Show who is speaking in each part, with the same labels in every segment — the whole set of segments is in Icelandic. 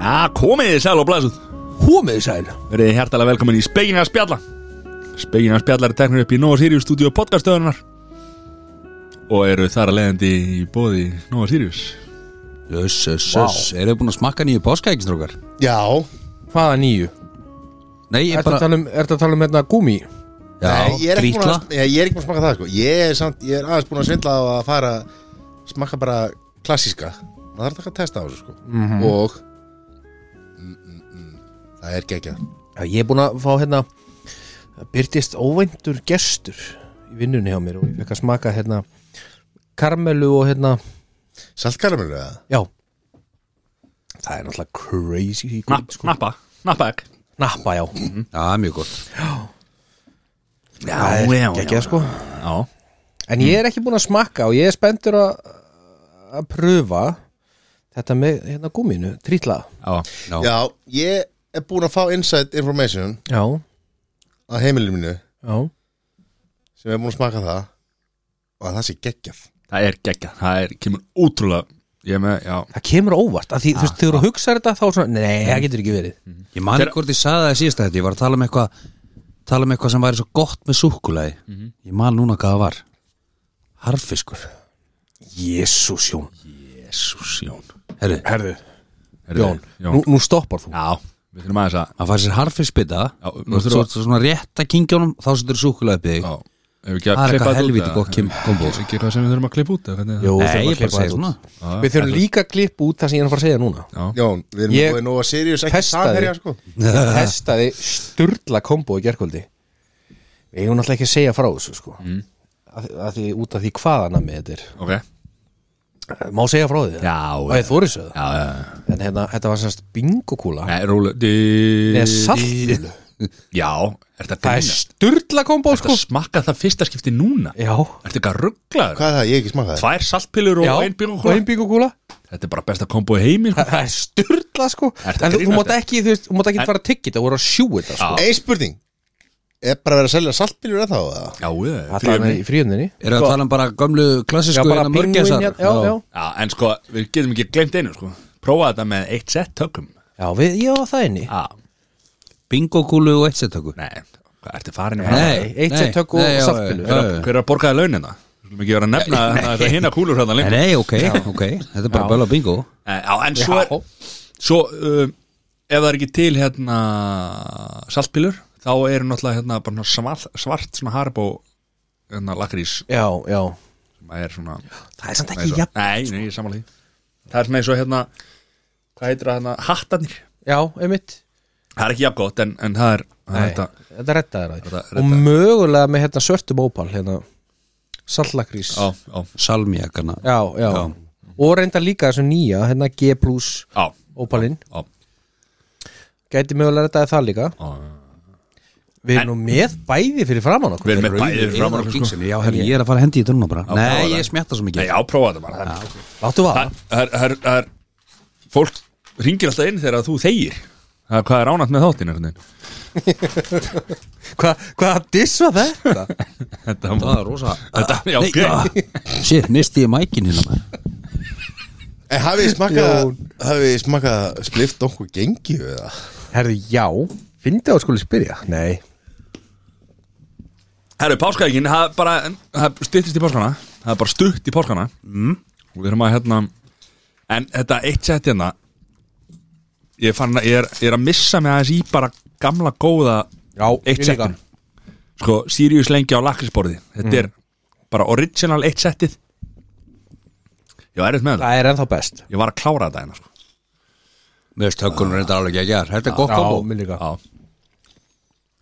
Speaker 1: Já, komið þið sæl og blæsut
Speaker 2: Hómiði sæl
Speaker 1: Verið þið hjertalega velkomin í Spegin að spjalla Spegin að spjalla er teknir upp í Nova Sirius stúdíu podcastöðunar Og eru þar að leiðandi í bóði Nova Sirius
Speaker 2: Jöss, jöss,
Speaker 3: Söss, wow. eru þið búin að smakka nýju páskaækistrókar?
Speaker 2: Já
Speaker 4: Hvaða nýju?
Speaker 3: Nei, ég
Speaker 4: Ertu að
Speaker 3: bara
Speaker 4: tala um, ertu að tala um hérna gúmi?
Speaker 3: Já,
Speaker 2: Nei, ég, er ekki búin
Speaker 3: grýtla
Speaker 2: að, ég er ekki búin að smaka það sko Ég er, samt, ég er aðeins búin að svindla á að fara Smakka bara klassíska Það þarf ekki að testa á þessu sko
Speaker 3: Mhm.
Speaker 2: Og mm, mm, mm, Það er geggjað
Speaker 4: Ég er búin að fá hérna það Byrtist óvæntur gestur í vinnunni hjá mér og ég fekk að smaka hérna karmelu og hérna
Speaker 2: Saltkaramelu eða?
Speaker 4: já það er náttúrulega crazy í
Speaker 1: Napp,
Speaker 4: kvöld,
Speaker 1: Nappa, nappa ekki
Speaker 4: nappa já
Speaker 3: Já, mjög gott
Speaker 1: Já,
Speaker 4: er
Speaker 1: já,
Speaker 4: geggjað,
Speaker 1: já.
Speaker 4: sko.
Speaker 1: Já,
Speaker 4: en ég er ekki búin að smakka og ég er spenntur að að pröfa þetta með hérna gúminu, trítla
Speaker 1: já
Speaker 3: Já,
Speaker 2: Já, ég er búin að fá inside information
Speaker 4: já,
Speaker 2: Að heimilinu mínu
Speaker 4: já,
Speaker 2: Sem er búin að smaka það Og að það sé geggjað
Speaker 1: Það er geggja, það er, kemur ótrúlega Ég er með, já
Speaker 4: það kemur á óvart að því, þú veist, þegar þú hugsaður þetta þá er svona, nei, það getur ekki verið
Speaker 3: ég man ekki hvort ég saði það í síðasta þetta Ég var að tala um eitthvað tala um eitthvað sem væri svo gott með súkkulaði
Speaker 4: Mhm.
Speaker 3: Ég man núna hvað það var Harfiskur
Speaker 4: jésús Jón,
Speaker 1: Jésús, Jón
Speaker 3: Herru,
Speaker 4: herðu
Speaker 1: Heyrðu,
Speaker 4: Jón,
Speaker 1: Jón.
Speaker 4: Nú, nú stoppar þú
Speaker 1: Já, við þurfum aðeins að
Speaker 3: maður fær sér harfiskbita
Speaker 1: Já,
Speaker 3: Svo
Speaker 1: maður þurfa-
Speaker 3: svo svona rétt að kingjónum Þá setur súkkulaði byggði
Speaker 1: Já, ef við ekki að
Speaker 3: Það er
Speaker 1: klippa
Speaker 3: eitthvað
Speaker 1: þetta út,
Speaker 3: helvíti
Speaker 1: eða?
Speaker 3: gott kim- kombo.
Speaker 1: Ekki eitthvað sem við þurfum að klippa út eða hvernig er það?
Speaker 4: Jú,
Speaker 3: Nei,
Speaker 4: þurfum að
Speaker 3: ég bara
Speaker 4: klippa
Speaker 3: segi
Speaker 4: þetta
Speaker 3: svona
Speaker 4: út. Við þurfum líka að klippa út það sem ég er að fara að segja núna
Speaker 1: Já,
Speaker 2: Jón, við erum
Speaker 4: Ég
Speaker 2: búin að nóga Sirius ekki
Speaker 4: testaði.
Speaker 2: samherja sko
Speaker 4: Ég testaði sturla kombo í gerkvöldi Við eigum náttúrulega ekki að segja frá þessu sko mm. að, að því út af því hvaðan að með þetta
Speaker 1: ok
Speaker 4: er Má segja frá því það?
Speaker 1: Já,
Speaker 4: Það er þórisöð
Speaker 1: já, já, já
Speaker 4: En hérna, þetta var semst bingokúla
Speaker 1: Nei, rólu Nei,
Speaker 4: Með saltinu
Speaker 1: Já, er þetta
Speaker 4: Það er sturla kombo
Speaker 1: Þetta
Speaker 4: sko
Speaker 1: smakka það fyrsta skipti núna
Speaker 4: Já
Speaker 1: Ertu ekki að rugglaður?
Speaker 2: Hvað er það, ég hef ekki smakað það
Speaker 1: Tvær saltpilur og
Speaker 4: Já,
Speaker 1: ein
Speaker 4: og
Speaker 1: bílokúla
Speaker 4: ein bingokúla
Speaker 1: Þetta er bara besta kombo í heimi sko.
Speaker 4: Það það er sturla sko
Speaker 1: Ertu að
Speaker 4: En þú- þú
Speaker 1: grínast
Speaker 4: mátt
Speaker 1: þér?
Speaker 4: ekki, þú veist, þú mátt ekki fara að tyggja þetta Þú voru að sjú þetta sko
Speaker 1: Já.
Speaker 2: Ein spurning Er bara að vera að selja saltbílur eða þá?
Speaker 1: Já, ég,
Speaker 4: Það er í fríöndinni
Speaker 3: Eru að tala um bara gömlu klassísku
Speaker 4: Sko- Já, bara
Speaker 3: hérna
Speaker 4: pingvin
Speaker 3: mörgæsar?
Speaker 4: Já, já
Speaker 1: Sko, já, en sko, við getum ekki glemt einu sko. Prófa þetta með eitt sett tökum
Speaker 4: Já, við, já, það er inni
Speaker 1: Já,
Speaker 3: Bingokúlu og eitt settöku
Speaker 1: nei, hvað, ertu farin í
Speaker 3: Nei,
Speaker 4: eitt
Speaker 3: nei,
Speaker 4: sem tökku og
Speaker 3: nei, já,
Speaker 4: saltpillu.
Speaker 3: já, já, já.
Speaker 1: Hver er að borgaði launin það? Skulum ekki vera að nefna þetta hinna kúlur hérna
Speaker 3: Nei,
Speaker 1: lengur
Speaker 3: Nei, ok, ok, þetta er bara bæla bingo
Speaker 1: Eh, Já, en svo er Svo, um, ef það er ekki til hérna saltpilur þá eru náttúrulega hérna bara svona svart, svart svona haribo hérna lakrís
Speaker 4: Já, já
Speaker 1: sem er svona
Speaker 4: Það er samt
Speaker 1: Nei,
Speaker 4: ekki
Speaker 1: svo-
Speaker 4: jafn
Speaker 1: nei, nei, ég samanlega því Það er svona eins og hérna Hvað heitir það hérna, hattarnir
Speaker 4: Já, einmitt
Speaker 1: Það er ekki jafn gott en, en það er það er
Speaker 4: Nei,
Speaker 1: þetta-
Speaker 4: Þetta rettaði
Speaker 1: Þetta
Speaker 4: það
Speaker 1: reddaði.
Speaker 4: Og mögulega með hérna svörtum ópal hérna, Sallakrís
Speaker 1: Já,
Speaker 4: já.
Speaker 1: já,
Speaker 3: Salmiakana
Speaker 4: Já,
Speaker 3: Já.
Speaker 4: Og reynda líka þessu nýja hérna G plus
Speaker 1: já,
Speaker 4: ópalinn
Speaker 1: já,
Speaker 4: Gæti mögulega rettaði það líka
Speaker 1: já.
Speaker 4: Við erum nú með bæði fyrir framann
Speaker 1: Við
Speaker 4: okkur
Speaker 1: erum með bæðið framar
Speaker 3: Einar og Kingsley, Já, herri, ég er að fara að hendi í drunna bara
Speaker 1: prófaðu
Speaker 3: Nei,
Speaker 1: það.
Speaker 3: ég smjatta svo
Speaker 1: Nei,
Speaker 3: mikið
Speaker 1: já, prófa þetta bara Það-
Speaker 4: Láttu vaða
Speaker 1: Það er- það er- það er Fólk ringir alltaf inn þegar þú þegir Það er hvað er ánætt með þáttin einhvern veginn
Speaker 4: Hva, Hvaða diss var þetta?
Speaker 1: Þetta
Speaker 3: Það er rosa
Speaker 1: Þetta, já,
Speaker 3: Nei,
Speaker 1: ok
Speaker 3: ah, Shit, misti ég mækin hérna maður.
Speaker 2: En Eh, hafið þið smakað
Speaker 4: Jón.
Speaker 2: Hafið þið smakað splift okkur gengi við það?
Speaker 4: Herðu, já Fyndi á skuli spyrja Nei
Speaker 1: Herru, páskaækin, það er bara það stuttist í páskana, það er bara stutt í páskana mm. og við erum að hérna en þetta eitt sett hérna ég, fann, að- ég, er, ég er að missa mig aðeins í bara gamla góða
Speaker 4: Já,
Speaker 1: eitt
Speaker 4: ég líka.
Speaker 1: settin sko, Sirius lengi á lakrisborði þetta er bara original eitt settið ég var erfitt með það
Speaker 4: Það er ennþá best
Speaker 1: ég var að klára þetta hérna sko.
Speaker 3: Mér veist höggunum reynda alveg ekki að gera Þetta er gott kombo
Speaker 4: mér líka
Speaker 1: Já.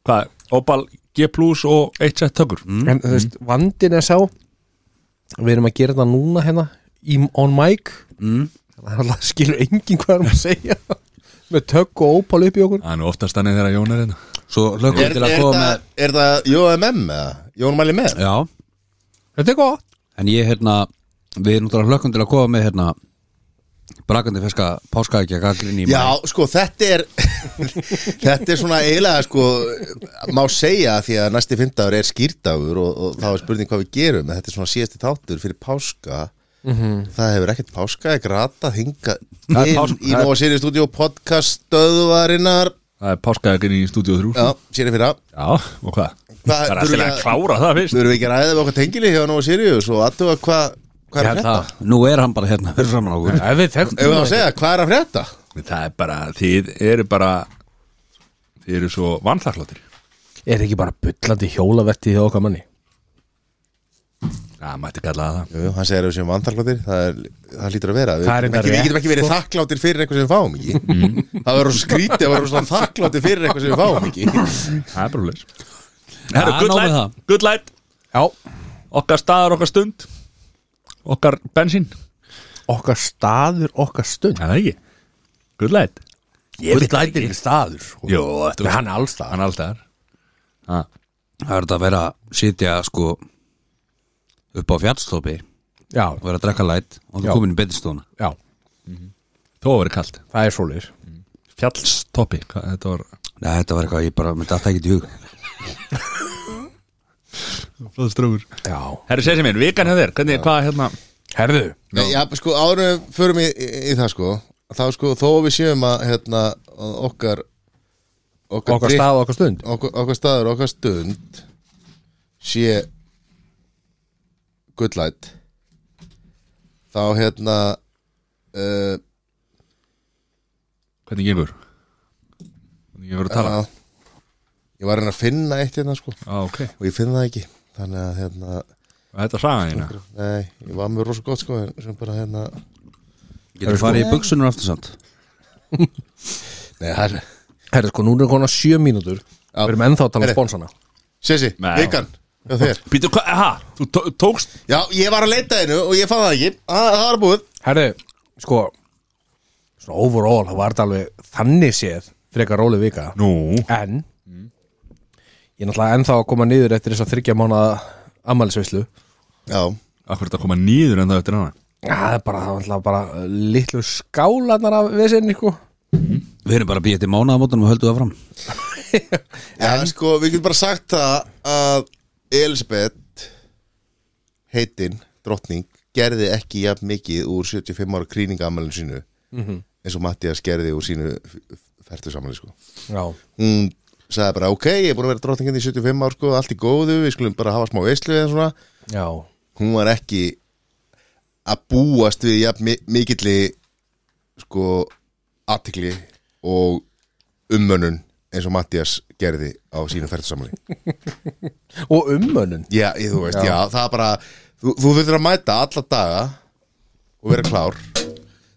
Speaker 1: hvað, Opal G plus og eitt sett tökur
Speaker 4: en þú veist, vandin er sá við erum að gera þetta núna hérna í, on mic mm. það skilur enginn hvað erum að segja með tökk og ópál upp í okkur
Speaker 1: það er nú oftast þannig þegar Jón er hérna
Speaker 3: Svo hlökkum
Speaker 2: Er,
Speaker 3: við
Speaker 2: er,
Speaker 3: til að koma
Speaker 2: það,
Speaker 3: með
Speaker 2: er það JMM eða? Jón mæli með?
Speaker 3: Já,
Speaker 4: þetta er gott
Speaker 3: en ég hérna Við erum náttúrulega hlökkum til að koma með hérna Brakandi feska páskaækja gaggrinni
Speaker 2: Já, sko, þetta er þetta er svona eiginlega, sko má segja því að næsti fymtaður er skýrdagur og, og þá er spurning hvað við gerum en þetta er svona síðasti þáttur fyrir páska það hefur ekkert páskaði grata hingað
Speaker 1: Það er
Speaker 2: inn
Speaker 1: pásk-
Speaker 2: í
Speaker 1: það er-
Speaker 2: Nóa Sirius Studio podcast stöðvarinnar
Speaker 1: Það er páskaðegin í stúdíu 3
Speaker 2: já, sér fyrir að
Speaker 1: Já, og hvað?
Speaker 2: Hvað-
Speaker 1: það er alltaf að
Speaker 2: þurfum við að-
Speaker 1: klára það fyrst
Speaker 2: þurfum við ekki að ræða við okkar tengili hjá Nóa Sirius og aðtuga hvað hva er að frétta
Speaker 3: Nú er hann bara hérna fyrir framan á okkur
Speaker 4: Ef við þekktum
Speaker 2: ef við að
Speaker 4: það
Speaker 2: segja hvað er að frétta
Speaker 1: Það er bara, þið eru bara Þið eru svo vannþakláttir
Speaker 4: ekki. Er ekki bara bullandi hjólavertið hjá okkar manni
Speaker 1: Það mætti kalla það
Speaker 2: Jú, jú, hann segir að við séum vandarkláttir það, er- það lítur að vera við,
Speaker 4: Það er
Speaker 2: getum
Speaker 4: enda
Speaker 2: ekki,
Speaker 4: rétt, sko. Mhm.
Speaker 2: við getum ekki verið þakkláttir fyrir eitthvað sem við fáum ekki það verður skrítið að verður svona þakkláttir fyrir eitthvað sem við fáum ekki
Speaker 1: Það er bara leys Herru,
Speaker 3: Já,
Speaker 1: good
Speaker 3: nóg með
Speaker 1: light,
Speaker 3: það.
Speaker 1: good light
Speaker 4: Já
Speaker 1: Okkar staðar, okkar stund Okkar bensín
Speaker 4: Okkar staður, okkar stund
Speaker 1: Það er ekki Good light
Speaker 4: Ég veit lætir ekki staður sko.
Speaker 1: Jó, þetta
Speaker 4: Hann er alls staðar
Speaker 1: Hann alltaf
Speaker 3: Það er þetta að vera að sitja sko upp á fjallstopi og
Speaker 4: Já,
Speaker 3: vera að drekka læt og
Speaker 4: Já.
Speaker 3: þú komin í betistóna
Speaker 4: já,
Speaker 1: Þó að vera kalt
Speaker 4: það er svoleiðis
Speaker 1: Fjallstoppi hvað- Þetta var
Speaker 3: Nei, þetta var eitthvað, ég bara myndi alltaf ekki í hug
Speaker 1: Flóðströfur
Speaker 4: Já
Speaker 1: Herru, segir sem minn, vikan hjá þér Hvernig, hvað hérna
Speaker 4: Herðu
Speaker 2: já, sko árum við förum í, í, í það sko þá sko þó að við séum að hérna, að okkar okkar,
Speaker 4: Okkar
Speaker 2: drykk-
Speaker 4: stað og okkar stund
Speaker 2: okkar, okkar staður, okkar stund sé good light þá hérna uh,
Speaker 1: Hvernig gengur Hvernig gengur að tala
Speaker 2: já, ég var að reyna að finna eitt hérna sko
Speaker 1: Á, ok
Speaker 2: og ég finn það ekki þannig að hérna
Speaker 1: Og Þetta er sagan þína
Speaker 2: nei, ég var með rosa gott sko en sem bara hérna
Speaker 3: Getur farið í buksunum aftur samt
Speaker 2: nei, hann
Speaker 4: Herðu sko, núna er konar sjö mínútur Við erum ennþá að tala um
Speaker 2: Herðu.
Speaker 4: sponsana
Speaker 2: Sessi,
Speaker 1: Nei,
Speaker 2: vikan Já, þér.
Speaker 1: Býtu, hvað, ha, þú tó- tókst
Speaker 2: já, ég var að leita einu og ég fann það ekki það, það var búið
Speaker 4: Herðu, sko Svona overall, það var þetta alveg þannig séð Frekar róli vika
Speaker 1: Nú
Speaker 4: En Ég er náttúrulega ennþá að koma niður eftir þess að þryggja mánaða ammælisveislu
Speaker 2: já,
Speaker 1: Akkur þetta koma nýður en það eftir hana
Speaker 4: Það er bara, það er náttúrulega bara litlu skálanar af vesinni, sko
Speaker 3: Við erum bara að býja til mánaðamótanum og höldum það fram
Speaker 2: Já, sko, við getum bara sagt það að Elisabeth heitinn, drottning gerði ekki jafn mikið úr 75 ára krýningamælinu sínu eins og Mattias gerði úr sínu færtu samanlega, sko
Speaker 4: Já
Speaker 2: hún sagði bara, ok, ég er búin að vera drottningin í 75 ár, sko, allt í góðu, við skulum bara hafa smá veislu eða svona,
Speaker 4: Já
Speaker 2: hún var ekki að búast við jafn mi- mikilli sko, athygli og ummönnun eins og Mattias gerði á sínu færtu samanlega
Speaker 4: Og ummönnun
Speaker 2: Já, ég, þú veist, já, það er bara Þú, þú þurftur að mæta alla daga og vera klár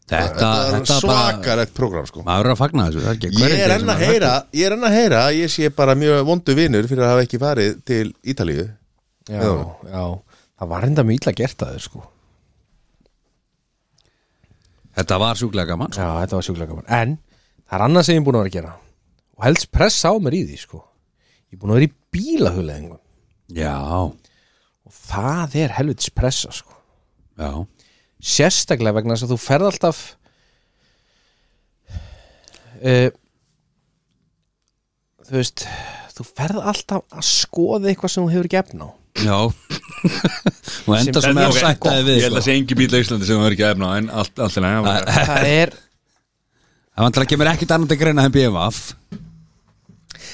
Speaker 3: Þetta,
Speaker 2: Það er
Speaker 3: þetta bara,
Speaker 2: svakalegt prógram, sko
Speaker 3: maður er að fagna þessu það er ekki- hver
Speaker 2: Ég er
Speaker 3: þetta
Speaker 2: enn að
Speaker 3: sem
Speaker 2: heyra, ég er enn að heyra að ég sé bara mjög vondu vinur fyrir að hafa ekki farið til Ítalíu
Speaker 4: Já, já Það var enda mjög illa gert að þér, sko
Speaker 3: Þetta var sjúklega gaman sko.
Speaker 4: Já, þetta var sjúklega gaman En það er annað sem ég er búin að vera að gera Og helst press á mér í því, sko Ég er búin að vera í bílahuleðingum
Speaker 3: Já,
Speaker 4: Og það er helvits pressa, sko
Speaker 3: já
Speaker 4: Sérstaklega vegna þess að þú ferð alltaf uh, Þú veist Þú ferð alltaf að skoða eitthvað sem þú hefur gefn á
Speaker 3: Já Og enda svo
Speaker 1: Þetta
Speaker 3: með
Speaker 1: er
Speaker 3: að
Speaker 1: ok.
Speaker 3: sætta þið við
Speaker 1: Ég held
Speaker 3: sko.
Speaker 1: að sé engin bíl á Íslandi sem það er ekki efna á, En allt, allt í lagi það var-
Speaker 4: Það er,
Speaker 3: Það vantar að kemur ekkit annað að greina en BMF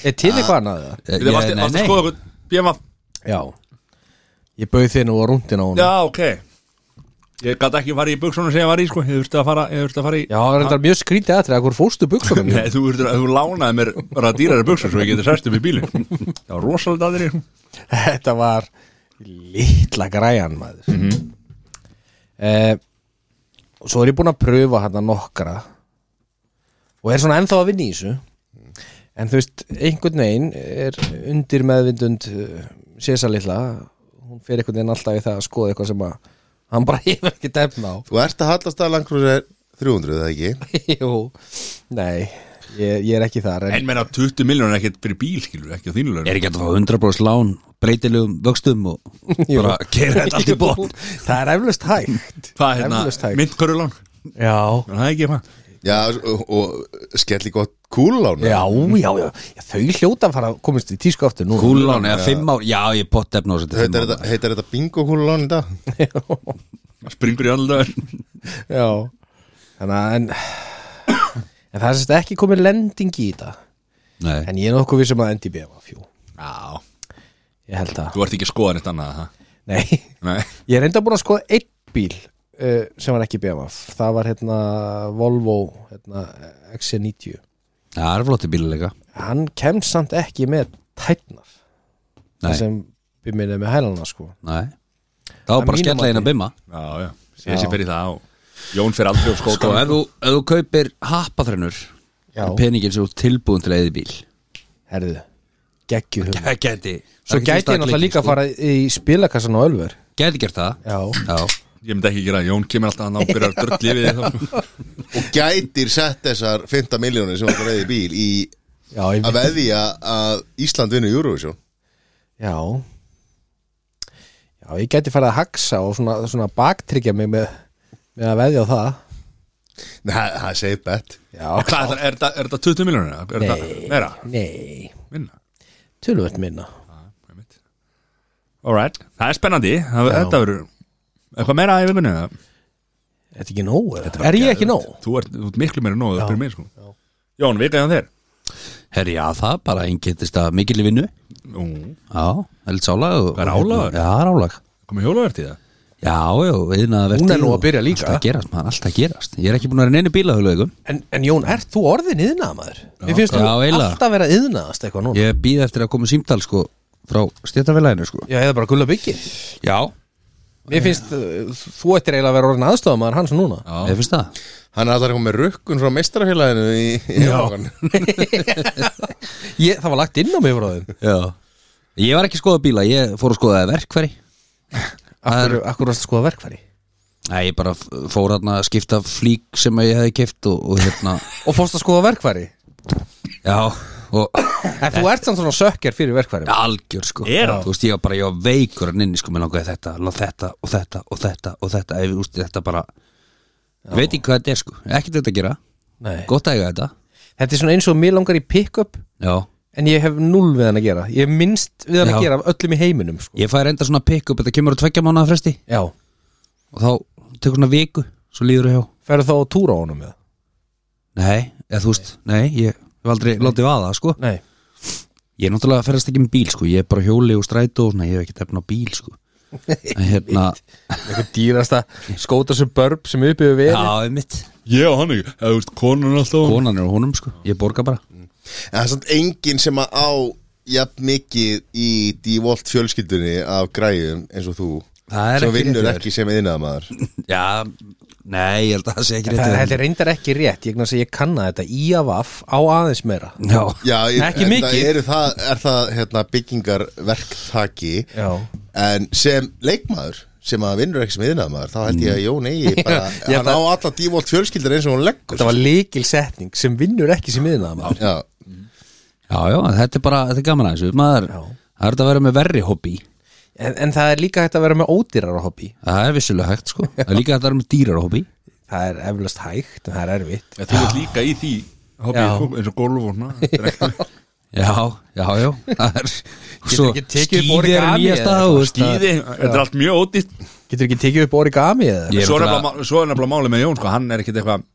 Speaker 4: er til eitthvað annað það?
Speaker 3: Ég-
Speaker 1: Þetta varst varst
Speaker 3: nei, nei.
Speaker 1: að skoða okkur BMW
Speaker 4: Já Ég bauð þér nú á rúndin á hún
Speaker 1: Já, ok Ég gæti ekki farið í buksunum sem ég var í sko Ég þurfti að fara, ég þurfti að fara í
Speaker 4: það er þetta mjög skrítið aðtrið Akkur fórstu buksunum
Speaker 1: Nei, þú, þurftir að, þú lánaði mér bara dýrari buksun Svo ég geti sæst upp í bílinn Það var rosalega að þeirri
Speaker 4: Þetta var litla græjan maður mm Eh, Svo er ég búinn að pröfa hérna nokkra og er svona ennþá að vinna í þessu en þú veist, einhvern veginn er undir meðvindund sésa litla hún fer einhvern veginn alltaf í það að skoða eitthvað sem að hann bara hefur ekki defna á
Speaker 2: Þú ert að hallast að langkrúsir 300, eða ekki?
Speaker 4: Jú, nei ég, ég er ekki þar en,
Speaker 1: En meina 20 miljónir ekkert fyrir bíl skilur Ekki á þínu
Speaker 3: Er
Speaker 1: lögum
Speaker 3: ekki hægt að fá 100% lán breytilegum vöxtum og bara keira þetta allt í bótt
Speaker 4: Það er eflust hægt
Speaker 1: Hvað
Speaker 4: Eflaust
Speaker 1: hérna,
Speaker 4: hægt.
Speaker 1: myndkörulán
Speaker 4: Já
Speaker 1: Það er ekki eitthvað
Speaker 2: Já, og, og skelli gott kúllána
Speaker 4: Já, já, já, já, þau hljóta að fara að komast í tísku aftur núna
Speaker 3: Kúlán eða fimm ár Já, ég pott efna á þessu til fimm
Speaker 2: Heitar
Speaker 3: ár
Speaker 2: þetta, heitar þetta bingo kúllán í dag?
Speaker 1: Það springur í alltaf
Speaker 4: Já Þannig að en, en það er sérst ekki komið lending í þetta
Speaker 3: Nei,
Speaker 4: En ég er nokkuð vissum að NDB var fjú
Speaker 1: Já,
Speaker 4: Ég held það
Speaker 1: þú ert ekki að skoða neitt annað ha?
Speaker 4: Nei,
Speaker 1: Nei,
Speaker 4: ég er enda búin að skoða einn bíl uh, sem var ekki BMF Það var hérna Volvo hérna, XC90
Speaker 3: það er flotti bíluleika
Speaker 4: Hann kemst samt ekki með tætnar
Speaker 3: Nei.
Speaker 4: Það sem við minnum með hælana sko
Speaker 3: Nei Það var
Speaker 4: Að
Speaker 3: bara að
Speaker 4: mínu
Speaker 3: skella
Speaker 4: mati.
Speaker 3: einn að bimma
Speaker 1: já, já Sér sér fyrir það og Jón fyrir aldrei á
Speaker 3: Sko,
Speaker 1: skóta
Speaker 3: ef þú, ef þú kaupir happaþrennur
Speaker 4: Já,
Speaker 3: peningin sem þú ert tilbúin til að eða bíl
Speaker 4: herðu Gekkju hugmynd
Speaker 3: Gæti
Speaker 4: Svo gæti ég náttúrulega líka að fara í spilakassan á Ölver
Speaker 3: sko. Gæti gert það
Speaker 4: sko. Já,
Speaker 3: Já,
Speaker 1: Ég myndi ekki gera það, Jón kemur alltaf hann á byrjar að dröggli við þig þá, sko.
Speaker 2: og gætir sett þessar 15 miljónir sem var reyði bíl í
Speaker 4: já, ég
Speaker 2: að veðja að Ísland vinnu Eurovision
Speaker 4: Já Já, ég gæti farið að haxa og svona, svona baktryggja mig með, með að veðja á það
Speaker 2: Nei, það segir bett
Speaker 4: Já,
Speaker 1: Hvað er það, er það, er það 20 miljonir? Er það
Speaker 4: Nei.
Speaker 1: meira?
Speaker 4: nei,
Speaker 1: Minna?
Speaker 4: tölvöld minna
Speaker 1: Einmitt. Alright, það er spennandi það, Þetta verður eitthvað meira í vimunni
Speaker 4: Þetta er ekki nóg, eða? er ég ekki nóg?
Speaker 1: Þú ert, þú ert miklu meira nóg það fyrir mig sko Jón, vikaði hann þér
Speaker 3: herri, já, það er bara eingetist að mikil í vinnu
Speaker 1: Ú,
Speaker 3: Já, það er lítið sálag og-
Speaker 1: Það er álagur.
Speaker 3: Já, það er álag
Speaker 1: Komið hjólaverð til það
Speaker 3: Já, já, viðnaðverti
Speaker 4: Hún er nú að byrja líka.
Speaker 3: Alltaf gerast, maður, alltaf gerast Ég er ekki búin að vera í neinu bílahugleikum
Speaker 4: En, en Jón, ert þú orðin yðnað maður? Mér finnst
Speaker 3: já,
Speaker 4: þú
Speaker 3: eiginlega.
Speaker 4: alltaf vera yðnaðast eitthvað núna
Speaker 3: Ég býð eftir að koma símtal, sko Frá stjættafélaginu, sko
Speaker 4: Já, eða bara gulla byggi
Speaker 3: Já,
Speaker 4: Mér finnst uh, þú ættir eiginlega að vera orðin aðstofað maður hans núna
Speaker 3: ég finnst það
Speaker 2: Hann er alltaf að koma með rukkun frá meistarafélaginu í, í Já,
Speaker 4: ég, Það var lagt inn á mig frá þeim
Speaker 3: Já Ég var ekki að skoða bíla, ég fór að skoða verkfæri
Speaker 4: Akkur, akkur varst að skoða verkfæri
Speaker 3: Nei, ég bara f- fór hérna að skipta flík sem ég hefði keft og, og hérna
Speaker 4: Og fórst að skoða verkfæri
Speaker 3: Já, og
Speaker 4: En þú ert samt svona sökkjar fyrir verkfæri
Speaker 3: algjör sko
Speaker 1: Er hann?
Speaker 3: Þú veist, ég var bara, ég var veikur að nynni sko Mér langaði þetta, lá þetta og þetta og þetta og þetta Ég veist, þetta bara Ég veit ekki hvað þetta er sko, ekkert þetta að gera
Speaker 4: Nei.
Speaker 3: Gott að eiga þetta
Speaker 4: Þetta er svona eins og mér langar í pick-up
Speaker 3: Já,
Speaker 4: En ég hef null við hann að gera Ég hef minnst við hann
Speaker 3: Já.
Speaker 4: að gera af öllum í heiminum sko.
Speaker 3: ég fæ reynda svona pick-up Þetta kemur á tveggja mánuða fresti
Speaker 4: Já,
Speaker 3: Og þá tekur svona viku, svo líður það hjá
Speaker 4: ferðu þá að túra á honum með
Speaker 3: Nei, eða þú veist, nei, ég hef aldrei látið vaða sko
Speaker 4: Nei,
Speaker 3: Ég er náttúrulega að ferðast ekki með bíl sko Ég er bara á hjóli og strætó og svona, ég hef ekki tefna á bíl sko En hérna,
Speaker 4: eitthvað dýrasta skóta sem börb sem uppi við
Speaker 3: já,
Speaker 4: verið
Speaker 3: mitt
Speaker 1: Ég og hann ekki, eða þú veist, konan er alltaf
Speaker 3: Konan er á honum sko, ég borga bara
Speaker 2: En það er samt enginn sem að á jafn mikið í Dívolt fjölskyldunni af græðum eins og þú
Speaker 3: Það er ekki
Speaker 2: sem
Speaker 3: rétt
Speaker 2: vinnur
Speaker 3: hjá þér.
Speaker 2: ekki sem yðnaðamaður
Speaker 3: Já, nei, ég held að það sé ekki
Speaker 4: Það
Speaker 3: rétt
Speaker 4: þetta er reyndar ekki rétt, ég, ég kanna þetta í af af á aðeins meira
Speaker 3: Já,
Speaker 2: Já, ég,
Speaker 4: Ekki
Speaker 2: en
Speaker 4: mikið.
Speaker 2: það eru það, er það hérna, byggingarverktaki
Speaker 4: Já.
Speaker 2: en sem leikmaður sem að vinnur ekki sem yðnaðamaður þá held ég að Jón Egi bara,
Speaker 4: Mm. Ég
Speaker 2: hann á alla Dívolt fjölskyldur eins og hún leggur
Speaker 4: Þetta var líkil setning sem vinnur ekki sem yðnaða maður
Speaker 2: Já,
Speaker 3: já, já, þetta er bara, þetta er gaman aðeins Maður,
Speaker 4: Já.
Speaker 3: það er þetta að vera með verri hobby
Speaker 4: en, en það er líka hægt að vera með ódýrara hobby
Speaker 3: Það er vissulega hægt, sko Það er líka þetta að vera með dýrar hobby
Speaker 4: Það er eflust hægt, en það er erfitt
Speaker 1: Þú ert líka í því hobby,
Speaker 4: Já.
Speaker 1: sko, eins og golf og svona Þetta er ekki-
Speaker 3: Já, já, já Það er,
Speaker 4: ekki tekið upp
Speaker 3: skíði er
Speaker 4: origami
Speaker 3: nýja
Speaker 4: eða
Speaker 3: stað
Speaker 4: eitthvað?
Speaker 3: þú veist, það-
Speaker 1: Skíði, þetta er allt mjög ódýrt
Speaker 4: Getur ekki tekið upp origami eða?
Speaker 3: Ég er
Speaker 1: Svo er
Speaker 3: náttúrulega-
Speaker 1: nefnilega- svo er nefnilega málið með Jón, sko, hann er ekkit eitthvað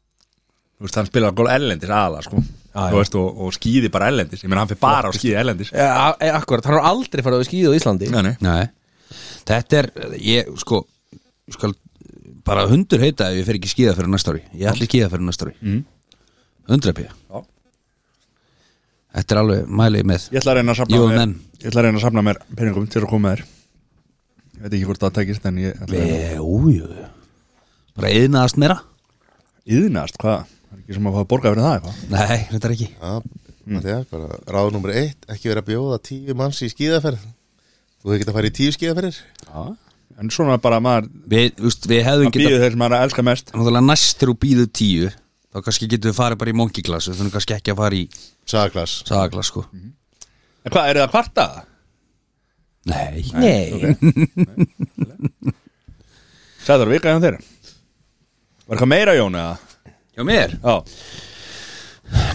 Speaker 1: Þú veist, hann spilar golf ellendis aðalega, sko
Speaker 4: Já, já.
Speaker 1: Þú veist, og, og skýði bara ellendis Ég menn, hann fyrir bara á skýði ellendis
Speaker 4: Ja, a- Akkurat, hann har aldrei farið á skýðu á Íslandi
Speaker 1: Nei, nei
Speaker 3: Nei, þetta er Ég, sko, ég skal bara hundur heita ef ég fer ekki skíða fyrir næsta ári Ég ætli skíða fyrir næsta ári
Speaker 4: Mhm.
Speaker 3: mm. Undrapið
Speaker 1: Já.
Speaker 3: Þetta er alveg mælið með
Speaker 1: Ég ætla að reyna að safna
Speaker 3: Jú,
Speaker 1: mér
Speaker 3: menn.
Speaker 1: Ég ætla að reyna að safna mér peningum til að koma með þér Ég veit ekki hvort það tekist en ég ætla að
Speaker 3: Jújú Bara yðnaðast meira
Speaker 1: Íðnast, hvað? Það er ekki sem að fá að borga fyrir það eitthvað
Speaker 3: Nei, þetta er ekki
Speaker 2: já mm. það er bara ráð nummer eitt ekki vera að bjóða tíu manns í skíðaferð Þú hefur getað að fara í tíu skíðaferðir
Speaker 1: Já. En svona bara maður
Speaker 3: Við, úst, við hefðum
Speaker 1: Það
Speaker 3: geta
Speaker 1: býður þeir sem maður er að elska mest
Speaker 3: Náttúrulega næst þegar þú býður tíu Þá kannski getum við farið bara í monkiglas Við þurfum kannski ekki að fara í
Speaker 2: Saglas
Speaker 3: sagaglas sko
Speaker 4: Mhm.
Speaker 1: En hvað, eru það að kvarta?
Speaker 3: Nei
Speaker 4: Nei,
Speaker 1: Sæður vika hjá þeir Var eitthvað meira Jón eða?
Speaker 3: Hjá mér?
Speaker 1: Já,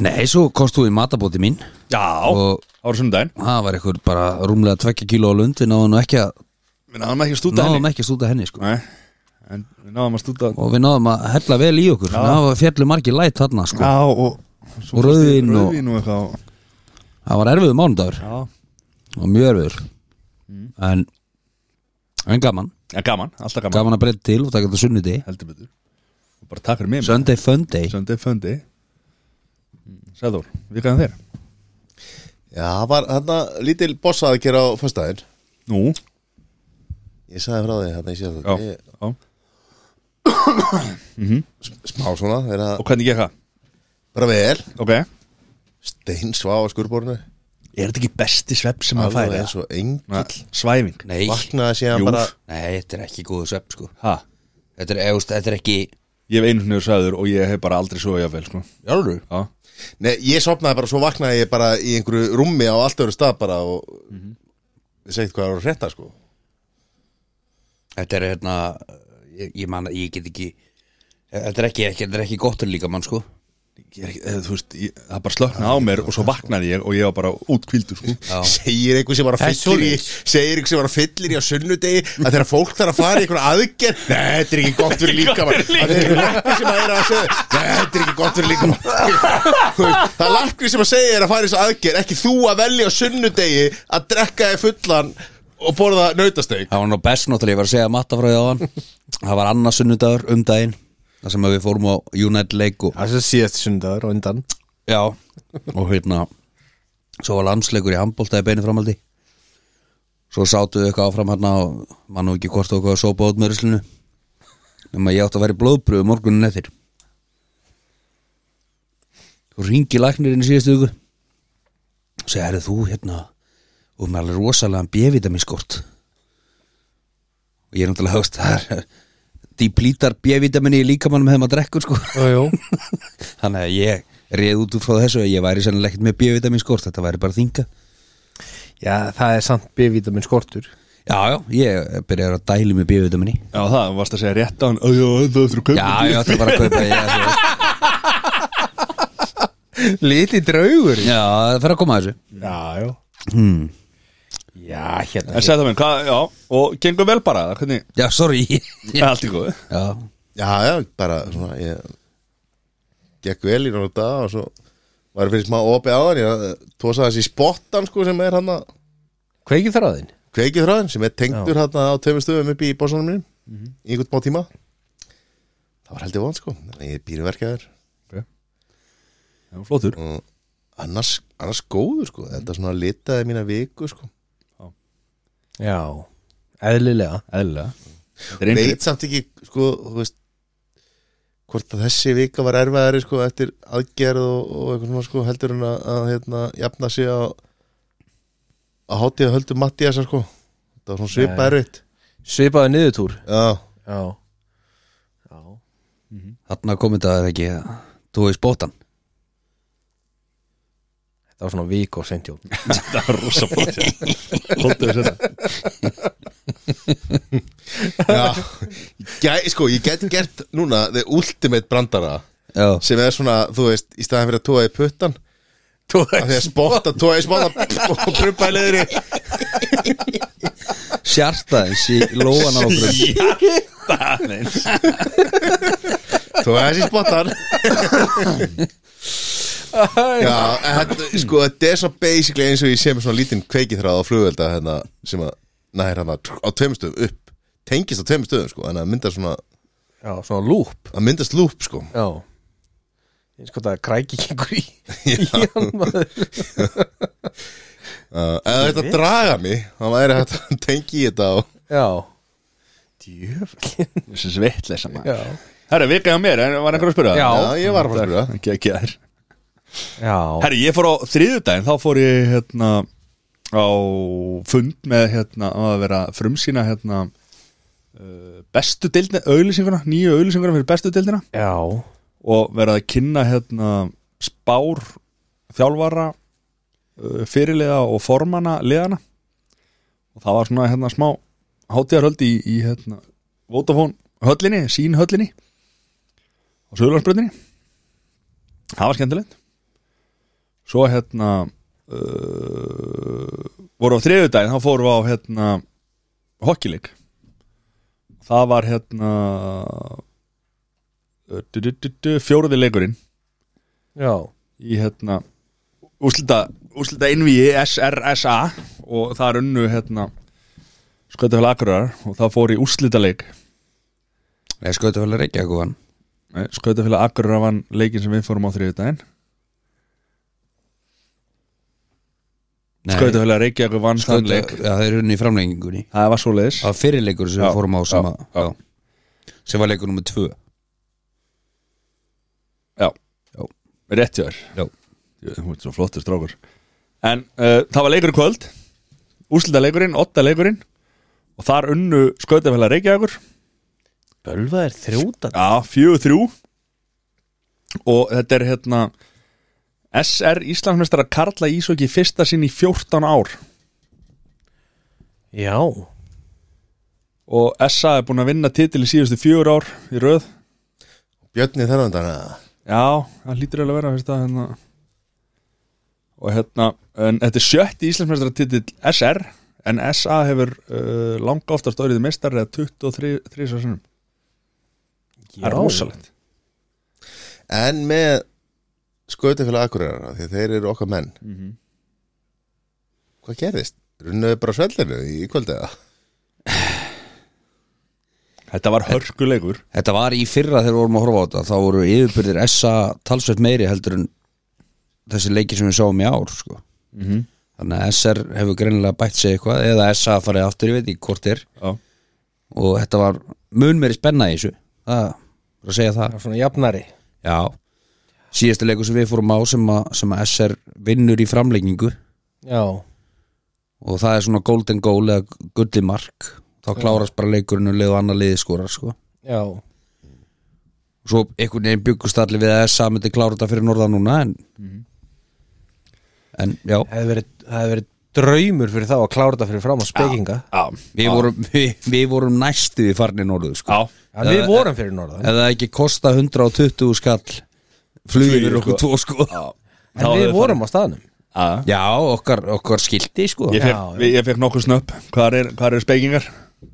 Speaker 3: Nei, svo komst þú í matabóti mín
Speaker 1: já
Speaker 3: Og-
Speaker 1: ára sundaginn
Speaker 3: Það var eitthvað bara rúmlega tvekja kíló á lund Við náðum nú ekki að
Speaker 1: Við náðum ekki að stúta
Speaker 3: Náðum
Speaker 1: henni
Speaker 3: ekki að stúta henni sko
Speaker 1: Nei, en við náðum að stúta
Speaker 3: og við náðum að hella vel í okkur það var fjallu margi læt þarna sko.
Speaker 1: Já, og,
Speaker 3: Og rauðvín og-
Speaker 1: rauðin og eitthvað
Speaker 3: það var erfiðu mánudagur
Speaker 1: Já,
Speaker 3: og mjög erfiður
Speaker 1: Mm.
Speaker 3: en, en gaman,
Speaker 1: ja, gaman, alltaf gaman,
Speaker 3: gaman að breyta til og taka þetta sunnuti
Speaker 1: heldur betur og bara takk fyrir mig maður.
Speaker 3: Sunday Funday
Speaker 1: Sunday fundi Mm. Sæður, vikaðan þér
Speaker 2: Já, það var þarna lítil bossað að gera á föstudaginn
Speaker 1: Nú,
Speaker 2: Ég sagði frá því þarna ég sé
Speaker 1: já,
Speaker 2: það Ég-
Speaker 1: já.
Speaker 2: Smá svona, er það
Speaker 1: og hvernig gekk það?
Speaker 2: bara vel
Speaker 1: Ok Er
Speaker 2: Steinsvá á skurborinu
Speaker 1: þetta ekki besti svepp sem maður fær,
Speaker 2: Alveg eins og engin
Speaker 1: eða? Svæfing
Speaker 3: nei,
Speaker 2: Vaknaði síðan
Speaker 1: Jú.
Speaker 2: bara
Speaker 3: nei, þetta er ekki góðu svepp sko.
Speaker 1: Ha,
Speaker 3: þetta, er, eðust, þetta er ekki
Speaker 1: ég hef einu snöður sæður og ég hef bara aldrei svo jáfnvel, sko
Speaker 3: Jálfur?
Speaker 1: Já,
Speaker 2: Nei, ég sopnaði bara, svo vaknaði ég bara í einhverju rúmi á allt öru stað bara og mm -hmm. segið hvað er að rétta sko
Speaker 3: þetta er hérna ég, ég, man, ég get ekki þetta er ekki, ekki, þetta er ekki gott líka mann sko
Speaker 1: ég er ekki, eða, þú veist, ég, það bara slöknaði á mér og svo vaknaði ég og ég var bara útkvildur sko.
Speaker 2: segir einhver sem var að
Speaker 4: Það er
Speaker 2: fyllir í
Speaker 4: svoleiðis.
Speaker 2: segir einhver sem var að fyllir í á sunnudegi að þegar fólk þarf að fara í einhver aðgerð Nei, þetta er ekki gott fyrir líka að þetta er lakni sem að er að segja Nei, þetta er ekki gott fyrir líka það er lakni sem að segja er að fara í þessu aðgerð ekki þú að velja á sunnudegi að drekka þig fullan og borða nautasteg
Speaker 3: það var nú best náttúrulega, ég var að segja matta frá því á hann það var annars sunnudagur um daginn það sem að við fórum á United Lake og,
Speaker 4: Það er síðast sundagur og undan
Speaker 3: já, og hérna svo var landsleikur í handbólta í beinu framaldi svo sátu við eitthvað áfram hérna og mann og ekki hvort okkur að sópa át með ruslinu nema ég átti að vera í blóðbröðu morgunin eftir þú ringi læknirinn í síðustu viku og segja, herri þú hérna og með alveg rosalega B-vitaminskort og ég er náttúrulega höfst það er dýplítar B-vitaminni í líkamannum hefðum að drekkur sko
Speaker 4: Jú,
Speaker 3: Þannig að ég reið út úr frá þessu að ég væri sennilega ekkert með B-vitamin skort, þetta væri bara þinga
Speaker 4: Já, það er samt B-vitamin skortur
Speaker 3: Já, já, ég byrjaði að dælu með B-vitamini
Speaker 1: Já, það varst að segja rétt á hann Þú þurftur að
Speaker 3: Já,
Speaker 1: kaupa
Speaker 3: ég ætla bara að kaupa ég, ætla-
Speaker 4: Liti draugur
Speaker 3: Já, það fer að koma að þessu
Speaker 4: Já, já
Speaker 3: hmm.
Speaker 4: Já, hérna
Speaker 1: En segð það mér, hvað, já, og gengur vel bara eða Hvernig,
Speaker 3: Já, sorry ég-
Speaker 1: yeah. allt í góðu
Speaker 3: Já,
Speaker 2: já, já, bara svona ég gekk vel í náttúrulega dag og svo var fyrir smá opið á hann ég eh, tósa þessi spottan sko sem er hann að
Speaker 4: Kveikið þar á þinn
Speaker 2: kveikið þráðin sem er tengdur hérna á tveimur stöðum upp í bósanum mínum í einhvern má tíma það var heldur von sko Þannig ég er býrverkjaður
Speaker 1: Já, flottur
Speaker 2: og annars, annars góður sko þetta svona litaði mína viku sko
Speaker 4: Já, eðlilega
Speaker 1: Eðlilega Þetta er
Speaker 2: veit
Speaker 1: einnig
Speaker 2: samt ekki sko þú veist hvort að þessi vika var erfæðari sko eftir aðgerð og, og eitthvað svona sko heldur en að, að hérna jafna sig á að hátíða höldu Mattiasar sko þetta var svona svipa erfitt
Speaker 4: Svipaði niðurtúr
Speaker 2: já,
Speaker 4: Já Já
Speaker 3: þarna komið þetta er ekki Þú veist bóttan
Speaker 4: Þetta var svona vik og sentjón
Speaker 1: Þetta er rosa flott Flottur þess þetta
Speaker 2: já. Gæ, sko ég gæti gert núna the ultimate brandara
Speaker 3: Já,
Speaker 2: sem er svona, þú veist, í staðan fyrir að tóa í puttan tóa í spotta tóa í spotta og prumpa í leðri
Speaker 3: sjartaðins í lóan á okkur
Speaker 2: tóa þessi spottan já, en þetta, sko þetta er svona basically eins og ég sé með svona lítinn kveikiþráð á flugvelda hérna, sem að næra hann á tveimur stöðum upp tengist á tveimur stöðum sko, en það myndast svona
Speaker 4: Já, svona lúp
Speaker 2: það myndast lúp sko
Speaker 4: Já Ég sko það kræki gengur í í hann maður
Speaker 2: uh, eða þetta draga mig það væri hægt að tengi í þetta og
Speaker 4: Já Djöfullin
Speaker 1: Þessi sveitleysa maður
Speaker 4: Já
Speaker 1: Herra, vika hjá mér, en var einhver að spyrja
Speaker 4: Já.
Speaker 2: já, ég var að fara að spyrja
Speaker 1: Ekki, ekki þær
Speaker 4: Já
Speaker 1: Herri, ég fór á þriðudaginn, þá fór ég hérna á fund með hérna á að vera frumsýna hérna uh, bestu deildina, auðlýsinguna, nýju auðlýsinguna fyrir bestu deildina
Speaker 4: Já
Speaker 1: og vera að kynna hérna spár þjálfara uh, fyrirliða og formana liðana og það var svona hérna smá hátíðarhöld í, í hérna Vodafone höllinni, sín höllinni á Söðurlandsbröndinni það var skemmtilegt svo hérna uh, voru á þriðudaginn þá fórum við á hérna hokkileik það var hérna uh, du, du, du, du, fjóruði leikurinn
Speaker 4: Já,
Speaker 1: í hérna úslita, úslita innvíi SRSA og það runnu hérna skötafél Akurar og það fór í úslita leik
Speaker 3: Nei, skoðu þetta vel að reykja eitthvað
Speaker 1: skötafél Akurar vann leikin sem við fórum á þriðudaginn
Speaker 3: Skoðu
Speaker 1: skötafél Reykjavík vann þann
Speaker 3: þetta
Speaker 1: leik
Speaker 3: Já, það er unni í framlengingunni
Speaker 1: það var svo leiðis
Speaker 3: Það var fyrirleikur sem
Speaker 1: Já,
Speaker 3: við fórum á sem,
Speaker 1: já,
Speaker 3: já, já. sem var leikur nummer tvö
Speaker 1: já,
Speaker 3: Já.
Speaker 1: rétt hjá þér
Speaker 3: Já.
Speaker 1: Jú, þú ert svo flottur strákur en uh, það var leikur í kvöld úslita leikurinn, otta leikurinn og þar unnu skötafél Reykjavíkur
Speaker 4: bölvað er þrjóta
Speaker 1: Já, fjögur þrjú Og þetta er hérna SR Íslandsmeistara Karla Ísóki fyrsta sinn í 14 ár
Speaker 4: Já,
Speaker 1: og SA er búin að vinna titil í síðustu fjögur ár í röð
Speaker 2: Björni þarfandan eða?
Speaker 1: Já, það lítur alveg að vera fyrst að hérna og hérna en þetta er sjötti Íslandsmeistara titil SR en SA hefur uh, langa oftast orðið meistar eða 23 3 svo sinnum Það er rosalegt
Speaker 2: En með skautafélag Akureyrar Því að þeir eru okkar menn Hvað gerðist? Runnaðu bara svellinu í kvöldiða
Speaker 1: Þetta var hörkuleikur
Speaker 3: Þetta var í fyrra þegar við vorum að horfa á þetta þá voru yfirbyrðir SA talsveit meiri heldur en þessi leiki sem við sáum í ár sko.
Speaker 1: Mhm.
Speaker 3: þannig að SR hefur greinilega bætt sig eitthvað eða SA farið aftur, ég veit ekki hvort er
Speaker 1: Já,
Speaker 3: og þetta var mun meiri spenna í þessu það, bara að segja það
Speaker 4: það er svona jafnari
Speaker 3: Já, síðasta leiku sem við fórum á sem að, sem að SR vinnur í framleggingu
Speaker 4: Já,
Speaker 3: og það er svona golden goal eða gulli mark þá klárast bara leikurinn um leið og annað liði skorar sko.
Speaker 4: já,
Speaker 3: svo einhvern veginn byggust allir við að SA myndi klára þetta fyrir norðan núna en, en já
Speaker 4: hefði verið, hefði verið draumur fyrir þá að klára þetta fyrir fram á spekinga
Speaker 1: já,
Speaker 3: við vorum, við, við vorum næstu í farni norðu sko.
Speaker 1: já.
Speaker 4: En við vorum fyrir norðan
Speaker 3: ef það ekki kosta 120 skall flugir
Speaker 1: Flugir,
Speaker 3: við okkur
Speaker 1: sko.
Speaker 3: tvo sko
Speaker 1: Þá
Speaker 4: En
Speaker 1: hefði
Speaker 4: við vorum á staðnum
Speaker 1: Já,
Speaker 3: já, okkar, okkar skildi sko
Speaker 1: Ég fekk,
Speaker 4: Já, já.
Speaker 1: já, ég fekk nokkuð snöpp Hvar er, hvar er speykingar?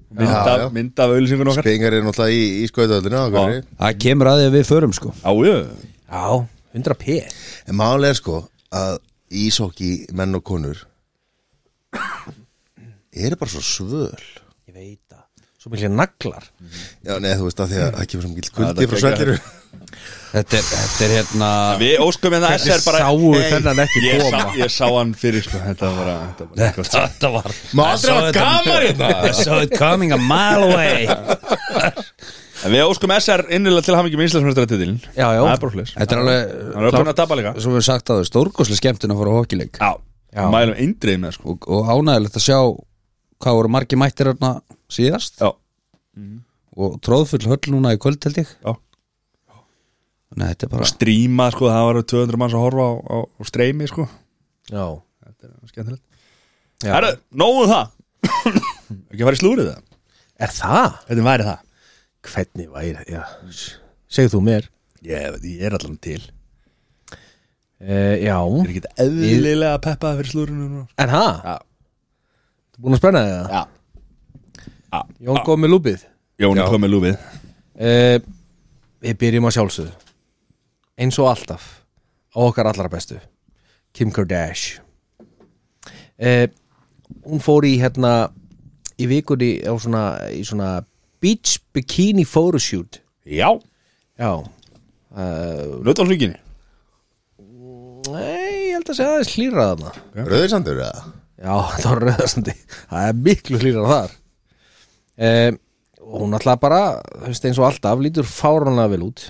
Speaker 1: Mynd
Speaker 2: Já,
Speaker 1: af,
Speaker 2: já.
Speaker 1: mynd af auðlýsingun okkar
Speaker 2: Spengar er náttúrulega í, í skautafélaginu á Akureyri
Speaker 3: það kemur að því að við förum sko
Speaker 1: Já, já
Speaker 4: Já, 100 p
Speaker 2: En máli er sko að ísokki menn og konur Eru bara svo svöl
Speaker 4: Ég veit það Svo miklu naglar
Speaker 2: Já, nei, þú veist að því að það kemur svo mikil
Speaker 1: það
Speaker 2: kuldi frá
Speaker 1: gekk
Speaker 2: svellinu
Speaker 3: þetta er, þetta er hérna
Speaker 1: Við óskum hérna SR bara
Speaker 4: sáu þennan ekki
Speaker 1: ég
Speaker 4: koma?
Speaker 1: sá, ég sá hann fyrir sko Þetta var bara, þetta var bara eitthvað.
Speaker 3: þetta var
Speaker 2: Má aldrei hafa gaman hérna.
Speaker 3: I saw it coming a mile away
Speaker 1: En Við óskum SR innilega til hafingjum Íslandsmjöstratitilin
Speaker 4: Já, já.
Speaker 1: Það er bara hlust
Speaker 3: þetta er
Speaker 1: Hann er
Speaker 3: alveg
Speaker 1: búin að tapa líka
Speaker 3: svo við sagt að það er stórkoslega skemmtun að fara á hockeyleik
Speaker 1: Já,
Speaker 4: Já.
Speaker 1: mælum eindrið með sko
Speaker 3: og, og ánægilegt að sjá hvað voru margi mættir hérna síðast
Speaker 1: Já,
Speaker 3: og tróðfull höll núna í kvöld held ég
Speaker 1: já
Speaker 3: Nei, þetta er bara
Speaker 1: Stríma sko, það var 200 manns að horfa á, á, á streymi sko
Speaker 4: Já,
Speaker 1: Þetta er skemmtilegt
Speaker 4: Já.
Speaker 1: Herru, nógu um það Ekki að fara í slúrið það
Speaker 4: er það?
Speaker 1: Hvernig væri það?
Speaker 4: Hvernig væri, já Segðu þú mér
Speaker 1: Ég, veit, ég er allan til
Speaker 4: uh, Já,
Speaker 1: Ég er ekki eðlilega peppaði fyrir slúrinu núna.
Speaker 4: en það?
Speaker 1: Já.
Speaker 4: Þú búin að spenna þig það?
Speaker 1: Já
Speaker 4: Jón góð með lúbið
Speaker 1: Jón kom með lúfið
Speaker 4: uh, Við byrjum á sjálfsögðu Eins og alltaf Á okkar allra bestu Kim Kardashian uh, Hún fór í hérna Í vikunni á svona, í svona Beach Bikini Photoshoot
Speaker 1: Já
Speaker 4: Já
Speaker 1: Nötu á hluginni
Speaker 4: Nei, ég held að segja aðeins hlýra þarna
Speaker 2: Rauðisandur eða?
Speaker 4: Já, það var rauðarsandi Það er miklu hlýrar þar um, Og hún alltaf bara þú veist, eins og alltaf lítur fáránlega vel út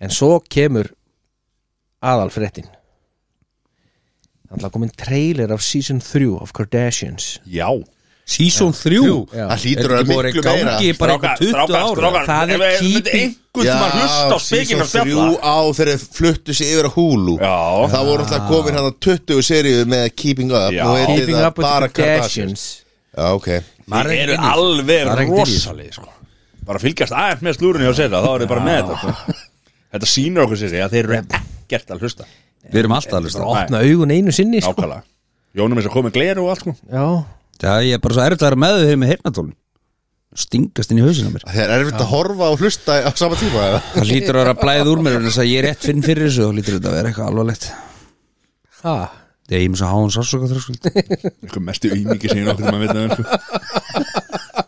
Speaker 4: En svo kemur aðalfréttin Það er alltaf komin trailer af season 3 of Kardashians
Speaker 1: Já
Speaker 3: Season 3
Speaker 4: Já.
Speaker 2: Það hlýtur að vera miklu meira
Speaker 3: gangi bara eitthvað 20 ára
Speaker 4: Það er keeping-
Speaker 1: einhvern tímann hlusta á spekin
Speaker 2: season
Speaker 1: og spjalla
Speaker 2: þrjú á þegar þeir fluttu sig yfir að húlu
Speaker 1: Já.
Speaker 2: Það voru alltaf komin hann að 20 seríu með Keeping Up
Speaker 1: Já.
Speaker 2: Nú heitir
Speaker 4: Keeping
Speaker 2: það
Speaker 4: up with
Speaker 2: bara
Speaker 4: the Kardashians
Speaker 2: Já, ok
Speaker 1: Það
Speaker 3: er
Speaker 1: eru
Speaker 3: ekki inni.
Speaker 1: alveg
Speaker 3: Það er ekki inni.
Speaker 1: rosaleg sko. Bara fylgjast aðeins með slúrinu hjá sér Þá eru þið bara með þetta sko. Þetta sýnir okkur sér að þeir eru ekkert að hlusta
Speaker 3: Við erum alltaf að hlusta
Speaker 4: Opna augun einu sinni sko.
Speaker 1: Nákvæmlega Jónum er að koma með gleru og allt sko.
Speaker 4: Já,
Speaker 3: Það er bara svo erfitt að vera með þau með heyrnatólun stingast inn í hausinn á mér
Speaker 2: Það er erfitt að horfa og hlusta á sama tíma eða?
Speaker 3: það lítur að vera að blæða úr mér en þess að ég er rétt finn fyrir þessu og lítur þetta að vera eitthvað alvarlegt
Speaker 4: ha,
Speaker 3: ég er mjög svo háan sársöka þröskuld
Speaker 1: Eitthvað mestu auðmikið sem ég nokkuð maður veit að sko.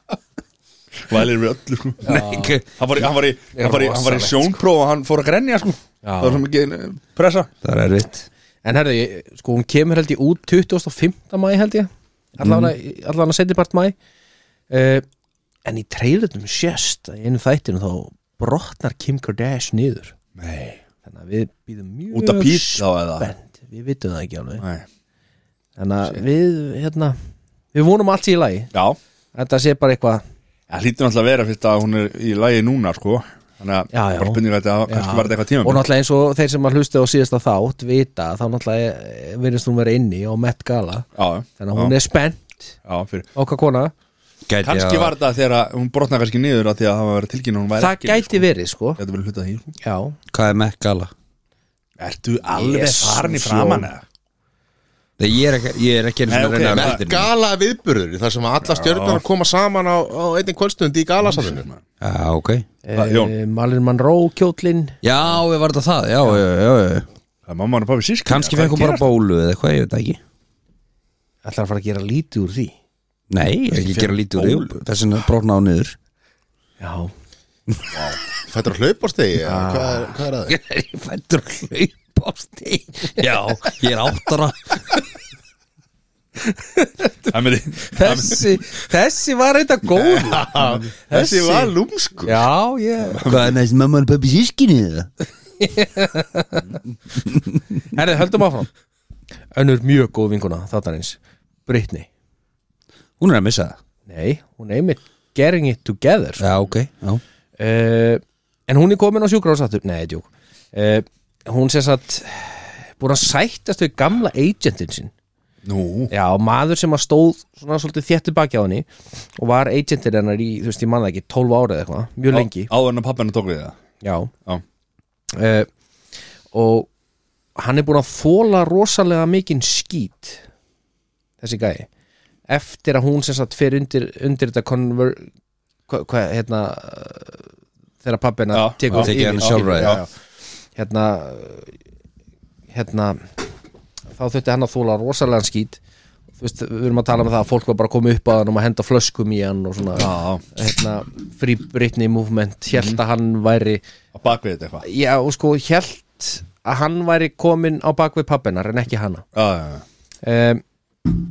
Speaker 1: Vælir við öllu sko. Hann var í, hann var í, hann var í, hann var í
Speaker 4: Rosalegt,
Speaker 1: sjónpróf og hann fór að grenja sko. Það var svo mikið eh, pressa
Speaker 3: það er erfitt
Speaker 4: en herðu, ég- sko hún kemur held ég út 25. mæ held ég
Speaker 1: Mhm.
Speaker 4: allan mm. að setja part mæ uh, en í treylutum sjöst að í einu þættinu þá brotnar Kim Kardashian niður
Speaker 1: Nei
Speaker 4: þannig að við býðum
Speaker 1: Út af
Speaker 4: mjög
Speaker 1: pít þá eða
Speaker 4: spennt við vitum það ekki alveg
Speaker 1: Nei.
Speaker 4: þannig að við, hérna við vonum allt sé í lagi
Speaker 1: Já,
Speaker 4: þetta sé bara eitthvað
Speaker 1: það hlýtur náttúrulega að vera fyrst að hún er í lagi núna sko. Þannig að
Speaker 4: Já, já.
Speaker 1: bara spennir þetta að kannski var þetta eitthvað tíma
Speaker 4: og náttúrulega eins og þeir sem að hlusta á síðasta þátt vita þá náttúrulega verðist hún vera inni á Met Gala
Speaker 1: Já,
Speaker 4: þannig að hún
Speaker 1: já,
Speaker 4: er spennt
Speaker 1: já, fyrir
Speaker 4: okkar kona
Speaker 3: Gæti
Speaker 1: Kanski
Speaker 3: að-
Speaker 1: var þetta þegar að hún brotnaði kannski niður að því að það var að vera tilkynna að hún væri
Speaker 4: það
Speaker 1: ekki
Speaker 4: gæti verið sko
Speaker 1: Þetta verið hlutað því sko.
Speaker 4: já
Speaker 3: hvað er mekk gala
Speaker 1: Ertu alveg
Speaker 4: Jesús,
Speaker 1: farin í
Speaker 4: já.
Speaker 1: framan eða?
Speaker 3: Nei, ég er ekki, ég er ekki einu
Speaker 1: Nei,
Speaker 3: sinni að
Speaker 1: ok,
Speaker 3: reyna að
Speaker 1: það-
Speaker 3: rættir
Speaker 2: Gala viðburður þar sem alla stjörnur koma saman á, á einnig kvöldstund í galasafinu
Speaker 3: já, ok
Speaker 1: Hvað, Jón?
Speaker 4: e, Malin Monroe kjótlin
Speaker 3: já, við varum þetta það, já, já, já, já.
Speaker 1: Það er mamma og pappi sísk
Speaker 3: kannski fekk hún bara bólu eða eitthvað, ég veit það ekki
Speaker 4: ætlar að fara að gera lítið úr því
Speaker 3: nei, ég er ekki að gera lítið úr því þess vegna brotna á niður
Speaker 4: já
Speaker 2: Fættur að hlaupa á stegi eða? hvað, er- hvað er það?
Speaker 3: ég er fættur að hlaupa á stíg já, ég er áttara
Speaker 1: Það með
Speaker 4: þessi, þessi var eitthvað góð
Speaker 2: Þessi var lúmsku
Speaker 4: já ég
Speaker 3: hvað er næst mamma og pabbi sískinni það?
Speaker 4: herrið höldum áfram önnur mjög góð vinkuna þáttanins Brittany
Speaker 3: hún er að missa það
Speaker 4: nei hún er einmitt getting it together
Speaker 3: já, ok, já
Speaker 4: uh, en hún er komin á sjúkrásattur nei, djúk uh, hún sé satt búin að sættast við gamla agentin sinn
Speaker 1: Nú
Speaker 4: já, maður sem að stóð svona svolítið þéttu baki á henni og var agentin hennar í, þú veist, ég manna ekki 12 ára eða eitthvað, mjög lengi
Speaker 1: Á- Áður en að pappi hennar tók við það
Speaker 4: já,
Speaker 1: Já.
Speaker 4: Eh, og hann er búin að þóla rosalega mikinn skít þessi gæi eftir að hún sem sagt fer undir, undir þetta konver hvað, hva, hérna eh, þegar pappina
Speaker 1: Já,
Speaker 4: tekur
Speaker 3: já, tekur hann
Speaker 4: yfir-
Speaker 3: sjálfræði.
Speaker 4: já, já. hérna hérna þá þurfti hann að þóla rosalega skít þú veist, við erum að tala með það að fólk var bara að koma upp að hann og að henda flöskum í hann og svona
Speaker 1: Já,
Speaker 4: hérna, free Britney movement held að hann væri
Speaker 1: á bakvið þetta eitthvað
Speaker 4: já og sko held að hann væri komin á bakvið pappinar en ekki hana
Speaker 1: Já, já, já.
Speaker 4: um,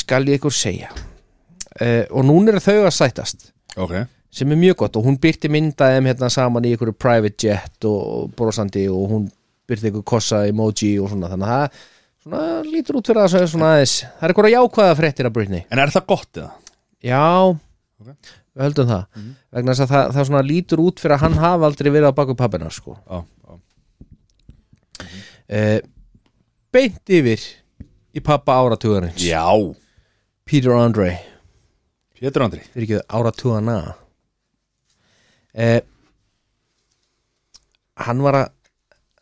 Speaker 4: skal ég ykkur segja uh, og núna eru þau að sætast
Speaker 1: ok
Speaker 4: sem er mjög gott og hún byrti myndaðum hérna saman í ykkur private jet og brosandi og hún byrti ykkur kossa emoji og svona þannig að það svona lítur út fyrir að það sé svona aðeins það er ykkur að jákvæða fréttir af Britney
Speaker 1: En er það gott eða?
Speaker 4: Já Við höldum það vegna þess að það, það svona lítur út fyrir að hann hafa aldrei verið á baku pappina sko
Speaker 1: Já, já
Speaker 4: eh, Beint yfir í pappa áratugarins
Speaker 1: Já
Speaker 4: Peter Andre
Speaker 1: Pétur Andri
Speaker 4: fyrir ekki áratugana eh, Hann var að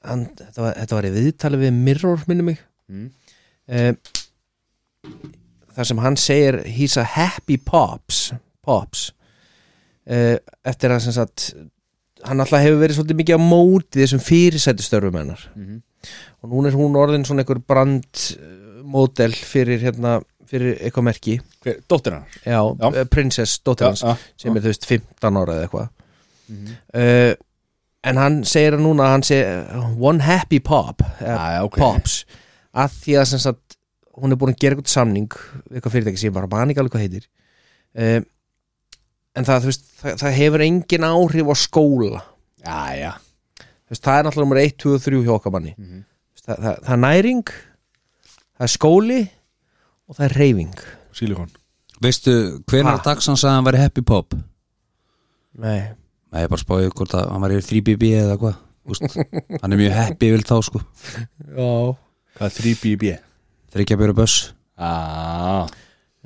Speaker 4: hann, þetta, var, þetta var í viðtali við Mirror minnum mig mm. eh, þar sem hann segir he's a happy pops pops eh, eftir að sem sagt hann alltaf hefur verið svolítið mikið á móti þessum fyrirsætustörfum hennar og núna er hún orðin svona einhver brandmódel fyrir hérna fyrir eitthvað merki
Speaker 1: Hver, Dóttir hennar
Speaker 4: já,
Speaker 1: Já.
Speaker 4: já. prinsess dóttir
Speaker 1: Já,
Speaker 4: hans
Speaker 1: já.
Speaker 4: sem er þú veist 15 ára eða eitthvað uh, en hann segir að núna hann segir uh, one happy pop uh,
Speaker 1: Já, já, ok
Speaker 4: pops að því að sem sagt hún er búin að gera eitthvað samning við eitthvað fyrirtæki sem ég bara man ekki alveg hvað heitir uh, en það, þú veist, það, það hefur engin áhrif á skóla
Speaker 1: Já, já
Speaker 4: Þú veist, það er náttúrulega nummer 1, 2 og 3 hjá okkar manni mm það, það, það er næring það er skóli og það er reyfing
Speaker 1: Silikon
Speaker 3: veistu, hvenær
Speaker 4: Ha?
Speaker 3: dags hann sagði að hann væri happy pop?
Speaker 4: Nei.
Speaker 3: Nei, ég bara spáði hvort að hann væri yfir 3BB eða hvað Úst, hann er mjög happy vil þá sko
Speaker 4: Já.
Speaker 1: Hvað er 3BB?
Speaker 3: þreikja björu böss
Speaker 1: Ah,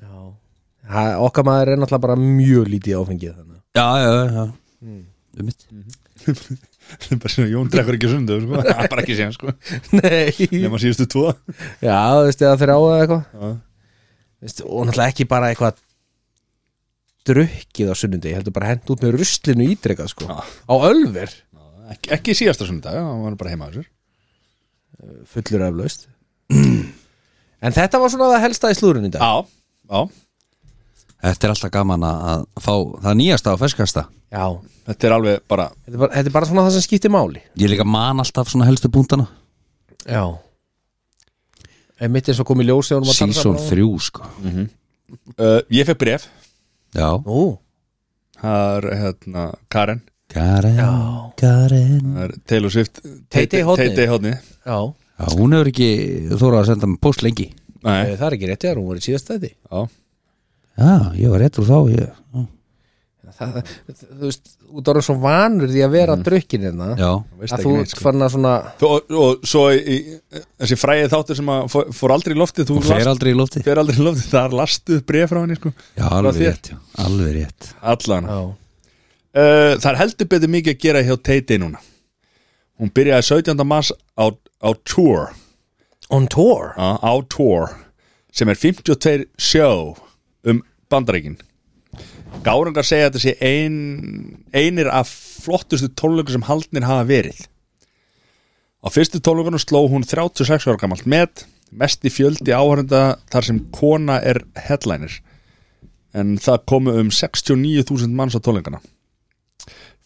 Speaker 4: Já. Ha, okkar maður er náttúrulega bara mjög lítið áfengið þannig.
Speaker 3: já, já, já, um mitt
Speaker 1: það er bara svona Jón drekkur ekki sundu sko. Það er bara ekki sér sko
Speaker 4: Nei.
Speaker 1: Nefna síðustu tvo
Speaker 4: Já, þú veist, eða þrjá eða eitthvað.
Speaker 1: Já.
Speaker 4: Þú veist, og náttúrulega ekki bara eitthvað drukkið á sunnundi heldur bara hent út með ruslinu ítrekað sko.
Speaker 1: Já.
Speaker 4: á ölver,
Speaker 1: ekki, ekki síðasta sundag, hann var bara heima á þessur
Speaker 4: fullur aflaust en þetta var svona það helsta í slúrun í dag
Speaker 1: Já, já,
Speaker 3: Þetta er alltaf gaman að að fá það nýjasta og ferskasta
Speaker 4: Já.
Speaker 1: þetta er alveg bara
Speaker 4: Þetta, er bara, þetta er bara svona það sem skiptir máli
Speaker 3: Ég líka man alltaf svona helstu búntana
Speaker 4: Já en mitt er svo komið ljós þegar hún var að tala
Speaker 3: Season
Speaker 4: saman á-
Speaker 3: 3 sko
Speaker 1: uh, Ég fekk bref,
Speaker 3: Já,
Speaker 4: Nú,
Speaker 1: það er hérna Karen,
Speaker 3: Karen, Karen
Speaker 1: það er Taylor Swift
Speaker 4: Tay-Tay hornið.
Speaker 1: Teiti hóðni
Speaker 4: já,
Speaker 3: Já, hún hefur ekki þóra að senda mig post lengi
Speaker 1: Nei,
Speaker 4: það er ekki rétt hér, hún var í síðast þetta
Speaker 1: já,
Speaker 3: Já, ég var réttur þá ég.
Speaker 4: það, þú veist, út ára svo vanur því að vera mm. drukkin hérna
Speaker 3: Já,
Speaker 1: veist
Speaker 4: að
Speaker 1: ekki
Speaker 4: þú
Speaker 1: neitt,
Speaker 4: ert
Speaker 1: sko.
Speaker 4: fann að svona
Speaker 1: Þú- og, og svo í, í, þessi fræði þáttur sem að fór, fór aldrei í loftið, þú
Speaker 3: hún fer aldrei í lofti
Speaker 1: fer aldrei í loftið, það er lastuð bref frá henni sko.
Speaker 3: Já,
Speaker 1: Frá
Speaker 3: alveg
Speaker 1: þér.
Speaker 3: rétt, já, alveg rétt
Speaker 1: allan
Speaker 4: já,
Speaker 1: uh, Það er heldur betur mikið að gera hjá Teiti núna Hún byrjaði 17. mars á, á tour
Speaker 4: on tour
Speaker 1: á, Uh, á tour sem er 52 sjó um bandaríkin Gárangar segja að þetta sé ein, einir af flottustu tónleikur sem haldnir hafa verið Á fyrstu tónleikunum sló hún 36 ára gamalt met mesti fjöldi áhörenda þar sem kona er headliner en það komu um 69.000 manns á tónleikana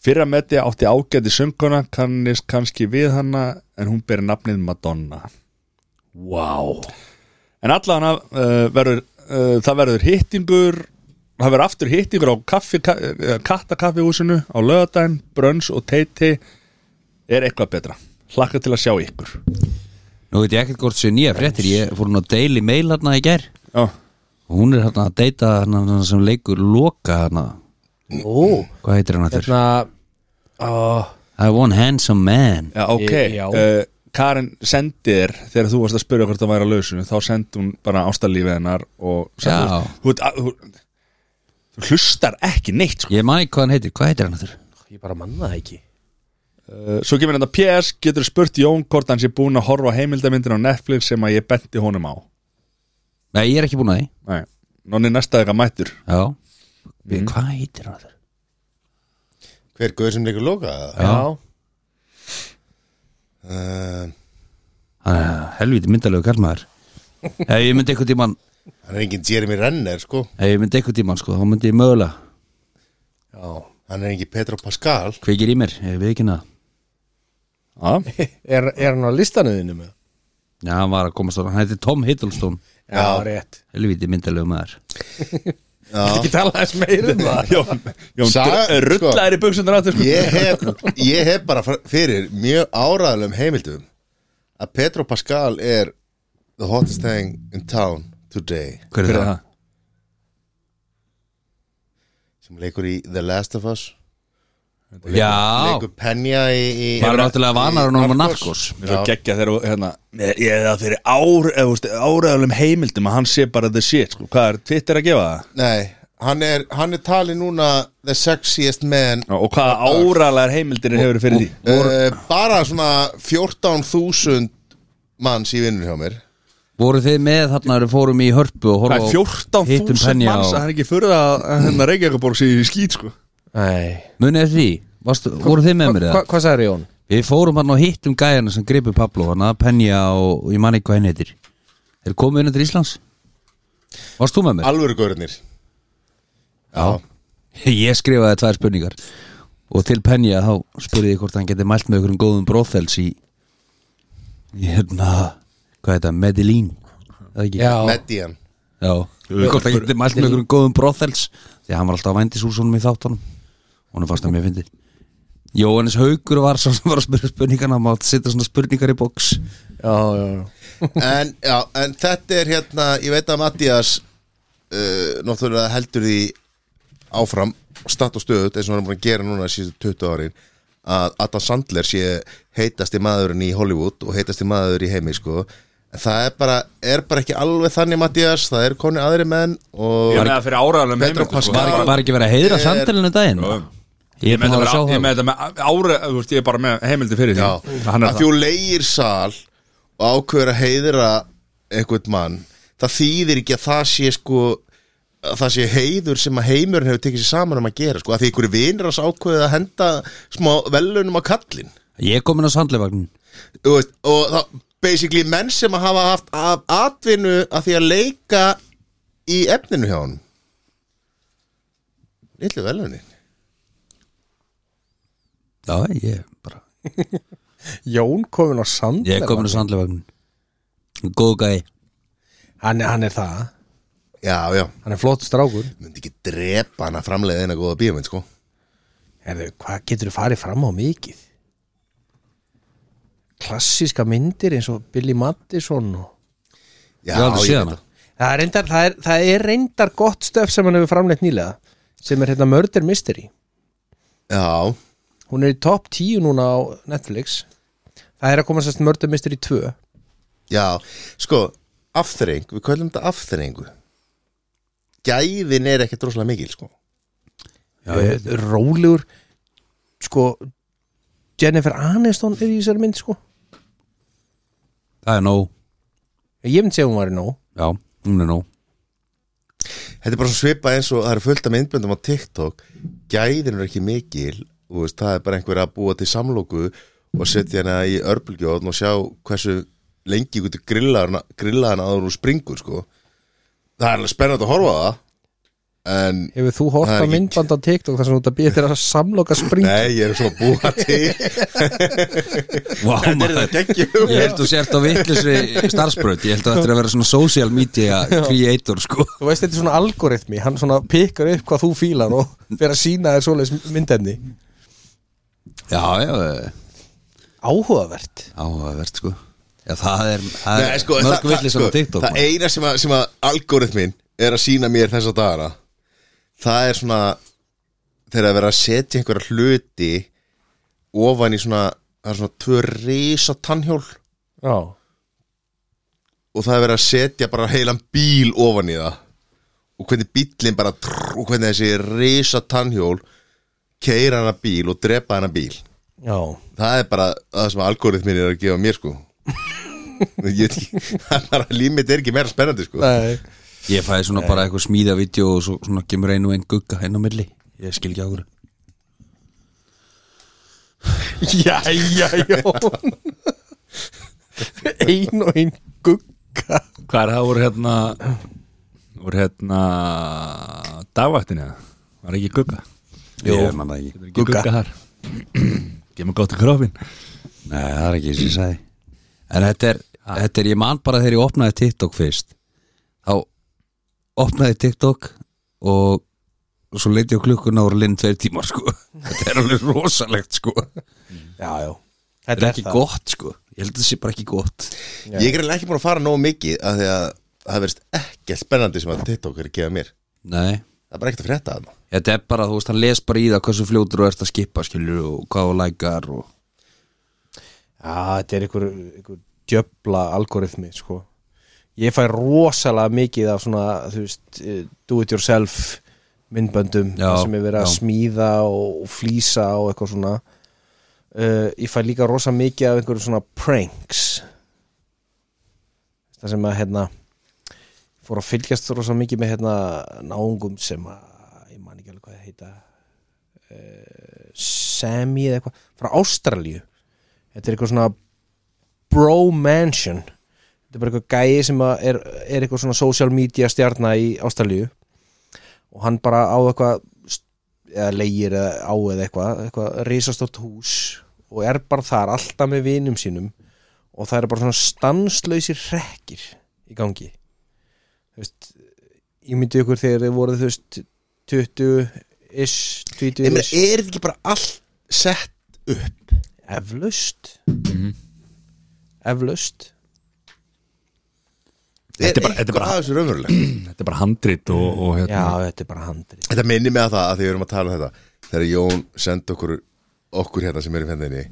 Speaker 1: Fyrra meti átti ágæti sönguna kannist kannski við hana en hún ber nafnið Madonna
Speaker 3: Wow
Speaker 1: En allan uh, verður, uh, það verður hittingur það verður aftur hittingur á kaffi, ka, eh, kattakaffihúsinu á lögadaginn, brönns og teiti er eitthvað betra hlakka til að sjá ykkur
Speaker 3: Nú veit ég ekkert hvort séu nýja fréttir Ég fór hún á Daily Mail hérna í gær
Speaker 1: Já,
Speaker 3: og Hún er hérna að deyta hérna þennan sem leikur Loka hérna
Speaker 4: ó,
Speaker 3: Hvað heitir hann aftur?
Speaker 4: hérna ó,
Speaker 3: I want handsome man
Speaker 1: já ok
Speaker 4: Ég- já.
Speaker 1: Eh, Karen sendir þegar þú varst að spyrja hvort það væri á lausinu þá sendi hún bara ástarlífið hennar og sendi,
Speaker 3: Já.
Speaker 1: þú, veit, að- þú, þú hlustar ekki neitt sko.
Speaker 3: Ég man ekki hvað hann heitir, hvað heitir hann aftur?
Speaker 4: ég bara manna það ekki
Speaker 1: Eh, Svo kemur þetta PS, getur spurt Jón hvort hann sé búin að horfa á heimildamindin á Netflix sem að ég benti honum á
Speaker 3: Nei, ég er ekki búin að því
Speaker 1: Nei, nonni næsta eitthvað mættur
Speaker 3: Já mm. Hvað heitir hann aftur?
Speaker 2: Hver guður sem leikur loka
Speaker 3: Já.
Speaker 2: uh,
Speaker 3: Hann er helviti myndalegu kallmaður Ef ég myndi eitthvað tíman
Speaker 2: Hann er engin Jeremy Renner sko
Speaker 3: Ef ég myndi eitthvað tíman sko, þá myndi ég mögulega
Speaker 4: já,
Speaker 2: Hann er engin Petro Pascal
Speaker 3: Kveikir í mér, ég veit ekki hana
Speaker 1: Já,
Speaker 4: er, er hann á listanuðinu með
Speaker 3: Já, hann var að komast á hann heitir Tom Hiddleston
Speaker 4: já, já. rétt,
Speaker 3: Helviti myndalegu maður
Speaker 2: Já.
Speaker 4: ekki tala þess meira um það
Speaker 1: Jón, Jón
Speaker 2: Saga-
Speaker 1: dr- rullar í buksundar áttur sko.
Speaker 2: Ég hef, ég hef bara fr- fyrir mjög áraðalum heimildum að Petro Pascal er the hottest thing in town today
Speaker 3: Hver er það?
Speaker 2: sem leikur í The Last of Us
Speaker 3: Já,
Speaker 2: leikur Penja í, í
Speaker 3: maður er náttúrulega vanar um að náma narkos
Speaker 1: Mér er svo geggja þegar þú, hérna, Ég ég hefði það fyrir ár, eða, þú veist, áraðalum heimildum að hann sé bara the shit sko. Hvað er Twitter að gefa það?
Speaker 2: Nei, hann er, hann er talið núna the sexiest man
Speaker 1: Og hvaða áraðalar heimildir hefur fyrir því?
Speaker 2: uh, bara svona 14.000 manns í vinnun hjá mér
Speaker 3: Voru þið með þarna eru fórum í hörpu og
Speaker 1: Hvað er
Speaker 3: horfa á hittum
Speaker 1: 14.000
Speaker 3: Penny á
Speaker 1: manns að það er ekki fyrir að að, hérna Reykjavíkaborg sé í skýt sko.
Speaker 4: nei,
Speaker 3: Munið þið því, Vastu, voru þið með mér
Speaker 4: Hva,
Speaker 3: eða?
Speaker 4: hvað sagði Jón?
Speaker 3: Við fórum hann og hittum gæjana sem gripu Pablo hann að Penja og og ég man ekki hvað henni heitir Þeir komu inn til Íslands Varst þú með mér?
Speaker 2: alvöru gaurinnir
Speaker 3: Já Ég skrifaði tvær spurningar og til Penja þá spurði ég hvort hann geti mælt með ykkur um góðum bróðfels í í hérna hvað heit það, Medellín Það ekki?
Speaker 4: já,
Speaker 2: Median
Speaker 3: Já, hvort það geti mælt með einhverjum góðum brothels því að hann var alltaf að vændis úr í þáttunum honum fannst að mér fyndi Jóhannes Haugur var svo sem var að spyrja spurningarna hann mátt setja svona spurningar í box
Speaker 4: já, já, já.
Speaker 2: en, já, en þetta er hérna ég veit að Mattias uh, náttúrulega heldur því áfram statt og stöðut eins og hann er búin að gera núna síðan 20 árin að Adam Sandler sé heitasti maðurinn í Hollywood og heitasti maður í heimi sko En það er bara, er bara ekki alveg þannig Mattias, það er koni aðri menn og
Speaker 1: Ég með það fyrir áraðalum
Speaker 2: Pedro
Speaker 1: heimildum sko.
Speaker 2: Pascal.
Speaker 3: var ekki, var ekki verið að heiðra sandalinu daginn ég
Speaker 1: Ég
Speaker 3: er
Speaker 1: með
Speaker 3: búin
Speaker 1: þetta
Speaker 3: að vera að
Speaker 1: fyrir-
Speaker 3: sjá
Speaker 1: ég
Speaker 3: það
Speaker 1: með þetta með ára, þú veist, ég er bara með heimildir fyrir því Hann
Speaker 2: Já,
Speaker 1: er það
Speaker 2: að þú leigir sal og ákveður að heiðra einhvern mann, það þýðir ekki að það sé sko að það sé heiður sem að heimurinn hefur tekið sér saman um að gera sko, að því einhverju vinir ás ákveðið að henda smá velunum á kallinn
Speaker 3: Ég er komin á sandlefagnin
Speaker 2: Þú veist, og þá basically menn sem að hafa haft af atvinnu að því að leika í efninu hjá honum Lillu velunin
Speaker 3: Já, ég er bara
Speaker 4: Jón komin á sand
Speaker 3: Ég er komin á sandlefagnin Góð gæi
Speaker 4: hann, er- hann er það,
Speaker 2: Já, já,
Speaker 4: hann er flott strákur
Speaker 2: myndi ekki drepa hann að framleiða eina góða bíómynd sko
Speaker 4: Herðu, hvað getur þú farið fram á mikið? Klassíska myndir eins og Billy Madison og
Speaker 3: Ég
Speaker 2: Já,
Speaker 3: hef aldrei séð
Speaker 2: veit
Speaker 3: hana.
Speaker 2: það.
Speaker 4: Það er reyndar, það er, það er reyndar gott stöf sem hann hefur framleitt nýlega sem er hérna Murder Mystery
Speaker 2: Já,
Speaker 4: Hún er í topp 10 núna á Netflix Það er að koma sérst Murder Mystery 2
Speaker 2: Já, sko, afþreying, við köllum þetta afþreyingu Gæðin er ekkert rosalega mikil, sko
Speaker 4: Já, ég... Rólegur sko Jennifer Aniston er í þessari mynd sko
Speaker 3: Það er nóg
Speaker 4: Ég myndi segja hún var í nóg
Speaker 3: Já, hún er nóg
Speaker 2: Þetta er bara svo svipað eins og það eru fullt af myndböndum á TikTok Gæðin er ekki mikil, þú veist, það er bara einhver að búa til samlóku og setja hana í örbulgjóðn og sjá hversu lengi ykkur til grilla hana, grilla hana áður úr springur, sko Það er alveg spennandi að horfa á það En,
Speaker 4: Hefur þú hort
Speaker 2: Það er
Speaker 4: á
Speaker 2: ekki-
Speaker 4: myndband á TikTok þar sem þú ert að býja þér að samloka spring
Speaker 2: nei, ég er svo að búa til
Speaker 3: Vá, maður
Speaker 2: Þetta er geggjum
Speaker 3: Ég held þú sért á vittlisri starfsbröð Ég held að þetta er að vera svona social media creator sko
Speaker 4: Þú veist þetta er svona algoritmi, hann svona pikkar upp hvað þú fílar og fyrir að sína þér svoleiðis myndefni
Speaker 3: Já, já,
Speaker 4: Áhugavert
Speaker 3: áhugavert sko Já, það er, það
Speaker 2: Nei,
Speaker 3: er
Speaker 2: sko,
Speaker 3: mörg
Speaker 2: það-
Speaker 3: villis
Speaker 2: það-
Speaker 3: á TikTok
Speaker 2: Það
Speaker 3: maður.
Speaker 2: eina sem að, sem að algoritmin er að sína mér þessa dagana Það er svona Þegar að vera að setja einhverja hluti Ofan í svona Það er svona tvö risa tannhjól
Speaker 4: Já,
Speaker 2: Og það er verið að setja bara heilan bíl ofan í það Og hvernig bíllinn bara trrr, Og hvernig þessi risa tannhjól Keira hana bíl og drepa hana bíl
Speaker 4: já
Speaker 2: Það er bara það sem algoritmin er að gefa mér sko Ég veit ekki Það er bara límit er ekki meira spennandi sko
Speaker 4: Nei.
Speaker 3: Ég fæði svona bara eitthvað smíða vídeo og svo, svona kemur einu og einn gugga inn á milli Ég skil ekki á hverju
Speaker 4: Jæja, Jón Ein og ein gugga
Speaker 1: Hvað er það voru hérna voru hérna dagvættinni eða? Var ekki gugga?
Speaker 3: Jó, ég manna ekki
Speaker 1: Getur ekki gugga þar Gemma gott í krófin
Speaker 3: Nei, það er ekki sem ég sagði En þetta er, þetta er, ég man bara þegar ég opnaði TikTok fyrst Þá opnaði TikTok og, og svo leiti á klukkuna og voru linn tveir tímar sko Þetta er alveg rosalegt sko Þetta
Speaker 4: Já, já
Speaker 3: er ekki gott sko Ég held að þetta sé bara ekki gott
Speaker 2: Ég er eiginlega ekki búin að fara nógu mikið af því að það verðist ekkert spennandi sem að TikTok er að gefa mér
Speaker 3: Nei
Speaker 2: Það er bara ekkert að frétta þarna
Speaker 3: Þetta er bara, þú veist, hann les bara í það hversu fljótur og ert að skipa skilur og hvað þú lækar og
Speaker 4: Já, þetta er einhver, einhver djöbla algoritmi, sko Ég fæ rosalega mikið af svona, þú veist, eh, do it yourself myndböndum
Speaker 3: Já,
Speaker 4: þar sem er verið að
Speaker 3: já.
Speaker 4: smíða og, og flýsa og eitthvað svona uh, Ég fæ líka rosa mikið af einhverjum svona pranks Það sem að, hérna fór að fylgjast rosa mikið með hérna náungum sem að ég man ekki alveg hvað það heita uh, Sammy eða eitthvað frá Ástralíu þetta er eitthvað svona bro mansion þetta er bara eitthvað gæi sem að er, er eitthvað svona social media stjarnar í Ástralíu og hann bara á eitthvað st- eða leigir eða á eða eitthvað eitthvað risastórt hús og er bara þar alltaf með vinum sínum og það eru bara svona stanslausir hrekkir í gangi þú veist ég myndi ykkur þegar þið voruð þú veist 20-ish
Speaker 2: Ég meina,
Speaker 4: 20-ish
Speaker 2: er þetta ekki bara allt sett upp?
Speaker 4: eflaust eflaust
Speaker 1: Þetta er bara- þetta er bara-
Speaker 2: eitthvað aðeins raunveruleg
Speaker 1: Mm, Þetta er bara handrit og, og
Speaker 4: Já,
Speaker 1: hérna
Speaker 4: þetta er bara handrið
Speaker 2: Þetta minnir mig að það að því við erum að tala um þetta Þegar Jón sendi okkur okkur hérna sem erum hendinni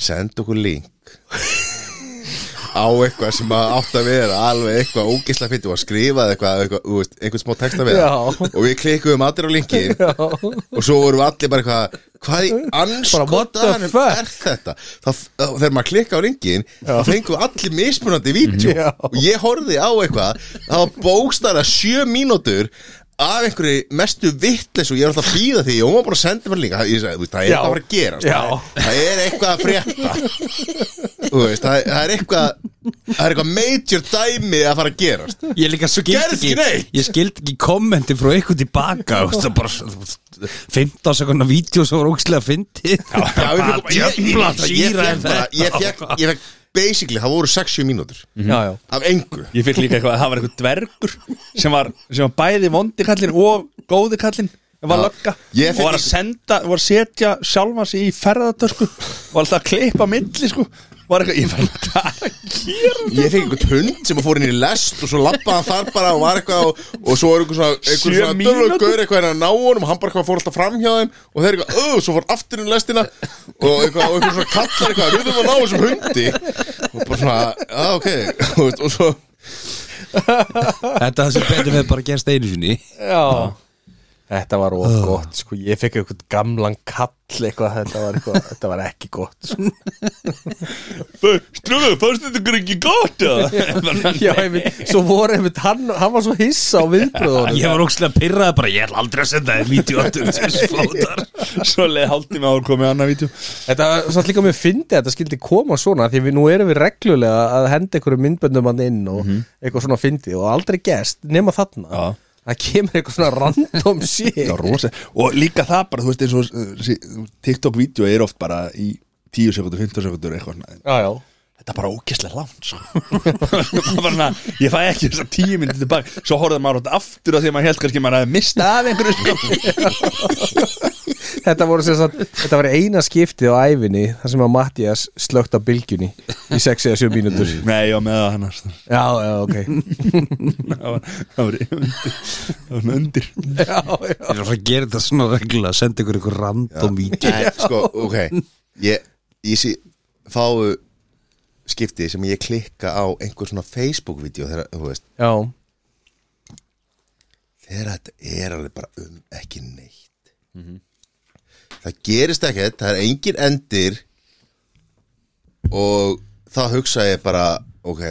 Speaker 2: sendi okkur link á eitthvað sem að átt að vera alveg eitthvað ógisla fyndi og að skrifa eitthvað, eitthvað þú veist, einhvern smá texta við það.
Speaker 4: Já.
Speaker 2: og við klikkuðum allir á linkin og svo vorum við allir bara eitthvað hvað í
Speaker 4: what the
Speaker 2: anskotanum
Speaker 4: fuck?
Speaker 2: er þetta þá, þá- þegar maður klikka á ringin þá fengum við allir mismunandi vídeo
Speaker 4: Já.
Speaker 2: og ég horfði á eitthvað það var bókstara sjö mínútur af einhverju mestu vittlis og ég er alltaf að býða því og hún var bara að senda mér líka ég sagði, þú veist, það er
Speaker 4: Já.
Speaker 2: eitthvað að fara að gera það,
Speaker 4: Já.
Speaker 2: það er eitthvað að frétta Þú veist, það, það er eitthvað það er eitthvað major dæmi að fara að gerast
Speaker 3: Ég líka skildi
Speaker 2: Gerðist ekki neitt.
Speaker 3: Ég skildi ekki kommenti frá eitthvað tilbaka og það bara s- s- 15 sekundar vídeo sem var ógislega fyndið
Speaker 2: Já, ég fékk- ég- ég-
Speaker 3: Djöfla
Speaker 2: ég
Speaker 3: síra
Speaker 2: fékk
Speaker 3: en
Speaker 2: bara-
Speaker 3: þetta.
Speaker 2: ég fékk- ég fekk basically, það voru 6-7 mínútur
Speaker 4: já, já.
Speaker 2: af engu
Speaker 1: Ég fyrir líka eitthvað að það var eitthvað dvergur sem var, sem var bæði vondi kallinn og góði kallinn en var
Speaker 2: Já.
Speaker 1: lögga
Speaker 2: Ég
Speaker 1: og
Speaker 2: fékk
Speaker 1: var að
Speaker 2: líka-
Speaker 1: senda, var að setja sjálfa sig í ferðartösku og var alltaf að klippa milli sko var eitthvað, ég var alltaf að gera
Speaker 2: Ég fekk einhvern hund sem að fór inn í lest og svo lappaði hann þar bara og var eitthvað og, og svo er einhver svona, einhver
Speaker 1: Sjö
Speaker 2: svona
Speaker 1: mínútur?
Speaker 2: dörlugaur eitthvað hérna að ná honum og hann bara eitthvað fór alltaf fram hjá þeim og þeir eitthvað, öð, svo fór aftur inn í lestina og eitthvað, og einhver svona kallar eitthvað við þurfum að ná þessum hundi og bara svona, já ok Þú veist, og svo,
Speaker 3: Þetta sem betur við bara gerst einu sinni
Speaker 4: Já. Þetta var of gott sko. Ég fekk eitthvað gamlan kall eitthvað. Þetta, var eitthvað, þetta var ekki gott sko.
Speaker 1: Ströðu, fannst þetta ykkur ekki gott eða?
Speaker 4: Já, einmitt, Svo voru einmitt hann, hann var svo hissa á viðbröðunum
Speaker 3: Ég var ógislega pyrrað bara Ég ætla aldrei að senda þér vídeo aftur til þessu fótar
Speaker 1: Svo leið haldi með ár komið annað vítjó
Speaker 4: Þetta var satt líka mjög fyndið að Þetta skildi koma svona Því við nú erum við reglulega að henda einhverju myndböndum hann inn og eitthvað svona fyndið og aldrei gest nema þarna
Speaker 1: Já.
Speaker 4: Það kemur eitthvað svona random shit
Speaker 1: Já, rosa Og líka það bara, þú veist, eins og uh, sí- TikTok-vídeó er oft bara í 10 sekundur, 15 sekundur, eitthvað svona.
Speaker 4: Já, já
Speaker 1: Þetta er bara ógæslega langt sko. Það var svona, Ég fæ ekki þess að 10 minnir tilbaka Svo horfði maður á þetta aftur að því að maður held kannski að maður hefði mistað af einhverju sko.
Speaker 4: Þetta voru sem sagt, þetta var eina skiptið á æfinni þar sem að Mattias slögt á bylgjunni í 6 eða 7 mínútur
Speaker 1: Nei, já, með það hannars
Speaker 4: Já, já, ok
Speaker 1: Það var, það var, undir, það var undir
Speaker 4: Já, já
Speaker 3: Ég er að fara að gera þetta svona reglulega Senda ykkur ykkur random vídeo
Speaker 2: en sko, ok ég, ég sé, fáu skipti sem ég klikka á einhver svona Facebook-vídeó þegar, þú veist,
Speaker 4: Já,
Speaker 2: þegar þetta er alveg bara um ekki neitt það gerist ekkert það er engin endir og þá hugsa ég bara ok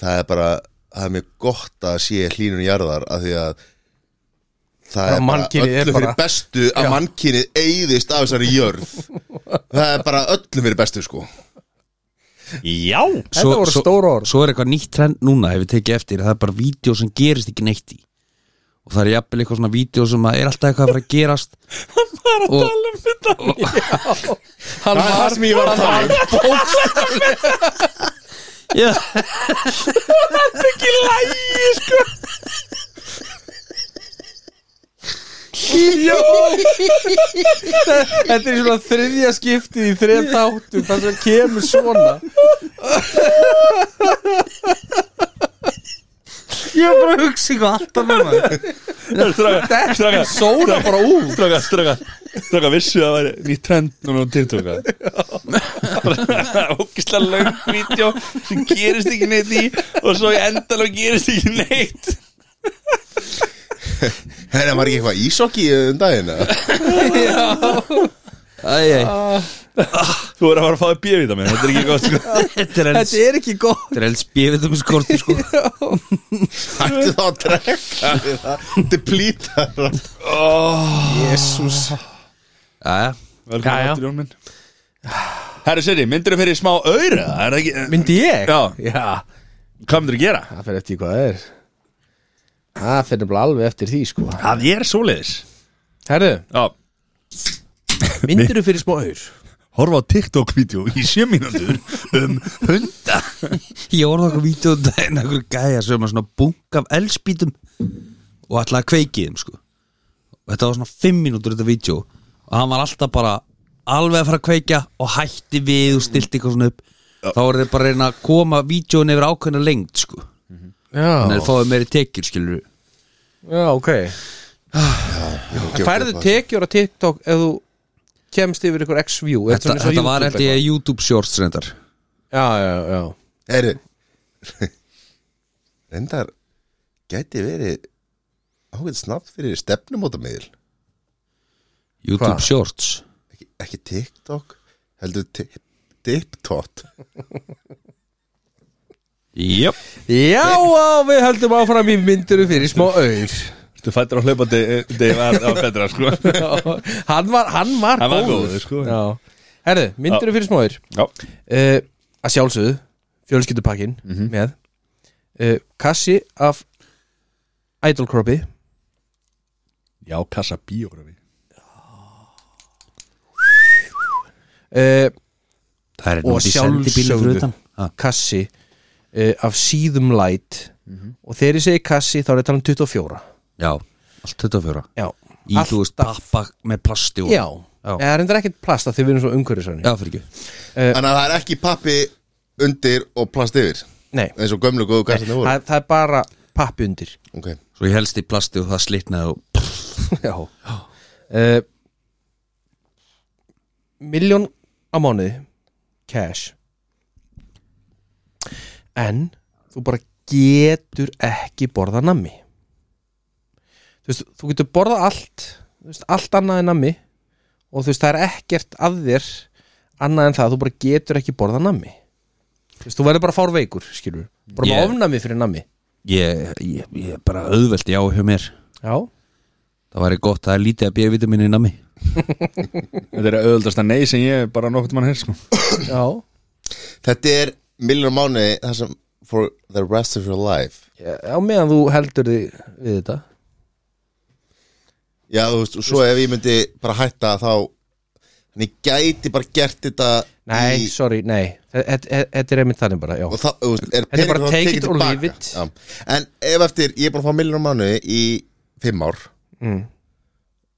Speaker 2: það er bara, það er mjög gott að sé hlínun jarðar af því að það
Speaker 4: Bara
Speaker 2: er bara
Speaker 4: mannkynið er
Speaker 2: öllum fyrir
Speaker 4: bara-
Speaker 2: bestu að mannkynið eyðist af þessari jörð það er bara öllum fyrir bestu sko
Speaker 1: Já
Speaker 4: Þetta voru stór orð.
Speaker 3: Svo er eitthvað nýtt trend núna Ef við tekið eftir Það er bara vídeo sem gerist ekki neitt í Og það er jafnvel eitthvað svona vídeo sem að er alltaf eitthvað að fara að gerast og,
Speaker 4: hann
Speaker 2: það er það sem ég var að tala um
Speaker 3: Já
Speaker 4: Þetta er svona þriðja skiptið í þrejum þáttum þar sem kemur svona
Speaker 3: Ég er
Speaker 4: um
Speaker 3: bara að hugsa ykkur alltaf núna
Speaker 1: Stráka, stráka,
Speaker 4: Sóna bara út
Speaker 1: stráka, stráka Stráka, vissu að það væri nýtt trend núna á TikTok að? Ógislega löng vídeo sem gerist ekki neitt í og svo í endalega gerist ekki neitt
Speaker 2: hérna var ekki eitthvað ísokki um daginn eða?
Speaker 3: Æ, æ,
Speaker 1: Þú er að fara að fá þér bíðvita minn, þetta er ekki gott sko
Speaker 3: Þetta er els
Speaker 4: Þetta er ekki gott
Speaker 3: Þetta er els bíðum skorti sko
Speaker 2: hættu þá að drekka það deplítar það
Speaker 4: Jésús
Speaker 3: Æja
Speaker 1: Velkomin aftur Jón minn Herru Seri, myndir þú fyrir smá auðra? Er það ekki,
Speaker 4: Myndi ég?
Speaker 1: Já.
Speaker 4: Já
Speaker 1: Hvað myndir þú gera?
Speaker 4: Það fyrir eftir hvað það er Það fyrir bara alveg eftir því sko
Speaker 1: Það er svoleiðis
Speaker 4: Herðu,
Speaker 1: Já,
Speaker 4: myndir þú fyrir smá aur?
Speaker 1: horfa á TikTok-vídeó í sjö mínútur um hunda
Speaker 3: Ég orða okkur vídeo um daginn einhver gæja sem var svona bunk af elsbítum og ætlaði að kveiki í þeim sko og þetta var svona 5 mínútur þetta vídeo og hann var alltaf bara alveg að fara að kveikja og hætti við og stilti eitthvað svona upp þá voru þeir bara að reyna að koma vídeoin yfir ákveðna lengt sko þannig að
Speaker 4: Já,
Speaker 3: þeir fáið meiri tekjur skilur
Speaker 4: já ok En færðu tekjur á TikTok ef þú kemst yfir ykkur X-View Þetta,
Speaker 3: þetta,
Speaker 4: er svona eins og
Speaker 3: þetta var
Speaker 4: YouTube
Speaker 3: held ég YouTube shorts reyndar
Speaker 4: eitthvað. Já, já, já
Speaker 2: Heyri Reyndar Gæti verið Ágætt snabbt fyrir stefnumótamiðil
Speaker 3: YouTube
Speaker 4: Hva?
Speaker 3: shorts
Speaker 2: ekki, ekki TikTok Heldur TikTok
Speaker 3: Jöp
Speaker 4: Já, á, við höldum áfram í mynduru fyrir smá auð
Speaker 1: Þú fættir á hlaupandi Þegar var það betra sko
Speaker 4: hann var, hann var
Speaker 1: Hann var
Speaker 4: góður,
Speaker 1: góður, sko.
Speaker 4: Já. herðu, myndir fyrir smáir
Speaker 1: Já,
Speaker 4: uh, að sjálfsögðu fjölskyldupakkin með uh, kassi af idolkroppi
Speaker 1: já kassa bíógrafi
Speaker 4: uh,
Speaker 5: Það er
Speaker 4: Og
Speaker 5: nú því sendibíli
Speaker 4: sjálfsögðu.
Speaker 5: fyrir utan Ha,
Speaker 4: kassi uh, af síðum light og þegar ég segi kassi þá er ég að tala um 24
Speaker 5: Já, allt 24
Speaker 4: já,
Speaker 5: Í þú veist
Speaker 4: Alltaf.
Speaker 5: pappa með plasti og
Speaker 4: já.
Speaker 5: Já.
Speaker 4: það er endur ekkert plast að þið við erum svo umhverfisvæni
Speaker 5: Já, fyrir ekki
Speaker 2: Þannig að það er ekki pappi undir og plast yfir
Speaker 4: nei,
Speaker 2: eins og gömlu góðu kassinu voru
Speaker 4: það, það er bara pappi undir
Speaker 2: okay.
Speaker 5: Svo ég helst í plasti og það slitnaði og
Speaker 4: já uh, miljón á mánuði cash en þú bara getur ekki borða nammi þú veist, þú getur borða allt þú veist, allt annað en nammi og þú veist, það er ekkert að þér annað en það, þú bara getur ekki borða nammi þú veist, þú verður bara fárveikur skilur, bara
Speaker 5: Ég-
Speaker 4: yeah. ofnami fyrir nammi
Speaker 5: ég, ég, ég er bara auðvelt já hjá mér
Speaker 4: já,
Speaker 5: Það væri gott, það er lítið að B-vitamin í nami
Speaker 1: Þetta er auðvöldasta nei sem ég hef bara nokkuð mann hér sko
Speaker 4: já,
Speaker 2: Þetta er miljonar mánu það sem for the rest of your life
Speaker 4: já meðan þú heldur þig við þetta
Speaker 2: Já, þú veist, og svo ef ég myndi bara hætta þá en ég gæti bara gert þetta
Speaker 4: Nei,
Speaker 2: í,
Speaker 4: sorry, nei Þe- þe- þe- Þetta er einmitt þannig bara, já
Speaker 2: og það, þú veist, er
Speaker 4: Þetta er bara
Speaker 2: peningur þá
Speaker 4: take
Speaker 2: tekið
Speaker 4: it or
Speaker 2: tilbaka.
Speaker 4: leave it.
Speaker 2: Já. En ef eftir, ég er bara að fá miljonar mánu í fimm ár
Speaker 4: Mm.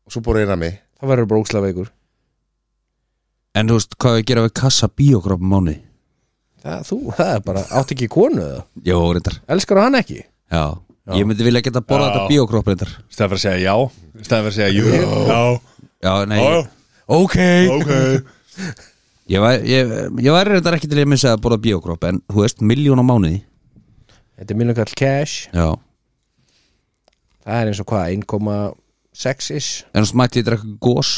Speaker 2: og svo búið reyna mig
Speaker 4: Það verður bara ókslega veikur
Speaker 5: En þú veist, hvað á ég að gera við kassa um bíógrafum mánu?
Speaker 4: það, Þú, það er bara, átt ekki konu eða
Speaker 5: Jó, reyndar
Speaker 4: Elskar hann ekki
Speaker 5: Já, ég myndi vilja geta borða
Speaker 1: Já.
Speaker 5: þetta bíógraf reyndar
Speaker 1: Stæðan fyrir að segja já Stæðan fyrir að segja jú Já,
Speaker 5: Já, nei,
Speaker 1: já,
Speaker 5: ég, ok
Speaker 1: ok
Speaker 5: Ég væri, ég, ég væri reyndar ekki til að missa að borða bíógrop En þú veist, miljón á mánuði
Speaker 4: Þetta er minnum kall cash
Speaker 5: Já
Speaker 4: Það er eins og hvað, 1,6 ish
Speaker 5: En þú mætti ég drekka gós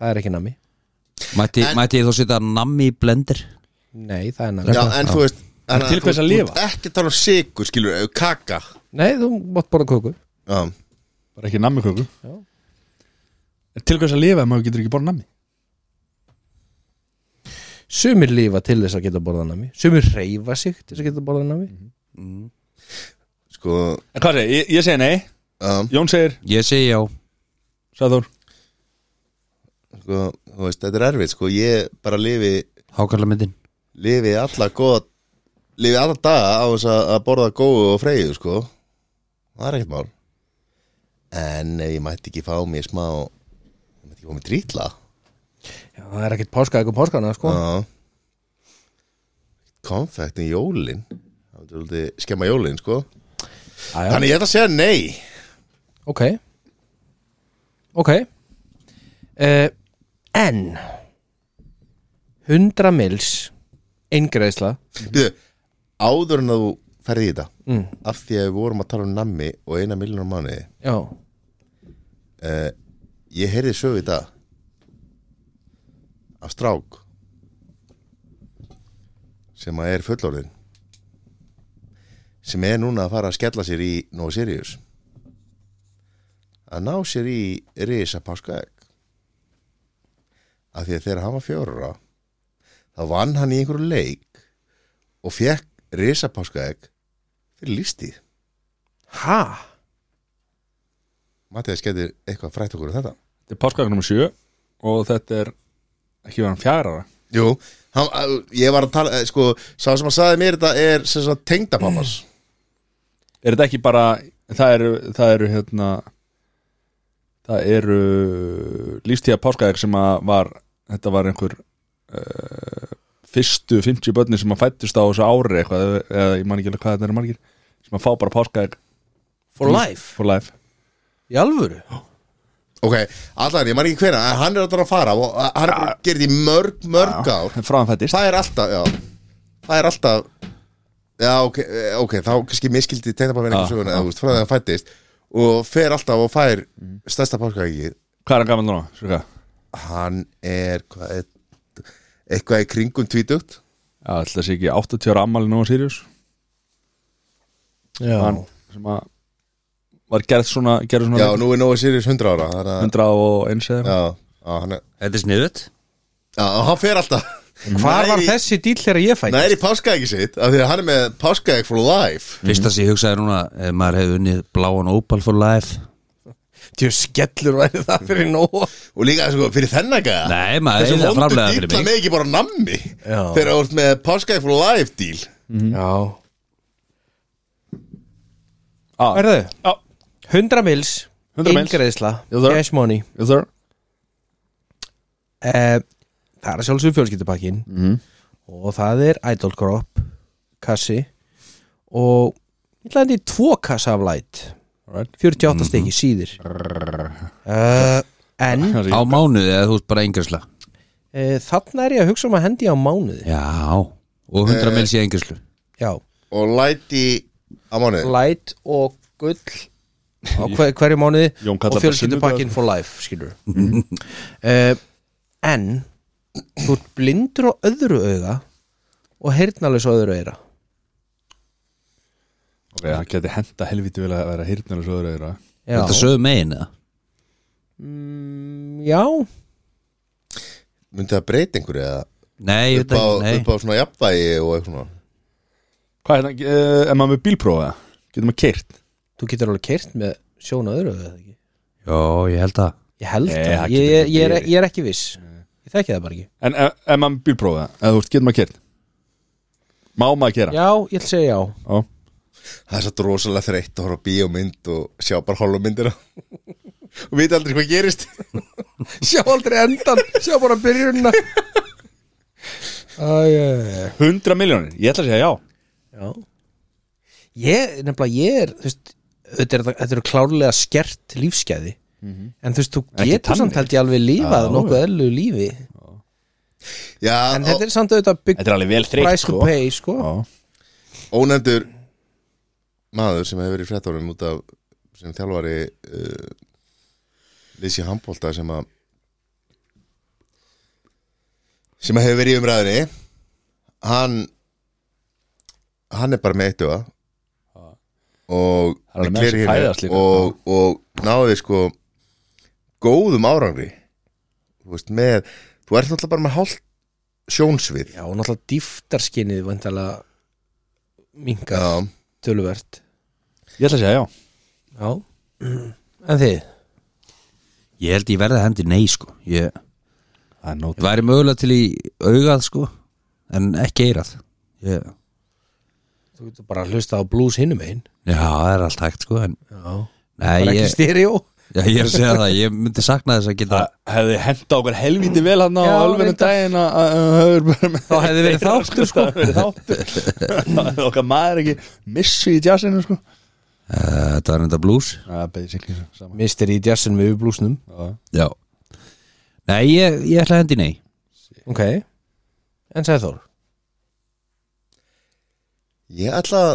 Speaker 4: Það er ekki nami
Speaker 5: Mætti, mætti ég þá setja nammi í blender
Speaker 4: Nei, það er nami
Speaker 2: Já, en þú veist en
Speaker 1: til hvers að lifa?
Speaker 2: Ekki að tala um sigur, skilur, eða kaka
Speaker 4: Nei, þú mátt borða kóku
Speaker 2: Já,
Speaker 1: Bara ekki nammi köku
Speaker 4: Já.
Speaker 1: En Til hvers að lifa ef maður getur ekki borð nammi
Speaker 4: Sumir lífa til þess að geta borða nami Sumir reyfa sig til þess að geta borða nami
Speaker 2: Mhm. sko
Speaker 1: En hvað segir, ég, ég segi nei
Speaker 2: um,
Speaker 1: Jón segir,
Speaker 5: Ég segi já
Speaker 1: sagði Þór
Speaker 2: sko, þú veist, þetta er erfitt, sko ég bara lifi,
Speaker 5: Hákarla myndin
Speaker 2: lifi alla góða lifi alla daga á þess að að borða góðu og freyju, sko það er ekkert mál en ef ég mætti ekki fá mér smá ég mætti ekki fá mér drítla
Speaker 4: Já, það er ekkert páska eitthvað páskana, sko
Speaker 2: Já. konfekt um jólin það er svolítið skemma jólin, sko
Speaker 4: Æja,
Speaker 2: þannig ég ætla að segja nei
Speaker 4: Ok Ok uh, En 100 mils eingreðsla
Speaker 2: Býðu, áður en að þú ferði í þetta
Speaker 4: Mm.
Speaker 2: af því að við vorum að tala um nammi og eina miljonar manni
Speaker 4: Já,
Speaker 2: uh, ég heyrði sögu í dag af strák sem að er fullorðin sem er núna að fara að skella sér í Nó Sirius að ná sér í Risa Páskaegg af því að þegar hann var fjórra þá vann hann í einhverju leik og fekk Risa Páskaegg fyrir lístíð
Speaker 4: ha?
Speaker 2: Mattias getur eitthvað frætt okkur um þetta
Speaker 1: Þetta er páskaðan nr. 7 og þetta er ekki verðan fjárara
Speaker 2: Jú, hann, að- ég var að tala eh, sko, sá sem að sagði mér þetta er sem sagt tengdapappas
Speaker 1: Er þetta ekki bara það eru, það eru hérna það eru lífstíða páskaðar sem að var þetta var einhver uh, fyrstu 50 börni sem að fættist á þessu ári eitthvað eða- eða ég man ekki alveg hvað þetta eru margir sem að fá bara páskaðar
Speaker 4: For life
Speaker 1: for life
Speaker 4: Í alvöru?
Speaker 2: Ok, allan, ég maður ekki hverja en hann er alltaf að fara og eh, hann er búinn að gera þetta í mörg, mörg ár
Speaker 1: frá hann fættist
Speaker 2: Það er alltaf, já Það er alltaf Já, ok, eh, ok, þá kannski miskildi tengdapappin
Speaker 1: Já,
Speaker 2: eitthvað söguna, þú veist, frá þegar hann fættist og fer alltaf og fær stærsta páskaeggi
Speaker 1: Hvað er hann gaman núna? Svika?
Speaker 2: Hann er, hvað er eitthvað í kringum tvítugt
Speaker 1: Já, ætla sé ekki 80 ára ammali nú á Sirius
Speaker 4: Já
Speaker 1: hann sem að var gerð svona, gerð svona
Speaker 2: Já, nú er Nóa Sirius 100 ára þannig að-
Speaker 1: 101 eða eitthvað.
Speaker 2: Já, á, hann er
Speaker 5: Þetta er sniðut
Speaker 2: Já, og hann fer alltaf
Speaker 4: Hvar var
Speaker 2: Nær í-
Speaker 4: þessi dýl þegar ég fætt?
Speaker 2: Nær í páskaegi sitt Af því að hann er með páskaegi for life
Speaker 5: Fyrsta sem ég hugsaði núna ef maður hefði unnið bláan opal for life
Speaker 4: Tjó skellur væri það fyrir nóa
Speaker 2: Og líka sko, fyrir þennan gæða
Speaker 5: Nei, maður
Speaker 2: Þessi
Speaker 5: hefði að
Speaker 2: vondu
Speaker 5: framlega fyrir
Speaker 2: dýla
Speaker 5: mig
Speaker 2: með ekki bara nammi
Speaker 4: Já.
Speaker 2: Þegar þú ert með páskaegi for life díl
Speaker 4: Já
Speaker 1: Ah.
Speaker 4: Hörðu,
Speaker 1: Já.
Speaker 4: 100 mils
Speaker 1: 100 mils.
Speaker 4: Ingreðsla,
Speaker 1: Jú, þar.
Speaker 4: cash money
Speaker 1: Yes, sir.
Speaker 4: Eh, Það er sjálfsög fjölskyldupakkin
Speaker 1: Mhm.
Speaker 4: Og það er Idol Crop Kassi Og ég landi í tvo kassa af light
Speaker 1: Alright.
Speaker 4: 48 mm stykki síðir uh, En
Speaker 1: Það sé
Speaker 5: Á
Speaker 1: ég.
Speaker 5: mánuði eða þú veist bara engjörsla
Speaker 4: uh, Þarna er ég að hugsa um að hendi á mánuði
Speaker 5: Já Og 100 eh. mils í engjörslu
Speaker 4: Já,
Speaker 2: Og læti á mánuði
Speaker 4: light og gull á hver, hverju mánuði
Speaker 1: Jón kallar
Speaker 4: og
Speaker 1: bara
Speaker 4: fjölskyldupakkin for life skilur uh, En þú ert blindur á öðru auga og heyrnalaus á öðru auga
Speaker 1: Ok, það geti henda helviti vel að vera hirtnir og svo öðru eða
Speaker 4: Já,
Speaker 5: Þetta sögum megin eða
Speaker 4: Mm, já
Speaker 2: Myndi það breyta einhverju eða
Speaker 5: Nei, ég
Speaker 2: upp
Speaker 5: veit
Speaker 2: á,
Speaker 5: ekki, nei
Speaker 2: upp á svona jafnvægi og eitthvað svona.
Speaker 1: Hvað er það, eh, er maður með bílprófa? Getur maður keirt?
Speaker 4: þú getur alveg kert með sjón á öðru auga eða ekki?
Speaker 5: Jó, ég held að
Speaker 4: Ég held
Speaker 1: Nei, það
Speaker 4: það,
Speaker 1: getur
Speaker 4: ég, ég, ég, er,
Speaker 1: verið.
Speaker 4: ég er ekki viss Ég þekki það bara ekki
Speaker 1: En er, er maður með bílprófa? Eða þú veist, getur maður keirt? Má maður keira?
Speaker 4: Já, ég ætla að segja já
Speaker 1: Já.
Speaker 2: Það er satt rosalega þreytt að horfa á bíómynd og sjá bara holumyndina og vita aldrei hvað gerist
Speaker 4: Sjá aldrei endan, sjá bara byrjunna Æ, æ, æ
Speaker 1: 100 miljónir, ég ætla að segja já
Speaker 4: Já Ég, nefnilega, ég er þú veist, þetta, er, þetta eru klárlega skert lífskeiði En þú veist, þú
Speaker 1: Ekki
Speaker 4: getur samt
Speaker 1: tannir.
Speaker 4: held ég alveg lifað
Speaker 1: Já,
Speaker 4: nokkuð ellu lífi
Speaker 2: Já,
Speaker 4: En þetta er samt auðvitað bygg
Speaker 1: Þetta er alveg vel þreytt
Speaker 4: price to pay, sko
Speaker 1: Já.
Speaker 2: ónefndur maður sem hefur verið í fréttónum út af sem þjálfari uh, Lissi Hambólta sem að sem að hefur verið í umræðinni hann hann er bara með eitt auða og
Speaker 1: Hann er
Speaker 2: er
Speaker 1: með þessi
Speaker 2: clear hérna
Speaker 1: fæðast líka.
Speaker 2: og, og náði sko góðum árangri þú veist með þú ert náttúrulega bara með hálft sjónsvið
Speaker 4: Já, og náttúrulega dýftarskinnið vandalega mingar
Speaker 2: Já.
Speaker 4: töluvert
Speaker 1: Ég ætla að segja já
Speaker 4: Já En þið?
Speaker 5: Ég held ég verði að hendi nei sko Ég
Speaker 1: Það er
Speaker 5: Ég
Speaker 1: nót
Speaker 5: væri mögulega til í augað sko En ekki eirað ég,
Speaker 4: Þú getur bara að hlusta á blues hinum einn
Speaker 5: Já, það er allt hægt sko en,
Speaker 4: Já
Speaker 5: Nei,
Speaker 4: Bara ekki
Speaker 5: ég,
Speaker 4: stereo
Speaker 5: já, ég er að segja það Ég myndi sakna þess að geta
Speaker 1: Það hefði henda okkur helviti vel hann á
Speaker 4: Já,
Speaker 1: alveg
Speaker 4: reyndar.
Speaker 1: daginn að- að að- að- að- bara með-
Speaker 4: Þá hefði verið þáttur, sko.
Speaker 1: Það hefði verið þáttur Það hefði okkar maður ekki missu í jazzinu sko
Speaker 5: Uh, Þetta var enda blues
Speaker 1: Það er basically sama
Speaker 4: Mister í jazzin með blúsnum
Speaker 1: Já.
Speaker 5: Já Nei, ég, ég ætla að hendi nei
Speaker 4: Ok En sagði Þór
Speaker 2: Ég ætla að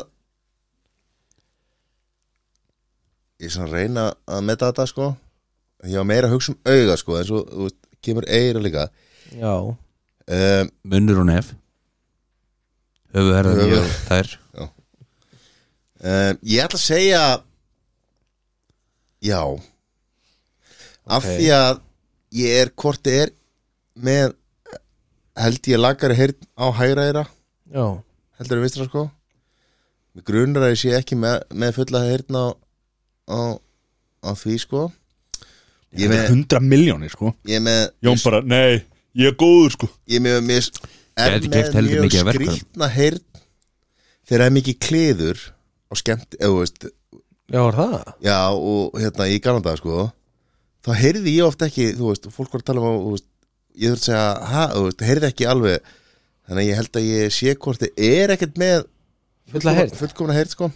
Speaker 2: Ég er svona að reyna að meta þetta sko Ég var meira að hugsa um auga sko En svo þú veist, kemur eira líka
Speaker 4: Já
Speaker 2: um,
Speaker 5: Munnur og nef Höfuherðan
Speaker 2: Höfuð.
Speaker 5: ég og þær
Speaker 2: um, Ég ætla að segja Já Af því að ég er hvort ég er með held ég lagari heyrn á hægra eira
Speaker 4: Já
Speaker 2: heldur við vistra sko Mér grunar að ég sé ekki með, með fulla heyrn á, á, á því sko Ég er með
Speaker 1: 100 miljónir sko
Speaker 2: ég er með
Speaker 1: Jón bara, nei, ég er góður sko
Speaker 2: ég er með, með, er
Speaker 5: Gæti keypt
Speaker 2: með
Speaker 5: heldur
Speaker 2: mjög
Speaker 5: mikið af verkfærum.
Speaker 2: skrýtna heyrn þegar það er mikið kliður og skemmt, eða þú veist
Speaker 4: Já, er það?
Speaker 2: já, og hérna í Galanda sko þá heyrði ég oft ekki, þú veist fólk var að tala um að, þú veist ég þurft að segja, ha, þú veist, heyrði ekki alveg þannig að ég held að ég sé hvort þið er ekkert með
Speaker 4: Fulla heyrn?
Speaker 2: fullkomna heyrn sko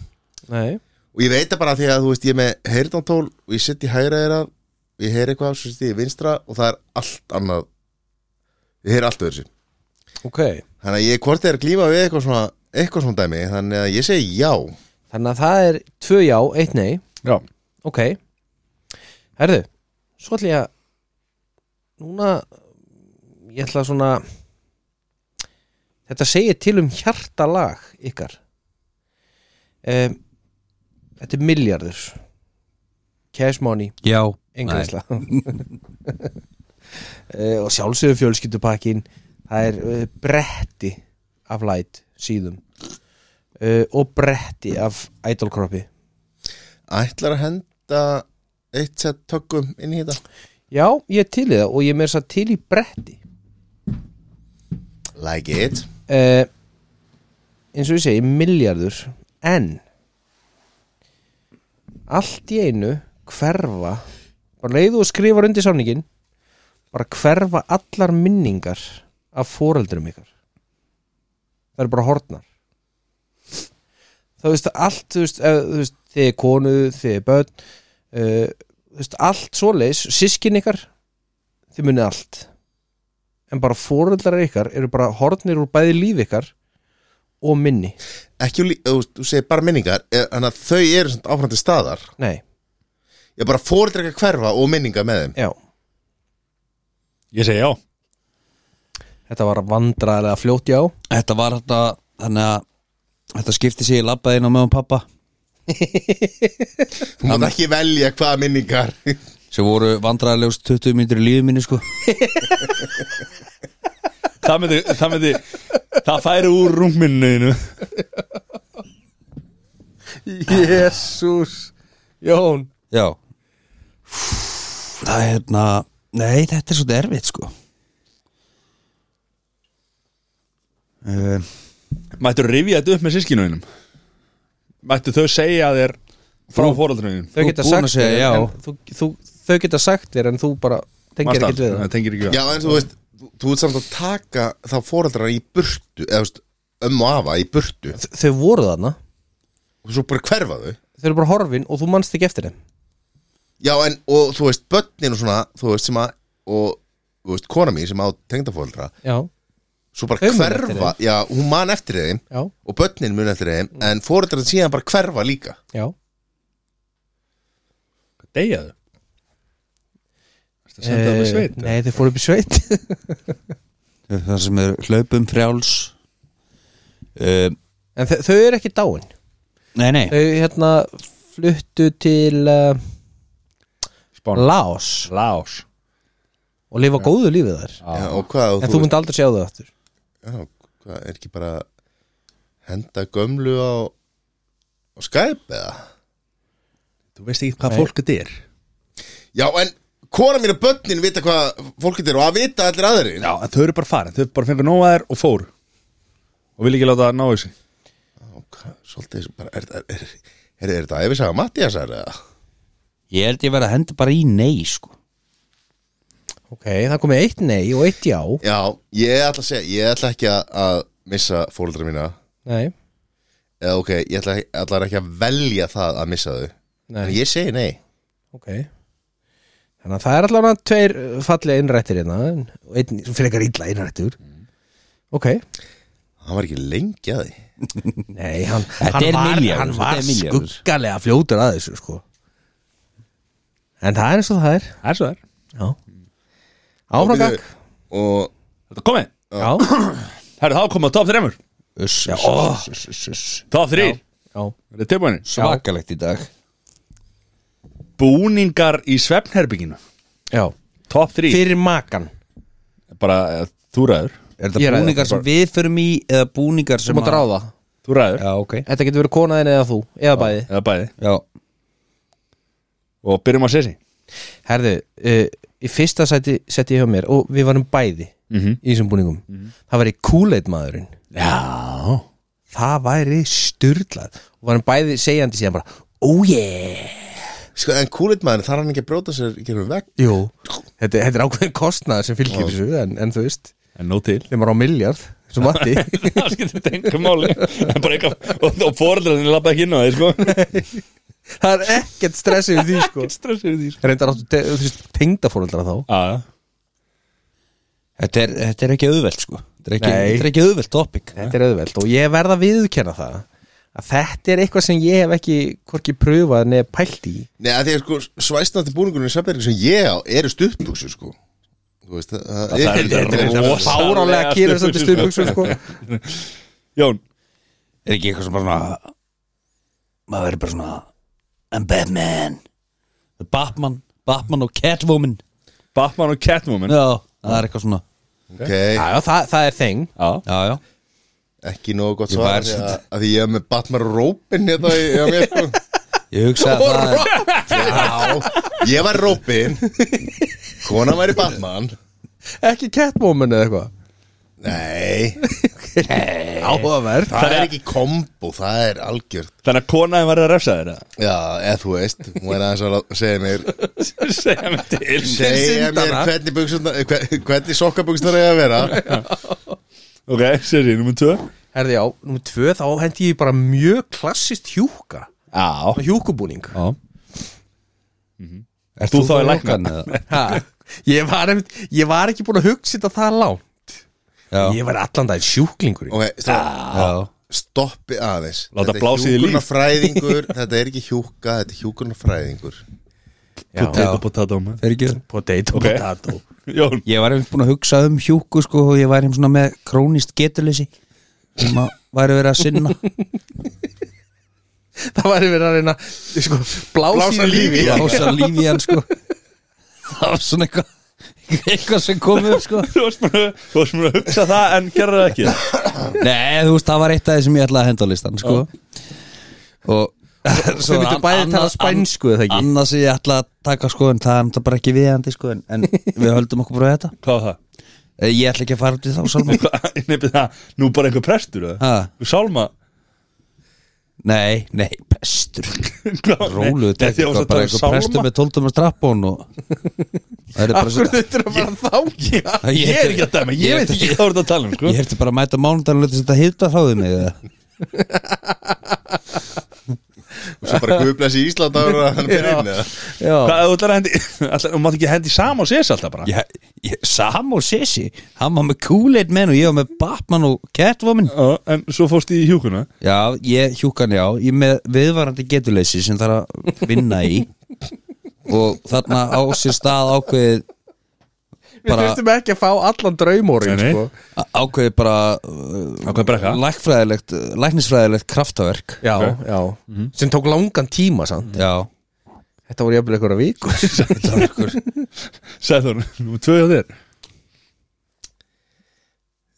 Speaker 4: Nei
Speaker 2: og ég veit það bara af því að þú veist ég er með heyrðantól og ég sitt í hægra eira ég heyr eitthvað, svo sitt ég í vinstra og það er allt annað ég heyr allt öðru sér
Speaker 4: Ok
Speaker 2: Þannig að ég hvort er að glíma við eitthvað svona eitthvað svona dæmi, þannig að ég segi já
Speaker 4: Þannig að það er tvö já, eitt nei
Speaker 1: Já,
Speaker 4: Ok Herðu, svo ætla ég að Núna Ég ætla svona Þetta segir til um hjartalag ykkar um, Þetta er miljardur cash money,
Speaker 5: Já,
Speaker 4: englæsla Eh, og sjálfsögur fjölskyldupakkin það er eh, bretti af light síðum Eh, og bretti af idolkroppi
Speaker 2: Ætlar að henda eitt sett tökum inn í þetta
Speaker 4: já, ég er til í það og ég er með þess að segja til í bretti
Speaker 2: Like it
Speaker 4: uh, eins og ég segi miljardur en allt í einu hverfa bara leiðu og skrifar undir samningin bara hverfa allar minningar af foreldrum ykkar það eru bara hortnar það veist allt þú veist, ef, þú veist þið er konu, þið er börn uh, þú veist allt svoleiðis sískin ykkar þið munið allt en bara foreldrar ykkar eru bara hornir úr bæði líf ykkar og minni
Speaker 2: Ekki, úr lí- þú, veist, þú segir bara minningar eh, Þannig að þau eru samt áfram til staðar
Speaker 4: nei,
Speaker 2: Ég bara fóreldra ekki að hverfa og minningar með þeim
Speaker 4: já,
Speaker 1: Ég segi já
Speaker 4: þetta var vandræðilega fljótt já
Speaker 5: þetta var þetta Þannig að þetta skipti sig í labbaðin á meðan pappa
Speaker 2: Þú mátt ekki velja hvaða minningar
Speaker 5: sem voru vandræðilegust 20 mínútur í lífi minni sko
Speaker 1: Það myndi, það myndi Það færi úr rungminnuðinu
Speaker 4: jésús Jón
Speaker 5: Já Það er hérna Nei, þetta er svolítið erfitt sko uh,
Speaker 1: Mættu rifja þetta upp með sískinuðinum Mættu þau segja þér Frá fóröldruðinum
Speaker 4: þau
Speaker 5: Þú
Speaker 4: geta
Speaker 5: búin að
Speaker 4: sagt
Speaker 5: segja
Speaker 4: þér,
Speaker 5: já.
Speaker 4: en þú, þú, þau geta sagt þér en þú bara tengir ekki við það
Speaker 1: Það tengir ekki við
Speaker 2: Já, en þú veist, þú, þú ert samt að taka þá fóreldra í burtu Eða, þú veist, ömmu og afa í burtu
Speaker 4: Þ- þau voru þarna,
Speaker 2: Og svo bara hverfa þau
Speaker 4: þau eru bara horfin og þú manst ekki eftir þeim
Speaker 2: Já, en, og þú veist, börnin og svona Þú veist, sem að, og þú veist, kona mín sem á tengdafóreldra
Speaker 4: já,
Speaker 2: Svo bara
Speaker 4: Þau muna eftir
Speaker 2: hverfa, já, hún man eftir þeim
Speaker 4: já,
Speaker 2: Og börnin mun eftir þeim En fóreldra síðan bara hverfa líka
Speaker 4: já
Speaker 1: Deyja þau Það senda þau
Speaker 4: Eh,
Speaker 1: með sveit
Speaker 4: nei, þau fóru upp í sveit
Speaker 5: Það sem er hlaupum frjáls uh,
Speaker 4: en þau, þau eru ekki dáin
Speaker 5: Nei, nei
Speaker 4: þau hérna fluttu til uh,
Speaker 1: Spán
Speaker 4: Laos
Speaker 1: Lás
Speaker 4: og lifa góðu lífið þar
Speaker 2: já, Og hvað, og
Speaker 4: en þú myndi aldrei sjá þau aftur
Speaker 2: já, hvað, er ekki bara Henda gömlu á Á Skype eða
Speaker 1: Þú veist ekki hvað fólk þetta er
Speaker 2: Já, en kona mín og börnin vita hvað fólkið er og að vita allir aðrir
Speaker 1: Já, en þau eru bara farin, þau bara fengur nóg að þér og fór Og vil ekki láta það ná þessi
Speaker 2: Hvað, Svolítið, bara, er, er, er, er, er þetta æfisaga Mattiasar eða?
Speaker 5: Ég held ég verið að henda bara í nei sko
Speaker 4: ok, það komið eitt nei og eitt já
Speaker 2: Já, ég ætla að segja, ég ætla ekki að, að missa fólkdra mína
Speaker 4: nei,
Speaker 2: eða ok, ég ætla, ætla ekki að velja það að missa þau
Speaker 4: nei,
Speaker 2: en ég segi nei
Speaker 4: ok þannig að það er allavega tveir uh, fallega innrættir hérna en- og einn sem frekar illa innrættur ok,
Speaker 2: hann var ekki lengi að því
Speaker 4: nei, hann,
Speaker 5: Þetta
Speaker 4: hann
Speaker 5: er
Speaker 4: var,
Speaker 5: milljarður,
Speaker 4: hann
Speaker 5: þetta
Speaker 4: var
Speaker 5: er milljarður.
Speaker 4: skuggalega fljótur að þessu sko en það er eins og það er
Speaker 1: Það er svo þær
Speaker 4: já áframgag
Speaker 2: og
Speaker 1: Þetta er komið,
Speaker 4: já,
Speaker 1: herru þá er komið að top 3
Speaker 5: Uss,
Speaker 4: Já,
Speaker 5: uss,
Speaker 4: ó.
Speaker 5: uss, uss, uss, uss.
Speaker 1: Top 3,
Speaker 4: já,
Speaker 1: þetta er tilbúinni
Speaker 5: Svakalegt í dag
Speaker 1: Búningar í svefnherbygginu
Speaker 4: já
Speaker 1: Top 3
Speaker 4: fyrir makan
Speaker 1: Bara eh, þú ræður
Speaker 5: Er
Speaker 4: Ég
Speaker 5: þetta
Speaker 4: ræði
Speaker 5: búningar sem við förum í eða búningar
Speaker 4: þú
Speaker 5: sem
Speaker 4: mátt ráða
Speaker 1: Þú ræður
Speaker 5: Já, ok
Speaker 4: þetta getur verið konaðin eða þú eða bæði
Speaker 1: Eða bæði
Speaker 5: Já,
Speaker 1: Og byrjum á sessi
Speaker 4: Herðu, uh, í fyrsta sæti setti ég hjá mér og við varum bæði
Speaker 1: Mhm.
Speaker 4: í þessum búningum Það væri Kool-Aid maðurinn
Speaker 1: Já
Speaker 4: Það væri styrlað og varum bæði segjandi síðan bara Oh yeah
Speaker 2: sko, en kúlit maður, þarf hann ekki að bróta sér gerum vekk
Speaker 4: Jú, þetta, þetta er ákveðin kostnað sem fylgir þessu en, en þú veist,
Speaker 1: En nóg til
Speaker 4: þeim var á miljard sem matti
Speaker 1: Það skiptir þetta engum máli En bara eitthvað Og, og fóreldrarnir lappa ekki inn á þeir sko
Speaker 4: Það er ekkert stressið við því sko
Speaker 1: Stressið því sko
Speaker 4: Reyndar áttu te- þú veist, tengdafóreldra þá
Speaker 1: Já,
Speaker 5: þetta er, þetta er ekki auðvelt sko Þetta er ekki,
Speaker 4: Nei.
Speaker 5: þetta er ekki auðvelt topic
Speaker 4: Þetta er auðvelt og ég verða að viðurkenna það að þetta er eitthvað sem ég hef ekki hvorki pröfað neð pælt í
Speaker 2: Nei, að því að sko, svæstnandi búningurinn í svefnherbygginu sem ég á eru stuttbússu sko Þú veist, það, það
Speaker 1: það er- þetta er-
Speaker 2: rosa
Speaker 4: fárálega kýrur sem þetta stuðbuksu sko.
Speaker 1: Jón
Speaker 5: Er ekki eitthvað sem bara svona Maður verið bara svona I'm Batman
Speaker 3: The Batman, Batman og Catwoman
Speaker 1: Batman og Catwoman
Speaker 3: Já, það er eitthvað svona
Speaker 2: Ok,
Speaker 4: Já, já, það, það er þeng
Speaker 1: Já.
Speaker 3: Já, já
Speaker 2: ekki nógu gott
Speaker 3: Ég
Speaker 2: svar
Speaker 3: var
Speaker 2: af því
Speaker 3: samt-
Speaker 2: að af því ég er með Batman og Robin hérna í- hjá mér, sko.
Speaker 3: Ég hugsa að það er
Speaker 2: Já, ég var Robin Konan væri Batman
Speaker 4: Ekki Catwoman eða eitthvað
Speaker 2: Nei,
Speaker 4: Áhugaverð
Speaker 2: það er ekki kombo, það er algjört
Speaker 1: Þannig að konaði var að refsa þér eða?
Speaker 2: Já, eða þú veist, hún er aðeins að lá- segja mér
Speaker 1: Segja mig til
Speaker 2: Segja mér
Speaker 4: syndana.
Speaker 2: hvernig, buxurnar- hver- hvernig sokkabugstunar er að vera
Speaker 1: Ok, seri, nummer 2
Speaker 4: Herði já, nummer tvö þá hendi ég bara mjög klassist hjúka
Speaker 1: Já
Speaker 4: Hjúkubúning
Speaker 1: Já Ert Mhm. þú þá í læknan?
Speaker 4: Ha, ég, var einmitt, ég var ekki búin að hugsa þetta það langt
Speaker 3: Já.
Speaker 4: Ég var allan daginn sjúklingur
Speaker 2: Ok, strá,
Speaker 3: Já,
Speaker 2: stoppi aðeins
Speaker 1: Ah. Láta
Speaker 2: Þetta er
Speaker 1: blása í þig líf.
Speaker 2: hjúkrunarfræðingur, Þetta er ekki hjúka, þetta er hjúkurnafræðingur
Speaker 1: Potato, potato man.
Speaker 3: þeir ekki
Speaker 4: Potato,
Speaker 1: Ok.
Speaker 4: potato
Speaker 1: Jón
Speaker 3: Ég var einmitt búin að hugsa um hjúku sko og ég var einmitt svona með krónist getuleysi sem að væri verið að sinna
Speaker 4: Það var verið að reyna sko, Blása,
Speaker 2: Blása
Speaker 4: í lífi
Speaker 2: lífi í hann.
Speaker 3: Lása lífi í hann sko Það var svona eitthvað eitthvað sem komið upp sko
Speaker 1: Þú varst mér að, þú varst mér að hugsa það en gerði það ekki
Speaker 3: Nei, þú veist, það var eitt af því sem ég ætlaði að henda á listan sko. Og
Speaker 4: Þau myndu
Speaker 3: an-
Speaker 4: bæði tala
Speaker 3: annað-
Speaker 4: spænsku eða
Speaker 3: an-
Speaker 4: ekki
Speaker 3: Annað sem ég ætlaði að taka sko En það er náttúrulega bara ekki viðandi sko En, en við höldum okkur bara við þetta
Speaker 1: Hvað var
Speaker 3: Eh, Ég ætla ekki að fara út í þá Salma
Speaker 1: það? Nefnir það, nú bara einhver prestur eða?
Speaker 3: ha,
Speaker 1: Þú Sálma
Speaker 3: Nei, nei, bestur Róluðu
Speaker 1: tek
Speaker 3: tekið sko,
Speaker 4: um
Speaker 3: Bara eitthvað prestur með tóltum að strappa hún og... Það er bara
Speaker 4: Akkur þetta er að fara þá
Speaker 3: Ég-
Speaker 1: Ég er ekki að dæma, ég veit ekki hvað þú ert að tala um sko.
Speaker 3: Ég hefði bara að mæta mánudaginn og leta þetta hýta hráðið mig eða?
Speaker 2: Og svo bara guðbless í Ísland áður en hann fyrir inn eða?
Speaker 1: Hvað, ef þú ætlar að hendi ætlar- Þú mátt ekki hendi sama og sérs alltaf bara
Speaker 3: Ég- ég- Sam og Sissi Hann var með Kool-Aid menn og ég var með Batman og Catwoman
Speaker 1: Já, En svo fórst í hjúkuna
Speaker 3: Já, ég hjúkan já Ég með viðvarandi getuleysi sem þarf að vinna í Og þarna á sér stað ákveðið
Speaker 4: Við
Speaker 3: bara,
Speaker 4: þurftum ekki að fá allan draumórin
Speaker 1: Nei, nei.
Speaker 4: sko.
Speaker 3: á- Ákveðið bara uh,
Speaker 1: Ákveðið brekka.
Speaker 3: Lækfræðilegt, læknisfræðilegt kraftaverk
Speaker 4: Já, já Sem tók langan tíma samt
Speaker 3: Já,
Speaker 4: Þetta voru jafnilega einhverja vikur sko,
Speaker 1: Sæður, nú tvö hjá þér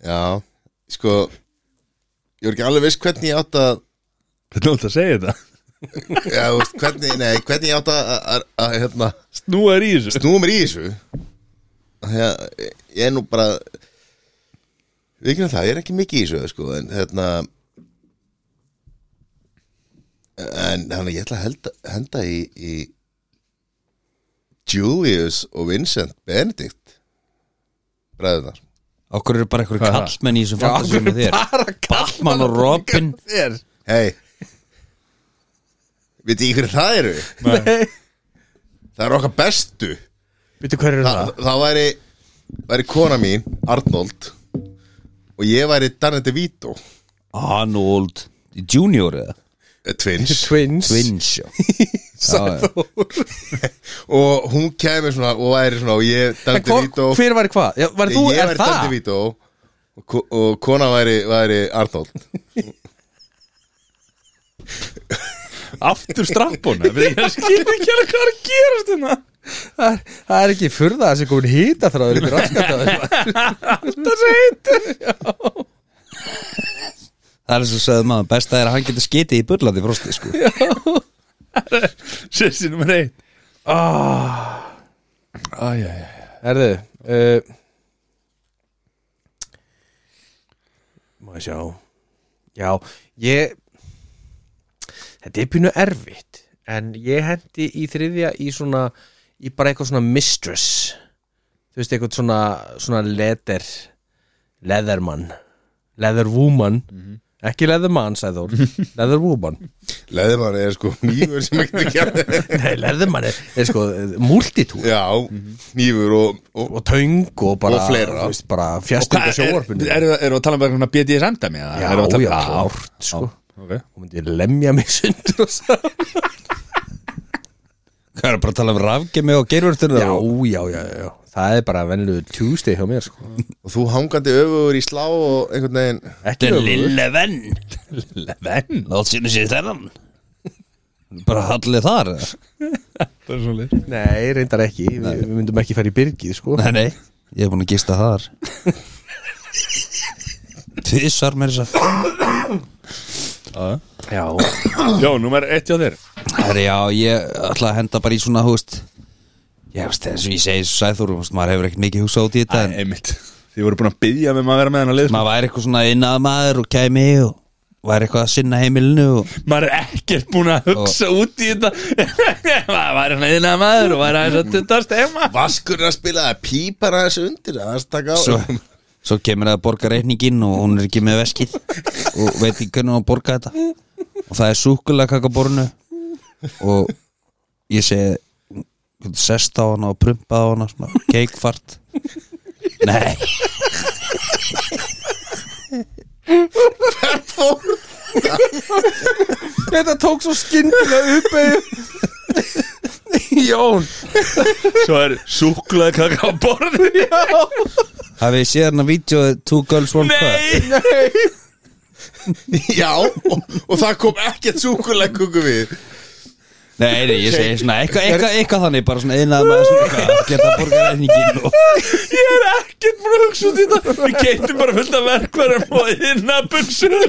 Speaker 2: Já, sko Ég var ekki alveg viss hvernig ég átt að
Speaker 1: Hvernig þú ert að segja þetta?
Speaker 2: Já, þú veist, hvernig, nei, hvernig ég átt að, að, að, að hérna,
Speaker 1: Nú er í þessu
Speaker 2: snúa mér í þessu Þegar ég er nú bara við ekki það, ég er ekki mikið í þessu sko, en hérna en hann ég ætla að henda, henda í, í Julius og Vincent Benedict bræðunar
Speaker 3: okkur eru bara einhverju
Speaker 1: Hvað er það?
Speaker 3: kallmenn í þessum fantasíum með þér
Speaker 4: Bara
Speaker 3: Batman og Robin
Speaker 4: kallir
Speaker 2: hei veit ég hverju það eru? það eru okkar bestu
Speaker 4: Býttu hver eru
Speaker 2: Þa,
Speaker 4: það?
Speaker 2: það væri, væri kona mín, Arnold og ég væri Danny DeVito
Speaker 3: Arnold Junior eða
Speaker 2: eh, Twins
Speaker 4: Twins
Speaker 3: Twins já.
Speaker 4: Sæþór.
Speaker 2: og hún kemur svona og væri svona og ég
Speaker 4: En
Speaker 2: Danny
Speaker 4: hva-
Speaker 2: DeVito
Speaker 4: Hver var hvað? Já, Var þú,
Speaker 2: ég
Speaker 4: er
Speaker 2: væri Danny
Speaker 4: það?
Speaker 2: DeVito og, ko- og kona væri, væri Arnold
Speaker 1: Aftur strappun Ég skil ekki alveg hvað er að gerast þetta
Speaker 4: Það er- það er ekki furða að sé komin hýta þráður ykkur raskataður
Speaker 3: Það er svo sagði maður, besta er að hann getur skitið í burlandi frosti sko.
Speaker 1: Sessi nummer eitt
Speaker 4: Herðu uh, Má ég sjá Já, ég Þetta er pínu erfitt En ég hendi í þriðja í svona Í bara eitthvað svona mistress Þú veist, eitthvað svona Svona leather Leatherman Leatherwoman Ekki leatherman, sagði Þór Leatherwoman
Speaker 2: leðmann er sko nýfur sem ekki kemur
Speaker 4: Nei, leatherman er, er sko eh, Multitúr
Speaker 2: já, nýfur og, og
Speaker 4: og töng og bara,
Speaker 2: Og fleira.
Speaker 4: þú veist, bara fjastingu sjóvarpunni
Speaker 1: Erum við að tala um eitthvað BDSM dæmi? eða?
Speaker 4: Já,
Speaker 1: Erum við að tala- um
Speaker 4: já, klárt,
Speaker 1: já,
Speaker 4: sko.
Speaker 1: ok.
Speaker 4: og myndi lemja mig sundur og svo
Speaker 3: Hvað er bara að tala um rafgemi og geirvörtur
Speaker 4: já, já, já, já, það er bara venlu Tuesday hjá mér sko
Speaker 2: og þú hangandi öfugur í slá og einhvern veginn
Speaker 4: ekki öfugur.
Speaker 3: venn Lille venn Látt sínum sér þennan bara hallið þar eða?
Speaker 1: Það er svo leið
Speaker 4: Nei, reyndar ekki, Vi, við myndum ekki fara í byrgið sko
Speaker 3: Nei, nei, ég hef búin að gista þar Tvísar með þess að
Speaker 4: Já,
Speaker 1: Já, númer eitt hjá þér
Speaker 3: Herri, já, ég ætla að henda bara í svona, húst Já, veist, eins og ég segi svo sæður veist, Maður hefur ekkert mikið hugsað út í þetta En
Speaker 1: Einmitt Þið voru búin að byggja með maður að vera með hann að lið
Speaker 3: maður væri eitthvað svona innað maður og kæmi og væri eitthvað að sinna heimilinu og
Speaker 1: Maður er ekkert búin að hugsa út í þetta Maður væri svona eina maður og væri aðeins að tuttast heima
Speaker 2: Vaskur er að spila það pípar aðeins undir Það er að taka á
Speaker 3: svo, svo kemur það að borga reikningin og hún er ekki með veskið og veit ekki hvernig hún á að borga þetta og það er súkulega kakabornu og ég segi hvernig sest á hana og prumpað á hana svona, keikfart nei,
Speaker 4: þetta tók svo skyndilega uppeigju Jón
Speaker 1: Svo er súklaði kaka á borðu
Speaker 3: hafið ég séð hana vídeo Two Girls One Cup
Speaker 2: Já, og, og það kom ekkert súkulegkuku við
Speaker 3: Nei, nei, ég segi svona eitthvað eitthva, eitthva þannig, bara svona einað maður svona eitthvað að geta borga reyningin og
Speaker 1: Ég er ekkert búin að hugsa út í þetta Við keitum bara fullt af verkverðum og innabunsu Ég er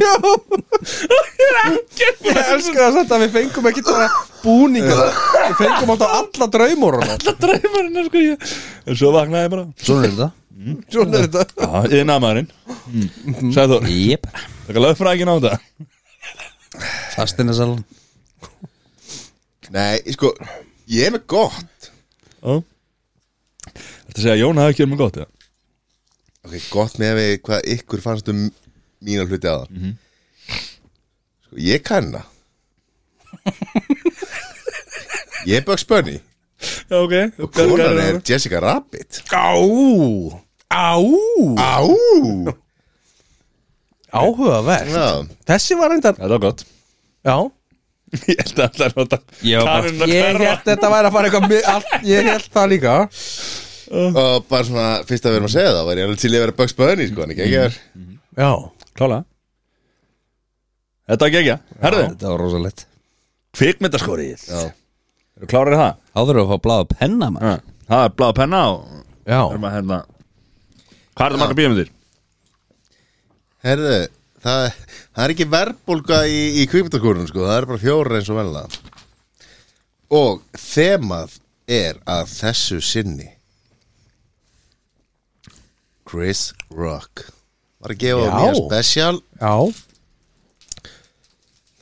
Speaker 1: ekkert búin að
Speaker 4: Ég elska það samt að við fengum ekki bara búninga Við fengum alltaf alla draumur
Speaker 1: hugsa dræmarinn sko ég En svo vaknaði ég bara
Speaker 3: Svona er þetta
Speaker 4: Svona er þetta
Speaker 1: Já, innamaðurinn Sæður,
Speaker 3: Jep,
Speaker 1: það er lögfrækin á þetta
Speaker 3: fastinasalan
Speaker 2: Nei, sko, ég er með gott
Speaker 1: Þetta segja að Jón hafi ekki verið með gott eða?
Speaker 2: Ok, gott með að við hvað ykkur fannst um mína hluti aðan Sko, ég kann það Ég er Bugs Bunny
Speaker 1: Já, ok
Speaker 2: og konan er Jessica Rabbit
Speaker 4: Á Á
Speaker 2: Á
Speaker 4: Áhugavert
Speaker 2: Já,
Speaker 4: Þessi var reyndar
Speaker 1: Þetta var gott
Speaker 4: Já
Speaker 1: Ég held að það er nota
Speaker 3: Já, bara-
Speaker 1: Karinn að
Speaker 4: Ég
Speaker 1: hverfa
Speaker 4: held þetta væri að fara eitthvað mi- allt, Ég held það líka
Speaker 2: og bara svona, fyrst að við erum að segja það var ég alveg til í að vera Bugs Bunny, sko, en ekki ekki er
Speaker 4: Já
Speaker 1: Klála Þetta var gegja Herðu
Speaker 3: Þetta var rosalegt
Speaker 1: Kvikmyndaskórið Já Eru klárir í það?
Speaker 3: Áður að fá bláða penna maður
Speaker 1: Já Það er bláð penna og
Speaker 4: Já
Speaker 1: Erum að hérna Hvað er það marga bíómyndir?
Speaker 2: Herðu, það, það er ekki verðbólga í, í kvikmyndakúrunum sko, það er bara fjóra eins og velna Og þemað er að þessu sinni Chris Rock Var að gefa
Speaker 4: Já.
Speaker 2: mér special
Speaker 4: Já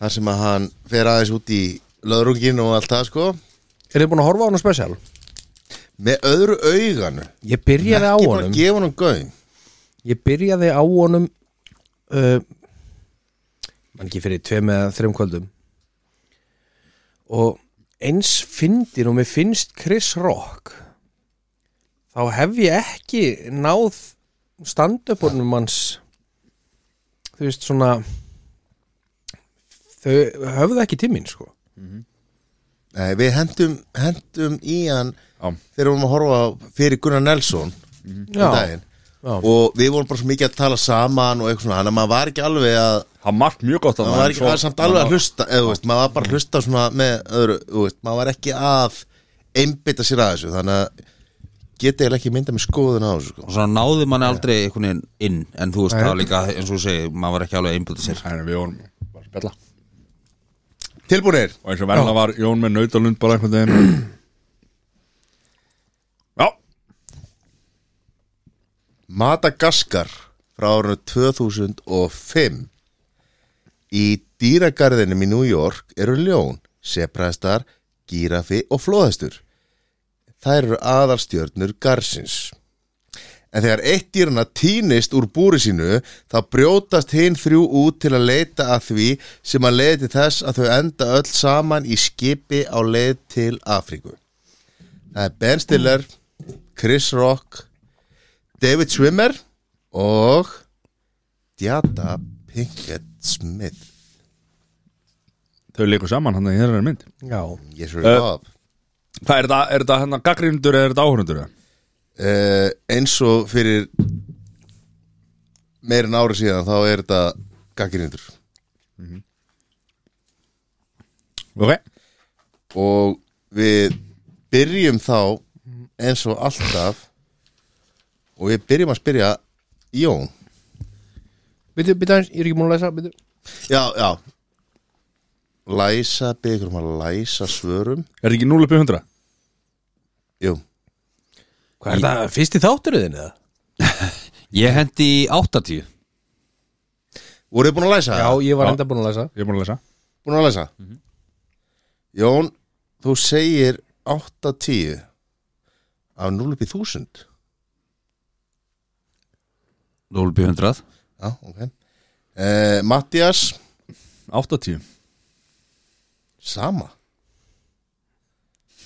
Speaker 2: þar sem að hann fer aðeins út í löðrungin og allt það sko
Speaker 4: Er þið búin að horfa á hann spesial?
Speaker 2: Með öðru auganu
Speaker 4: Ég byrjaði á
Speaker 2: Ekki bara
Speaker 4: honum
Speaker 2: gefa hann gauðin
Speaker 4: Ég byrjaði á honum uh, Man ekki fyrir tveim eða þreim kvöldum Og eins fyndin og mér finnst Chris Rock Þá hef ég ekki náð standöpunum hans Þú veist svona Þau höfðu ekki tíminn sko
Speaker 2: Nei, við hendum, hendum í hann
Speaker 1: Já.
Speaker 2: þegar við vorum að horfa á- fyrir Gunnar Nelson um
Speaker 4: Já.
Speaker 2: daginn
Speaker 4: Já.
Speaker 2: og við vorum bara svo mikið að tala saman og eitthvað svona, hann að maður var ekki alveg að
Speaker 1: Það er margt mjög gott að
Speaker 2: maður var ekki alveg samt alveg að hlusta eða, þú veist, maður var bara að hlusta svona með öðru, þú veist, maður var ekki að einbytta sér að þessu, þannig að geta eiginlega ekki mynda með skoðun á þessu sko.
Speaker 3: Og svona náði manni aldrei einhvern veginn inn En þú veist það var líka, eins og þú segir, maður var ekki alveg einbútið sér
Speaker 1: Þannig við vorum bara að spjalla
Speaker 2: Tilbúinir,
Speaker 1: Og eins og verðna var Jón með nautalund bara einhvern veginn Já
Speaker 2: Madagaskar frá árunni 2005 Í dýragarðinum í New York eru ljón, sepraðstar, gírafi og flóðhestur. Þær eru aðalstjörnur garðsins. En þegar eitt dýrana týnist úr búri sínu, þá brjótast hinn þrjú út til að leita að því sem að leiði til þess að þau enda öll saman í skipi á leið til Afríku. Það er Ben Stiller, Chris Rock, David Schwimmer og Djata Pinkett Smith
Speaker 1: Þau leikur saman hann að hérna er mynd
Speaker 4: Já
Speaker 2: Yes, sir, uh,
Speaker 1: Hvað er þetta, er þetta hérna gaggrínundur eða er þetta áhörundur eða?
Speaker 2: uh, eins og fyrir meir en ári síðan þá er þetta gagginnindur
Speaker 1: Ok
Speaker 2: og við byrjum þá eins og alltaf og við byrjum að spyrja Jón
Speaker 4: Býtu, býtu aðeins, ég er ekki múin að læsa býtu.
Speaker 2: já, já læsa, byggur um að læsa svörum
Speaker 1: Er þetta ekki 0 uppi 100?
Speaker 2: jú,
Speaker 4: Hvað er það, fyrst í þáttunni þinn eða?
Speaker 5: Ég hendi í 80
Speaker 2: voruð þið búin að læsa?
Speaker 4: Já, ég var enda búin að læsa
Speaker 1: Ég er búin að lesa
Speaker 2: búin að læsa Jón, þú segir 8-10 af 0 upp í 1000
Speaker 5: 0 100
Speaker 2: já, ok uh, Mattias,
Speaker 1: 80
Speaker 2: sama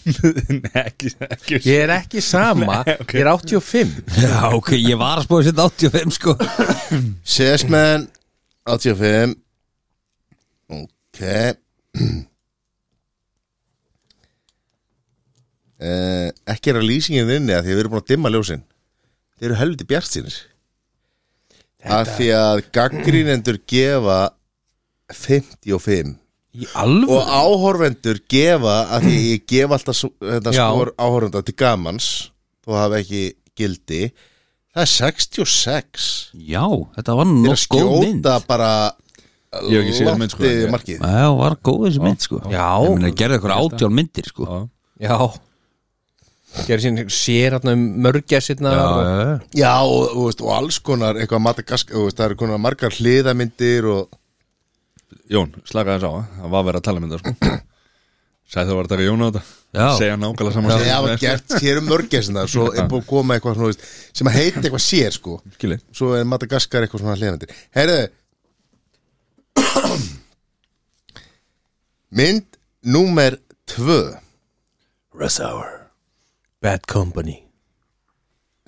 Speaker 1: Nei, ekki, ekki
Speaker 4: Ég er ekki sama, ég er 85
Speaker 5: Já, ok, ég var að spóða sér 85 sko
Speaker 2: Sesmen 85 Ok uh, Ekki er að lýsingin inni að því að við erum búin að dimma ljósin Þeir eru helviti bjartsinir Af því að gaggrínendur gefa 55
Speaker 5: Í alveg?
Speaker 2: og áhorfendur gefa að því ég gef alltaf svo- þetta
Speaker 4: Já.
Speaker 2: skor áhorfenda til gamans þó hafa ekki gildi það er 66
Speaker 5: Já, þetta var
Speaker 2: Þeir að
Speaker 5: nokkuð góð mynd
Speaker 2: skjóta bara
Speaker 1: Ég hef ekki séð þessa mynd, sko,
Speaker 2: loftið
Speaker 1: en ég-
Speaker 2: markið
Speaker 5: Já, var góð þessi mynd sko
Speaker 4: Já.
Speaker 5: Ég meina, gerði eitthvað átjál myndir sko
Speaker 1: Já.
Speaker 4: Já Gerði sín sér hérna um mörgja sérna
Speaker 5: já,
Speaker 2: Já, og, og, veist, og alls konar eitthvað matagask, og, veist, það eru konar margar hliðamyndir og
Speaker 1: Jón, slaka þess á Það var verið að tala mynda sko Sæði þú var að taka Jón á þetta
Speaker 5: Já.
Speaker 1: Segja nákvæmlega saman
Speaker 2: það hafa gert, hér um mörgessina svo er búið að koma eitthvað svona, veist, sem að heita eitthvað sér sko,
Speaker 1: Skilji
Speaker 2: svo er matagaskar eitthvað svona hliðamyndir Herðu Mynd númer tvö
Speaker 4: Russ Hour Bad Company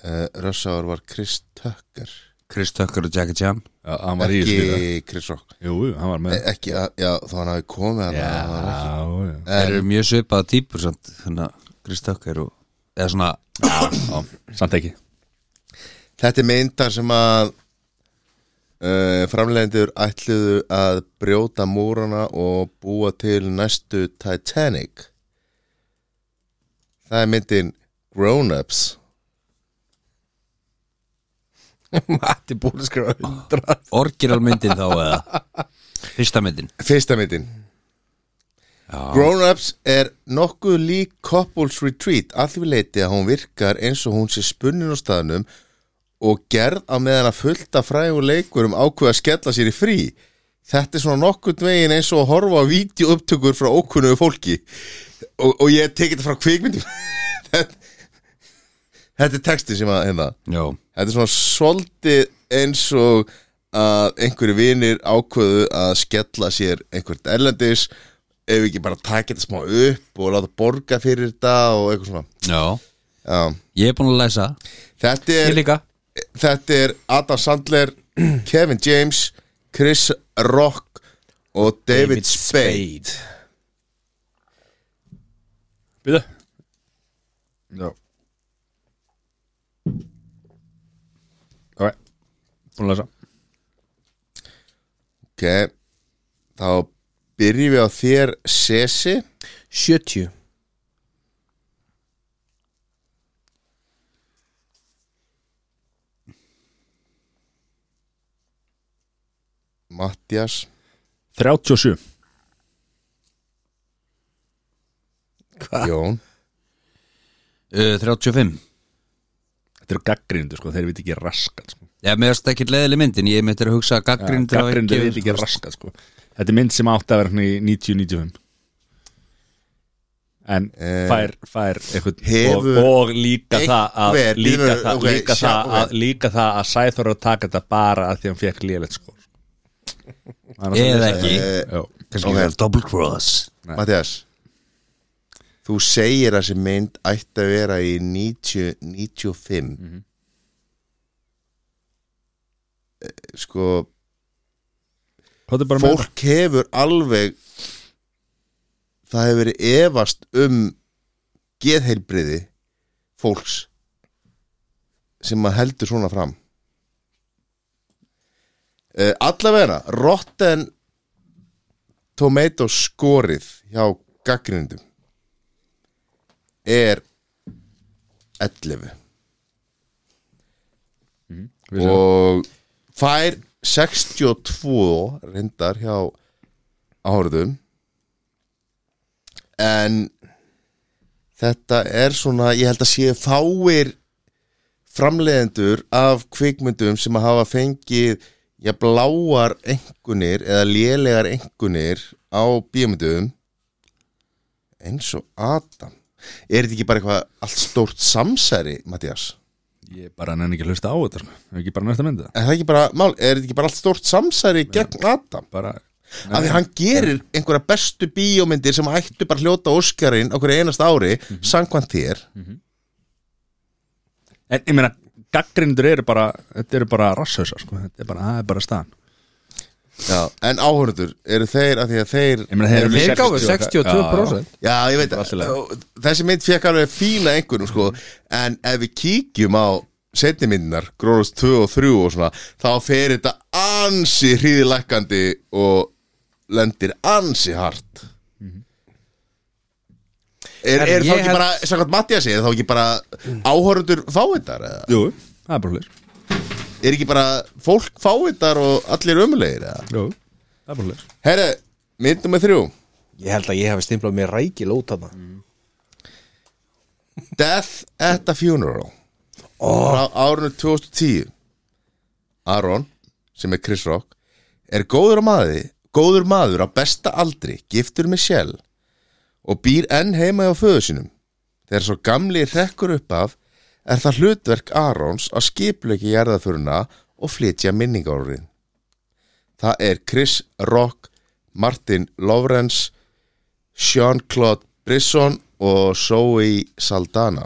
Speaker 2: uh, Rössáður var Chris Tucker
Speaker 5: Chris Tucker og Jackie Chan
Speaker 1: Já, hann var í þessu líka.
Speaker 2: ekki Chris Rock Eh,
Speaker 1: Jú, jú, hann var með
Speaker 2: ekki, að- já, þá hann hafi komið hann það var ekki-
Speaker 1: Já, já
Speaker 5: Þeir eru mjög svipaða típur samt Þannig að Chris Tucker og Eða svona
Speaker 1: Já, samt ekki
Speaker 2: Þetta er myndar sem að uh, framleiðendur ætluðu að brjóta múrana og búa til næstu Titanic Það er myndin Grown Ups
Speaker 4: Matti búin að skrifa 100
Speaker 5: Orginal myndin þá eða Fyrsta myndin
Speaker 2: Fyrsta myndin
Speaker 5: Já,
Speaker 2: Grown Ups er nokkuð lík Couples Retreat að því við leiti að hún virkar eins og hún sé spunnin á staðnum og gerð á meðan að fullta frægur leikurum ákveða að skella sér í frí Þetta er svona nokkurn veginn eins og að horfa á vídeoupptökur frá ókunnugu fólki og, og ég tekið þetta frá kvikmyndum þetta, þetta er texti sem að hérna
Speaker 5: já,
Speaker 2: Þetta er svona svolítið eins og að einhverju vinir ákveðu að skella sér einhvert erlendis ef ekki bara taka þetta smá upp og láta borga fyrir þetta og eitthvað svona
Speaker 5: já
Speaker 2: Já.
Speaker 5: Ég er búin að læsa
Speaker 2: Þetta
Speaker 4: Ég
Speaker 2: er,
Speaker 4: líka
Speaker 2: þetta er Adam Sandler, Kevin James, Chris Rock og David, Spade.
Speaker 1: Býðu Já Ok Búin að lesa
Speaker 2: Ok, þá byrjum við á þér Sesi
Speaker 4: 70
Speaker 2: Mattias
Speaker 1: 37
Speaker 2: Jón
Speaker 5: uh, 35
Speaker 1: Þetta eru gaggrindu sko, þeir veit ekki raskat sko.
Speaker 5: Já, mér finnst ekki leðileg myndin, ég myndi að hugsa að gaggrindur hafi
Speaker 1: Gaggrindu
Speaker 5: gefið-
Speaker 1: veit ekki raskat sko. Þetta er mynd sem átti að vera hérna í 90-95 En fær, fær eitthvað,
Speaker 2: hefur
Speaker 1: og, og líka það að
Speaker 2: einhver-
Speaker 1: líka, það,
Speaker 2: ok,
Speaker 1: líka,
Speaker 2: sjá-
Speaker 1: það að,
Speaker 2: ok.
Speaker 1: líka það að Sæþór er að taka þetta bara að því hann fekk lélegt sko.
Speaker 5: Eða ekki,
Speaker 1: Já,
Speaker 5: kannski okay. double cross
Speaker 2: Mattias Þú segir að þessi mynd ætti að vera í 90-95 Sko
Speaker 1: hvað er bara með
Speaker 2: Fólk hefur alveg Það hefur verið efast um geðheilbriði fólks sem að heldur svona fram uh, Allavega Rotten Tomatoes skorið hjá gaggrindum er 11
Speaker 1: Vissi það.
Speaker 2: og fær 62 reyndar hjá áhörðum en þetta er svona ég held að sé fáir framleiðendur af kvikmyndum sem að hafa fengið já, bláar engunir eða lélegar engunir á bíomyndum eins og Adam er þetta ekki bara eitthvað allt stórt samsæri, Mattias?
Speaker 1: Ég bara nenni ekki að hlusta á þetta sko. Ef Ekki bara næsta myndi það
Speaker 2: er það ekki bara, mál, er þetta ekki bara allt stórt samsæri gegn Adam?
Speaker 1: Bara
Speaker 2: Af því hann gerir einhverja bestu bíómyndir sem hættu bara að hljóta Óskarinn okkur einast ári,
Speaker 1: Mhm.
Speaker 2: samkvæmt þér
Speaker 1: En ég meina, gaggrindur eru bara Þetta eru bara rasshausa sko. Þetta er bara, það er bara staðan
Speaker 2: já, en áhörður, eru þeir af því að þeir,
Speaker 1: Ég meina, þeir eru með
Speaker 4: Þeir gáfu
Speaker 1: 62%.
Speaker 4: 62%
Speaker 2: já, ég veit
Speaker 1: Allt í
Speaker 2: að,
Speaker 1: lagi.
Speaker 2: þessi mynd fekk alveg fína einhverjum, sko, en ef við kíkjum á setni myndinar Gróðust 2 og 3 og svona þá fer þetta ansi hríðilækandi og lendir ansi hart Er,
Speaker 4: Herri,
Speaker 2: er þá
Speaker 4: ég
Speaker 2: ekki
Speaker 4: held-
Speaker 2: bara, samkvæmt Mattias er þá ekki bara áhörundur fáiðar eða?
Speaker 1: Jú, það er bara hlir
Speaker 2: Er ekki bara fólk fáiðar og allir ömulegir eða?
Speaker 1: Jú, það er bara hlir
Speaker 2: Herre, mynd nummer þrjú
Speaker 4: Ég held að ég hef stimplað mér rækil út af það
Speaker 2: Death at a Funeral oh. frá árinu 2010 Aron sem er Chris Rock er góður, á maði, góður maður á besta aldri giftur með sjell og býr enn heima hjá föðu sínum þegar svo gamli rekkur upp af er það hlutverk Arons að skipleiki jarðaföruna og flytja minningárið það er Chris Rock Martin Lawrence Sean-Claude Brisson og Zoe Saldana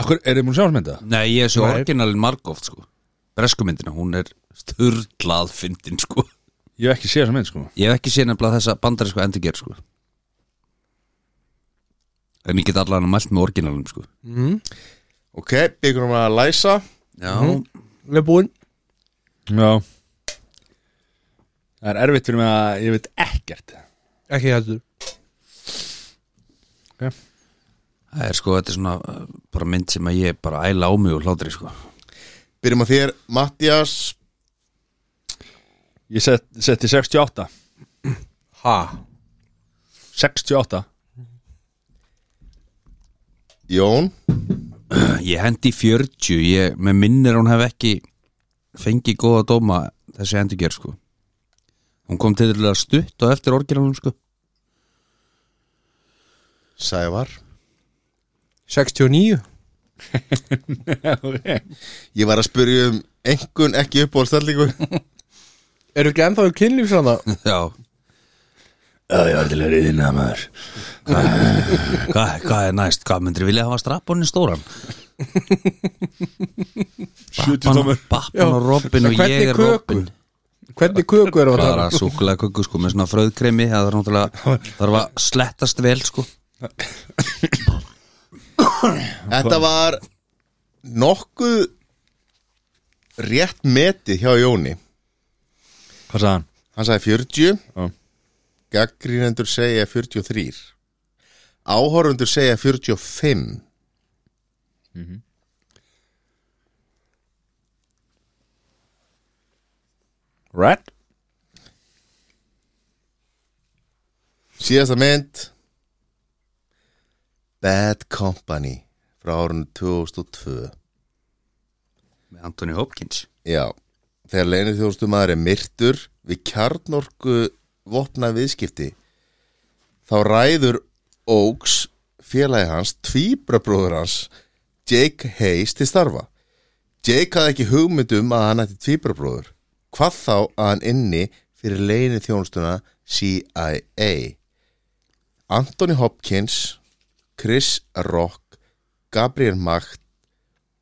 Speaker 1: Akkur, er þið múin að sjá hans myndi það?
Speaker 5: Nei, ég sé orginalin margóft sko Breskumyndina, hún er sturglað fyndin sko
Speaker 1: Ég hef ekki séð þessa mynd sko
Speaker 5: Ég hef ekki séð nefnilega þessa bandarísku endurgerð sko En ég get allan að mælt með orginalum sko
Speaker 2: Ok, byggjum við að læsa
Speaker 5: Já mm
Speaker 4: Við erum búin
Speaker 1: Já Það er erfitt fyrir mig að ég veit ekkert
Speaker 4: Ekki heldur
Speaker 5: Það er sko, þetta er svona uh, bara mynd sem að ég bara æla á mig og hlátri sko
Speaker 2: Byrjum á þér, Mattias
Speaker 1: Ég set- setti 68
Speaker 4: Ha?
Speaker 1: 68
Speaker 2: Jón
Speaker 5: Ég hendi í 40, ég, með minnir hún hef ekki fengið góða dóma þessi endurgerð sko Hún kom til að stutt og eftir orginalum sko
Speaker 2: Sævar
Speaker 4: 69
Speaker 2: Ég var að spyrja um einhvern ekki uppbólstællingu
Speaker 4: Eru ekki ennþá um kynlífsranda?
Speaker 5: Já,
Speaker 1: Já, ég var til að reyðina maður
Speaker 5: hvað, hvað er næst, hvað myndir vilja hafa strappaninn stóran
Speaker 1: 70 tómur
Speaker 5: Bappan og Robin
Speaker 4: En
Speaker 5: og
Speaker 4: hvernig
Speaker 5: ég er
Speaker 4: köku?
Speaker 5: Robin
Speaker 4: Hvernig köku eru það?
Speaker 5: bara súkulega köku sko með svona fröðkremi það þarf náttúrulega þarf að slettast vel sko
Speaker 2: Þetta var nokkuð rétt metið hjá Jóni
Speaker 1: Hvað sagði hann?
Speaker 2: Hann sagði 40
Speaker 1: Já.
Speaker 2: Gaggrínendur segja 43 Áhorfundur segja 45
Speaker 1: Red?
Speaker 2: Síðasta mynd Bad Company frá árunni 2002
Speaker 5: með Anthony Hopkins
Speaker 2: Já, þegar leinið þjóðstumæður er myrtur við kjarnorku vopna viðskipti þá ræður Oaks félagi hans, tvíbrabróður hans Jake Hayes til starfa Jake hafði ekki hugmyndum að hann ætti tvíbrabróður hvað þá að hann inni fyrir leinið þjónustuna CIA Anthony Hopkins Chris Rock Gabriel Macht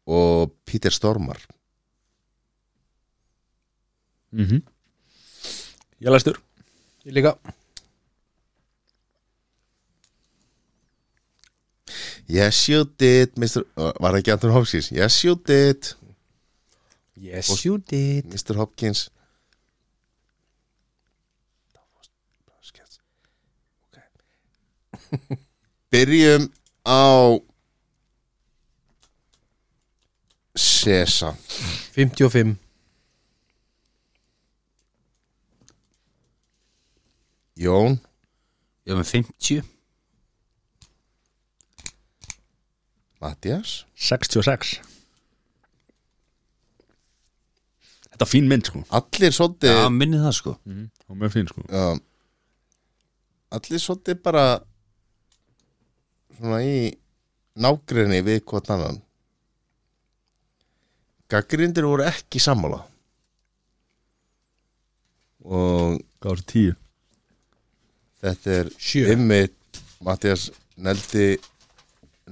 Speaker 2: og Peter Stormar
Speaker 1: Ég læstur
Speaker 4: Ég líka
Speaker 2: Yes you did Mr. Uh, Var það ekki Anton Hopkins? Yes you did
Speaker 4: Yes you did
Speaker 2: Mr. Hopkins Byrjum á Sesa
Speaker 4: 55
Speaker 2: Jón
Speaker 5: Ég var með 50
Speaker 2: Mattias
Speaker 1: 66 Þetta er fín mynd sko
Speaker 2: Allir svolítið
Speaker 5: Já, minni það sko
Speaker 1: Og mjög fín sko
Speaker 2: já, Allir svolítið bara Svona í nágrinni við hvort annan Gaggrindir voru ekki sammála Og
Speaker 1: Hvað var þetta tíu?
Speaker 2: Þetta er
Speaker 4: Sjö.
Speaker 2: ymmit Mattias Neldi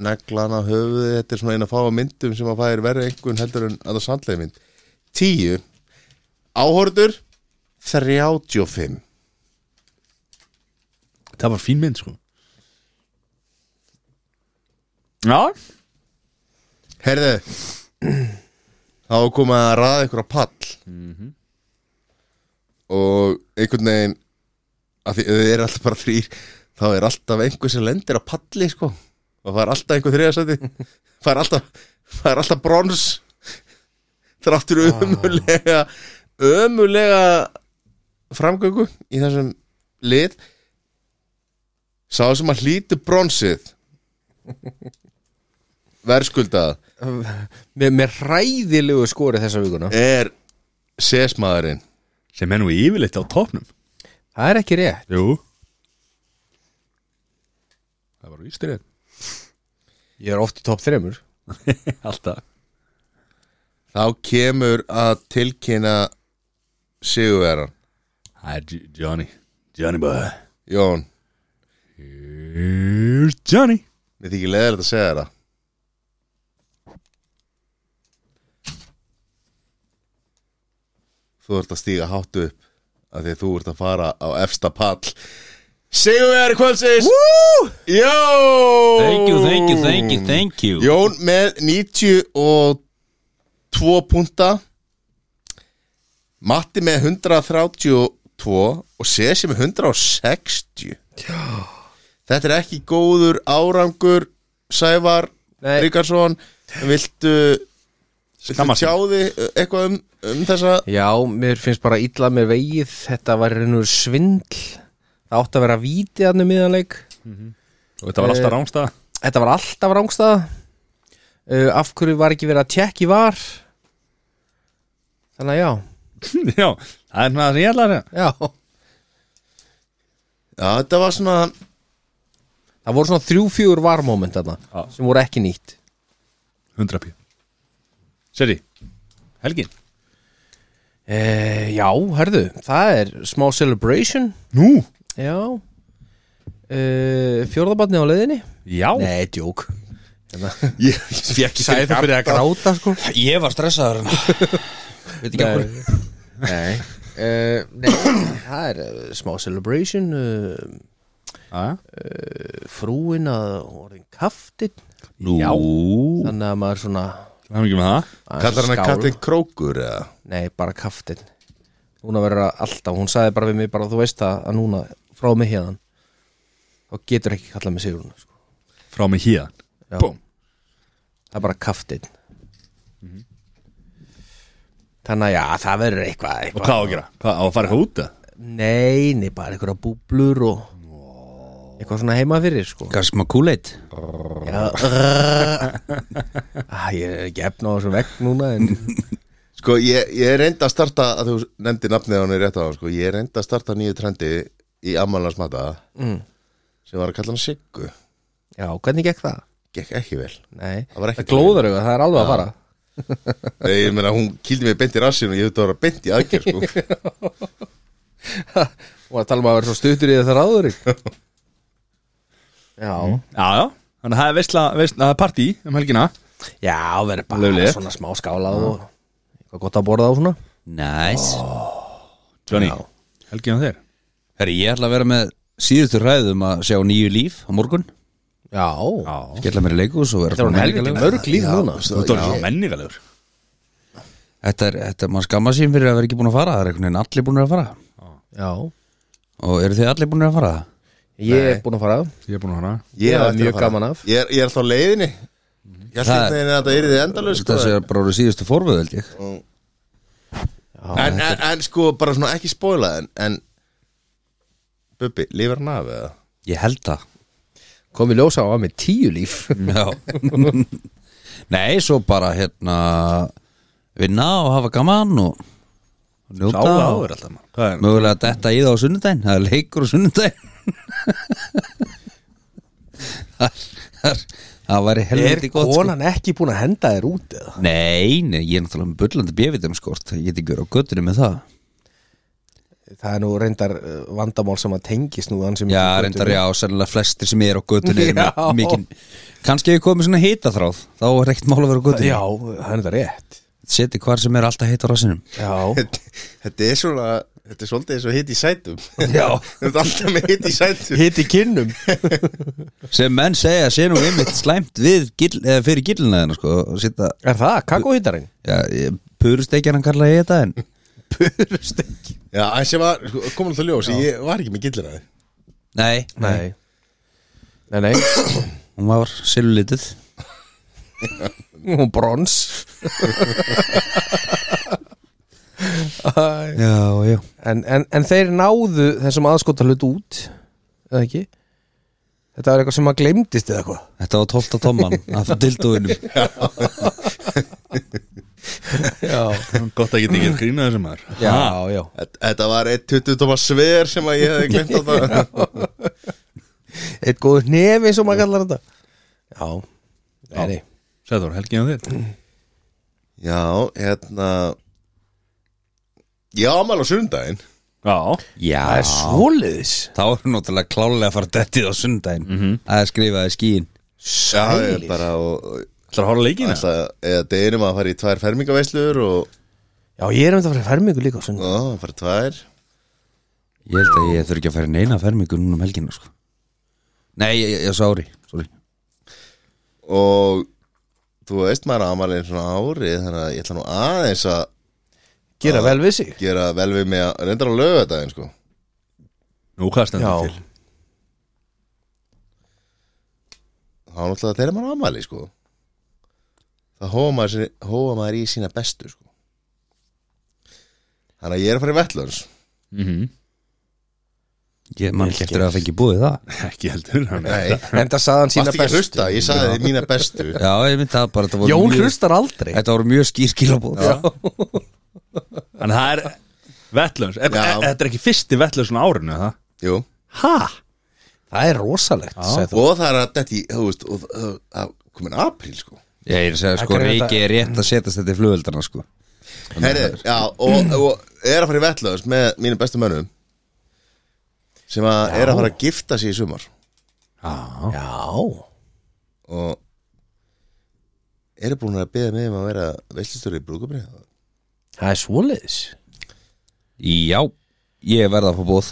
Speaker 2: neglana höfuði Þetta er svona eina fáa myndum sem að fæðir verið einhvern heldur en að það sandlega mynd Tíu Áhorður 35
Speaker 1: Það var fín mynd sko Já
Speaker 2: Herðu Þá er komið að raða ykkur á pall Og einhvern veginn að því þau eru alltaf bara þrýr þá er alltaf einhver sem lendir á palli sko. og það er alltaf einhver þriðasæti það er alltaf það er alltaf brons þráttur ömulega ömulega framgöngu í þessum lið sá sem að hlýtu bronsið verðskuldað
Speaker 4: með, með ræðilegu skori þessa vikuna
Speaker 2: er sesmaðurinn
Speaker 1: Sem er nú yfirleitt á topnum
Speaker 4: það er ekki rétt
Speaker 1: Jú Það var ístrið
Speaker 4: ég er oft í topp þremur
Speaker 1: Alltaf
Speaker 2: þá kemur að tilkynna sigurveran
Speaker 1: Það er J- Johnny Johnny boy
Speaker 2: Jón,
Speaker 1: Here's Johnny
Speaker 2: mér þykir leðilegt að segja þér það Þú ert að stíga háttu upp af því að þú ert að fara á efsta pall Sigurveri kvöldsins Woo! Jón
Speaker 5: Thank you, thank you, thank you, thank you
Speaker 2: Jón með 92 punta Matti með 132 og Sesi með 160 Þetta er ekki góður árangur Sævar
Speaker 4: Nei.
Speaker 2: Ríkarsson Viltu, viltu
Speaker 1: Skammast sín.
Speaker 2: tjáði eitthvað um, um þessa
Speaker 4: já, mér finnst bara illa mér vegið þetta var reynur svindl það átti að vera víti hann um miðanleik
Speaker 1: Og þetta var alltaf rángstað
Speaker 4: þetta var alltaf rángstað uh, af hverju var ekki verið að tjekki var þannig að já
Speaker 1: Já Það er það sem ég ætla að segja
Speaker 4: já, það
Speaker 2: Já, þetta var svona
Speaker 4: voru svona þrjú-fjúr varmoment þarna
Speaker 1: Já.
Speaker 4: sem voru ekki nýtt
Speaker 1: 100 pí Seri Helgin
Speaker 4: uh, já, hörðu, það er smá celebration
Speaker 1: Nú
Speaker 4: Já uh, Fjórðabarni á leiðinni
Speaker 1: Já
Speaker 4: Nei, djók
Speaker 2: Ég, ég fekk
Speaker 4: Sæði það fyrir að gráta sko
Speaker 5: Ég var stressaður Veit ekki hvað
Speaker 4: Nei Uh, nei, það er uh, smá celebration uh,
Speaker 1: Já
Speaker 4: frúin að orðin kaftin
Speaker 5: Nú
Speaker 4: þannig að maður svona
Speaker 1: Það er mikið með það
Speaker 4: aðeins
Speaker 2: Kallar hann að
Speaker 4: skál.
Speaker 2: kattin krókur eða?
Speaker 4: Nei, bara kaftin Núna verður það alltaf, hún sagði bara við mig bara þú veist það að núna frá mig hérna þá getur ekki kallað mig Sigrun sko.
Speaker 1: Frá mig hér
Speaker 4: Já.
Speaker 1: Búm.
Speaker 4: Það er bara kaftin Þannig að já, það verður eitthvað,
Speaker 1: Og
Speaker 4: eitthvað.
Speaker 1: hvað á að gera? Hvað, á að fara eitthvað út það?
Speaker 4: Nei, nei, bara einhverja búblur og eitthvað svona heima fyrir sko
Speaker 5: Kanski maður kúleit
Speaker 4: Já, rrrr. Æ, Ah, Ég er ekki efna á þessu vegg núna en
Speaker 2: Sko, ég, ég reyndi að starta að þú nefndi nafnið hann er rétt á hann, sko, ég reyndi að starta nýju trendi í ammalansmata
Speaker 4: Mm.
Speaker 2: sem var að kalla hann Siggu
Speaker 4: Já, hvernig gekk það?
Speaker 2: gekk ekki vel
Speaker 4: Nei,
Speaker 2: Það var ekki
Speaker 4: glóður auðvitað, það er alveg að fara
Speaker 2: Nei, ég meina, hún kýldi mig beint í rassinu og ég hefði að vera beint í aðgjör, sko
Speaker 4: Og að tala um að vera svo stuttur í þetta ráður Já, Mm.
Speaker 1: Já, já Þannig að það er veistla, veistla, það er partí um helgina
Speaker 4: já, verður bara
Speaker 1: Lauflegt.
Speaker 4: svona smá skála og eitthvað gott að borða á svona
Speaker 5: Nice
Speaker 1: Johnny Helgin á þér
Speaker 5: Herri, ég ætla að vera með síðustu ræðum að sjá nýju líf á morgun
Speaker 4: Já,
Speaker 5: Skella mér í leikus og vera
Speaker 4: þetta er hún
Speaker 5: svona
Speaker 4: helviti
Speaker 5: menningarlegur.
Speaker 4: mörg líf núna
Speaker 2: sko,
Speaker 1: Þú ert orðið svo menningalegur
Speaker 5: Þetta er, þetta er maður skamma sín fyrir að vera ekki búin að fara Það er einhvern veginn allir búin að fara
Speaker 4: Já,
Speaker 5: Og eru þið allir búin að fara?
Speaker 4: Ég er búin að fara
Speaker 1: Ég er búin að hana
Speaker 2: Ég
Speaker 4: Það er
Speaker 2: á eftir
Speaker 4: mjög
Speaker 2: að fara.
Speaker 4: gaman af.
Speaker 2: Ég er, ég er alltaf á leiðinni Ég held
Speaker 3: Það-
Speaker 2: einhvern veginn að þetta er þið endalaust sko.
Speaker 3: Þetta sé bara orðið síðustu forvöð held ég
Speaker 2: en, en, en sko, bara svona ekki spoila en, en Bubbi, lifir hann af eða?
Speaker 3: Ég held það
Speaker 4: Komið ljósa á að með tíu líf
Speaker 3: Já Nei, svo bara hérna vinna og hafa gaman og njóta
Speaker 1: Sála
Speaker 3: og
Speaker 1: áður alltaf maður Það er
Speaker 3: mögulega detta í það á sunnudaginn það er leikur á sunnudaginn það, það, það væri
Speaker 4: Er
Speaker 3: helviti gott sko.
Speaker 4: konan ekki búin að henda þér út eða?
Speaker 3: Nei, nei, ég er náttúrulega með bullandi bjöfitum skort sko, ég get ekki verið á göttunum með það
Speaker 4: Það er nú reyndar uh, vandamál sem að tengist nú ansi mikið
Speaker 3: Já,
Speaker 4: götunni.
Speaker 3: reyndar já, sennilega flestir sem er á göttunum er
Speaker 4: Já.
Speaker 3: með mikinn kannski hefur komið svona hitaþráð þá er ekkert mál að vera á
Speaker 4: Já,
Speaker 3: göttunum
Speaker 4: það er það rétt
Speaker 3: seti hvar sem er alltaf heita á rassinum
Speaker 4: Já,
Speaker 2: Þetta þetta er svona Þetta er svolítið eins og hitt í sætum
Speaker 3: Já.
Speaker 2: Þetta er alltaf með hitt í sætum
Speaker 4: hitt í kinnum
Speaker 3: sem menn segja sé nú einmitt slæmt við gill, eða fyrir gillina þennan sko og sita,
Speaker 4: Er það, kakóhittarinn?
Speaker 3: já, purustekjar hann kallaði ég þetta en
Speaker 2: Já, en sem var, sko, kom alltaf ljós Ég var ekki með gillir að þið
Speaker 3: nei,
Speaker 4: Nei Nei, nei,
Speaker 3: hún var silulitið
Speaker 4: hún brons Æ.
Speaker 3: já, já
Speaker 4: en, en, en þeir náðu þessum aðskota hlut út eða ekki Þetta var eitthvað sem að glemdist eða eitthvað
Speaker 3: Þetta var 12. tomman af dildóinum
Speaker 4: Já,
Speaker 1: gott að geta ekki að grína þessum maður
Speaker 4: já, já
Speaker 2: Þetta var 1.20 tóma sver sem að ég hefði glemt á það
Speaker 4: Eitt góður nefi eins og maður kallar þetta Já, já. Nei,
Speaker 1: Sæður, helgin á þér
Speaker 2: Já, hérna Ég á ámæl á sundaginn
Speaker 1: Já
Speaker 3: Já,
Speaker 4: það er svoleiðis
Speaker 3: þá er hún náttúrulega klálega að fara dettið á sundaginn að skrifa í skíin
Speaker 2: Já, ég bara og, og,
Speaker 1: Það er að horfa á leikina
Speaker 2: ætla, eða deginum að fara í tvær fermingaveslur og,
Speaker 4: Já, ég er um þetta að fara í fermingu líka á sunnudag.
Speaker 2: og fara í tvær
Speaker 3: Ég held að ég þurfi ekki að fara í neina fermingu núna um helgina sko. Nei, ég, ég, ég sári Sorry.
Speaker 2: og þú veist maður ámæl einn svona ári þannig að ég ætla nú aðeins að
Speaker 4: Gera vel við sig
Speaker 2: gera vel við mig að reyndar á lögadaginn sko
Speaker 1: Nú, hvað stendur
Speaker 4: Já,
Speaker 1: til?
Speaker 2: þá náttúrulega þegar maður ámæli sko það hóa maður, sér- hóa maður í sína bestu sko þannig að ég er að fara í vettlöns
Speaker 3: Ég man ekki eftir að það fengi búið það
Speaker 1: Ekki heldur hann er-
Speaker 2: nei,
Speaker 4: enda sagði hann sína
Speaker 2: varst ekki að
Speaker 4: bestu
Speaker 2: hlusta ég sagði þið mína bestu
Speaker 3: Já, ég myndi það bara þetta voru
Speaker 4: Jón
Speaker 3: mjög,
Speaker 4: hlustar aldrei
Speaker 3: Þetta voru mjög skýrskilabóð Já,
Speaker 1: En það er Vettlöns E- e-
Speaker 2: Já.
Speaker 1: Þetta er ekki fyrsti vettlöns á árinu, er það?
Speaker 2: Jú.
Speaker 1: Ha?
Speaker 4: Það er rosalegt sagði
Speaker 2: og það er að þetta í, þú veist og, og, að komin apríl sko
Speaker 3: ég er að segja sko,
Speaker 4: Þetta er
Speaker 3: Reiki er rétt að setast þetta í flugöldana sko.
Speaker 2: Heri, já, og, og er að fara í vettlöns með mínu bestu mönnum sem að er að fara að gifta sig í sumar
Speaker 1: Já
Speaker 4: það. Já,
Speaker 2: og eru búin að beða mig um að vera veislistur í brúkumri
Speaker 4: það er svoleiðis
Speaker 3: Já, ég verða að fá bóð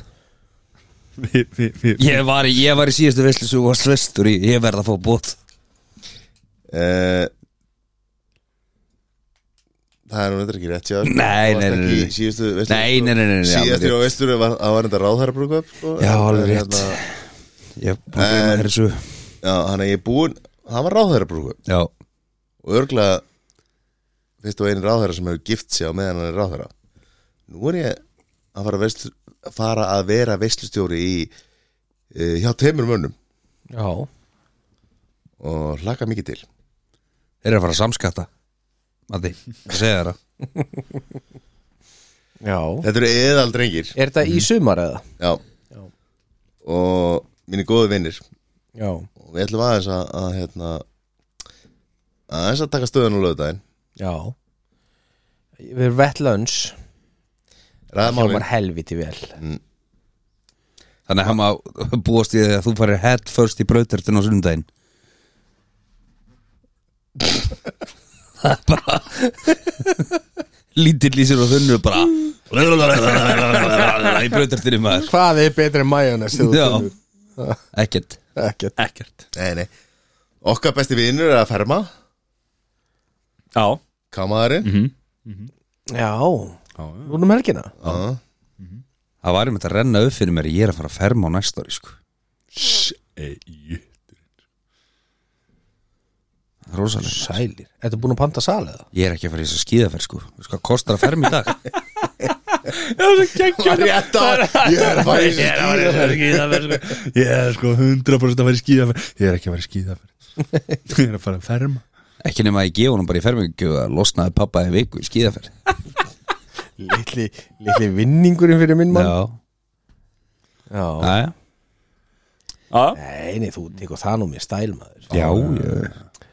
Speaker 1: Vi- vi- vi-
Speaker 3: Ég var í, ég var í síðustu veislis og var slestur í, ég verða að fá bóð
Speaker 2: Eh, Það er nú þetta ekki rétt hjá þér, sko.
Speaker 3: Nei,
Speaker 2: Þú
Speaker 3: nei,
Speaker 2: varst
Speaker 3: nei,
Speaker 2: ekki
Speaker 3: nei.
Speaker 2: í Síðustu veislu
Speaker 3: Nei, nei, nei, nei, nei,
Speaker 2: Síðustu
Speaker 3: alveg
Speaker 2: og veislu var, það var þetta ráðherra brúkup sko.
Speaker 3: Já, alveg
Speaker 2: En,
Speaker 3: rétt.
Speaker 2: hérna,
Speaker 3: Ég gleyma þér þessu
Speaker 2: Já, hann er ég er búinn Það var ráðherra brúkup
Speaker 3: Já,
Speaker 2: Og örgulega Fyrst og einin ráðherra sem hefur gift sig á meðan hann er ráðherra Nú er ég að fara, veislu, fara að vera veislustjóri í uh, Hjá teimur mönnum
Speaker 4: Já,
Speaker 2: Og hlaka mikið til
Speaker 3: þeir eru að fara að samskatta Mati, ég segja þér það
Speaker 4: já
Speaker 2: Þetta eru eðaldrengir
Speaker 4: Er þetta í sumar eða?
Speaker 2: Já. Og mínir góðu vinnir
Speaker 4: Já
Speaker 2: og við ætlum aðeins að, að hérna, aðeins að taka stöðun á lögudaginn
Speaker 4: Já Við erum vettlöns
Speaker 2: ræða málin
Speaker 4: Hjómar helviti vel
Speaker 3: Þannig að hann má búast í því að þú farir head first í brautertin á sundaginn Það er bara Lítill í sér og þunnu bara Í brautertinu maður
Speaker 4: Hvað er betri en majónes
Speaker 3: Já, ekkert
Speaker 4: Ekkert
Speaker 1: Ekkert
Speaker 2: nei, nei. okkar besti vinnur er að ferma
Speaker 1: Já
Speaker 2: kamaðarinn mm
Speaker 4: Já, núna um helgina
Speaker 2: -hmm.
Speaker 3: Það var um þetta að renna upp fyrir mér Ég er að fara að ferma á næsta ári sko
Speaker 1: Seitur
Speaker 5: Rósalega
Speaker 4: Sælir, ertu búin að panta sal eða?
Speaker 5: Ég er ekki að fara í þess að skíðaferð sko Þú veist hvað kostar að fermi í dag
Speaker 2: Var ég þetta Ég er að fara í þessu skýra
Speaker 1: Ég er sko 100% að fara í skíðaferð Ég er ekki að fara í skíðaferð Ég er að fara að ferma
Speaker 5: Ekki nema að ég gefa honum bara í fermingjöf að losnaði pappa í viku í skíðaferð
Speaker 4: Litli, litli vinningurinn fyrir minn mann
Speaker 5: Já,
Speaker 4: Já,
Speaker 5: já,
Speaker 1: Já,
Speaker 4: Nei, nei, þú tekur það nú mér stæl maður
Speaker 5: já, já.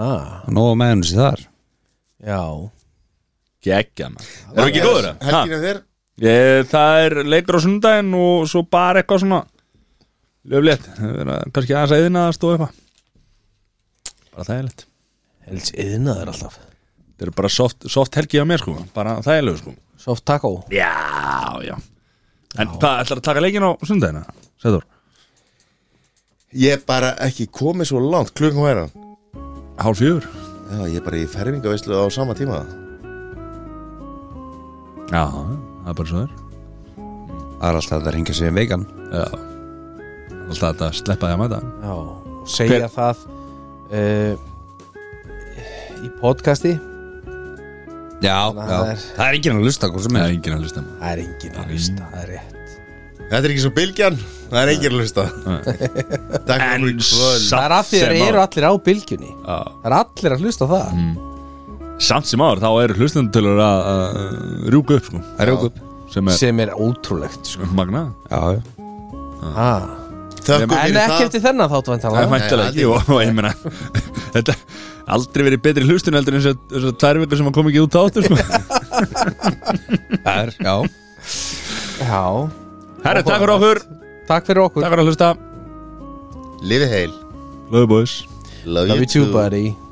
Speaker 4: ha,
Speaker 5: Nóa með hennu sér þar
Speaker 4: Já,
Speaker 1: geggja man Erum við ekki góður? Ha?
Speaker 2: Helginu þér
Speaker 1: Ég, það er leikur á sundaginn og svo bara eitthvað svona löflétt, Það er verið að- kannski aðeins að eðina að stóða eitthvað bara þægilegt
Speaker 4: helst yðnaður alltaf
Speaker 1: þetta er bara soft, soft helgi á mér sko bara þægilegu sko
Speaker 4: Soft taco
Speaker 1: já, já en hvað, ætlar að taka leikin á sundaginn? Sæður,
Speaker 2: Ég er bara ekki komið svo langt klukkan hvað er hann
Speaker 1: hálf fjögur
Speaker 2: Já, ég er bara í fermingaveislu á sama tíma
Speaker 1: já, það er bara svo þér
Speaker 5: Það er alltaf að það hringja sér vegan
Speaker 1: já alltaf þetta að sleppa því að mæta
Speaker 4: Já, og segja það uh, í podcasti
Speaker 5: Já, já,
Speaker 4: Þannig að það er-
Speaker 5: það er enginn að lusta hvað sem
Speaker 1: það
Speaker 5: er
Speaker 1: er enginn að hlusta
Speaker 4: Það er enginn að hlusta, það er rétt
Speaker 2: Þetta er ekki svo bylgjan Það er enginn að hlusta Takk fyrir mig kvöld
Speaker 4: Það er af því að þeir eru allir á bylgjunni
Speaker 1: Já.
Speaker 4: Það er allir að hlusta á það
Speaker 1: samt sem áður þá eru hlustendutölur að, að rjúka upp sko
Speaker 5: Það er okkur
Speaker 1: sem er
Speaker 4: sem er ótrúlegt sko.
Speaker 1: magnað
Speaker 5: Já, já
Speaker 4: ha. En
Speaker 2: Þökkum fyrir
Speaker 4: ekki
Speaker 2: það
Speaker 4: eftir þennan þátt
Speaker 1: Það er
Speaker 4: væntanlega.
Speaker 1: mæntilega
Speaker 2: Nei,
Speaker 1: ekki og, og ég meina Þetta aldrei verið betri hlustun heldur eins og þess að tvær vikur sem að koma ekki út áttur sko.
Speaker 5: Það er, já
Speaker 4: Já,
Speaker 1: Herra, takk fyrir okkur
Speaker 4: takk fyrir okkur
Speaker 1: Takk fyrir að hlusta
Speaker 2: Lifið heil
Speaker 1: Love boys
Speaker 2: Love
Speaker 4: Love you too buddy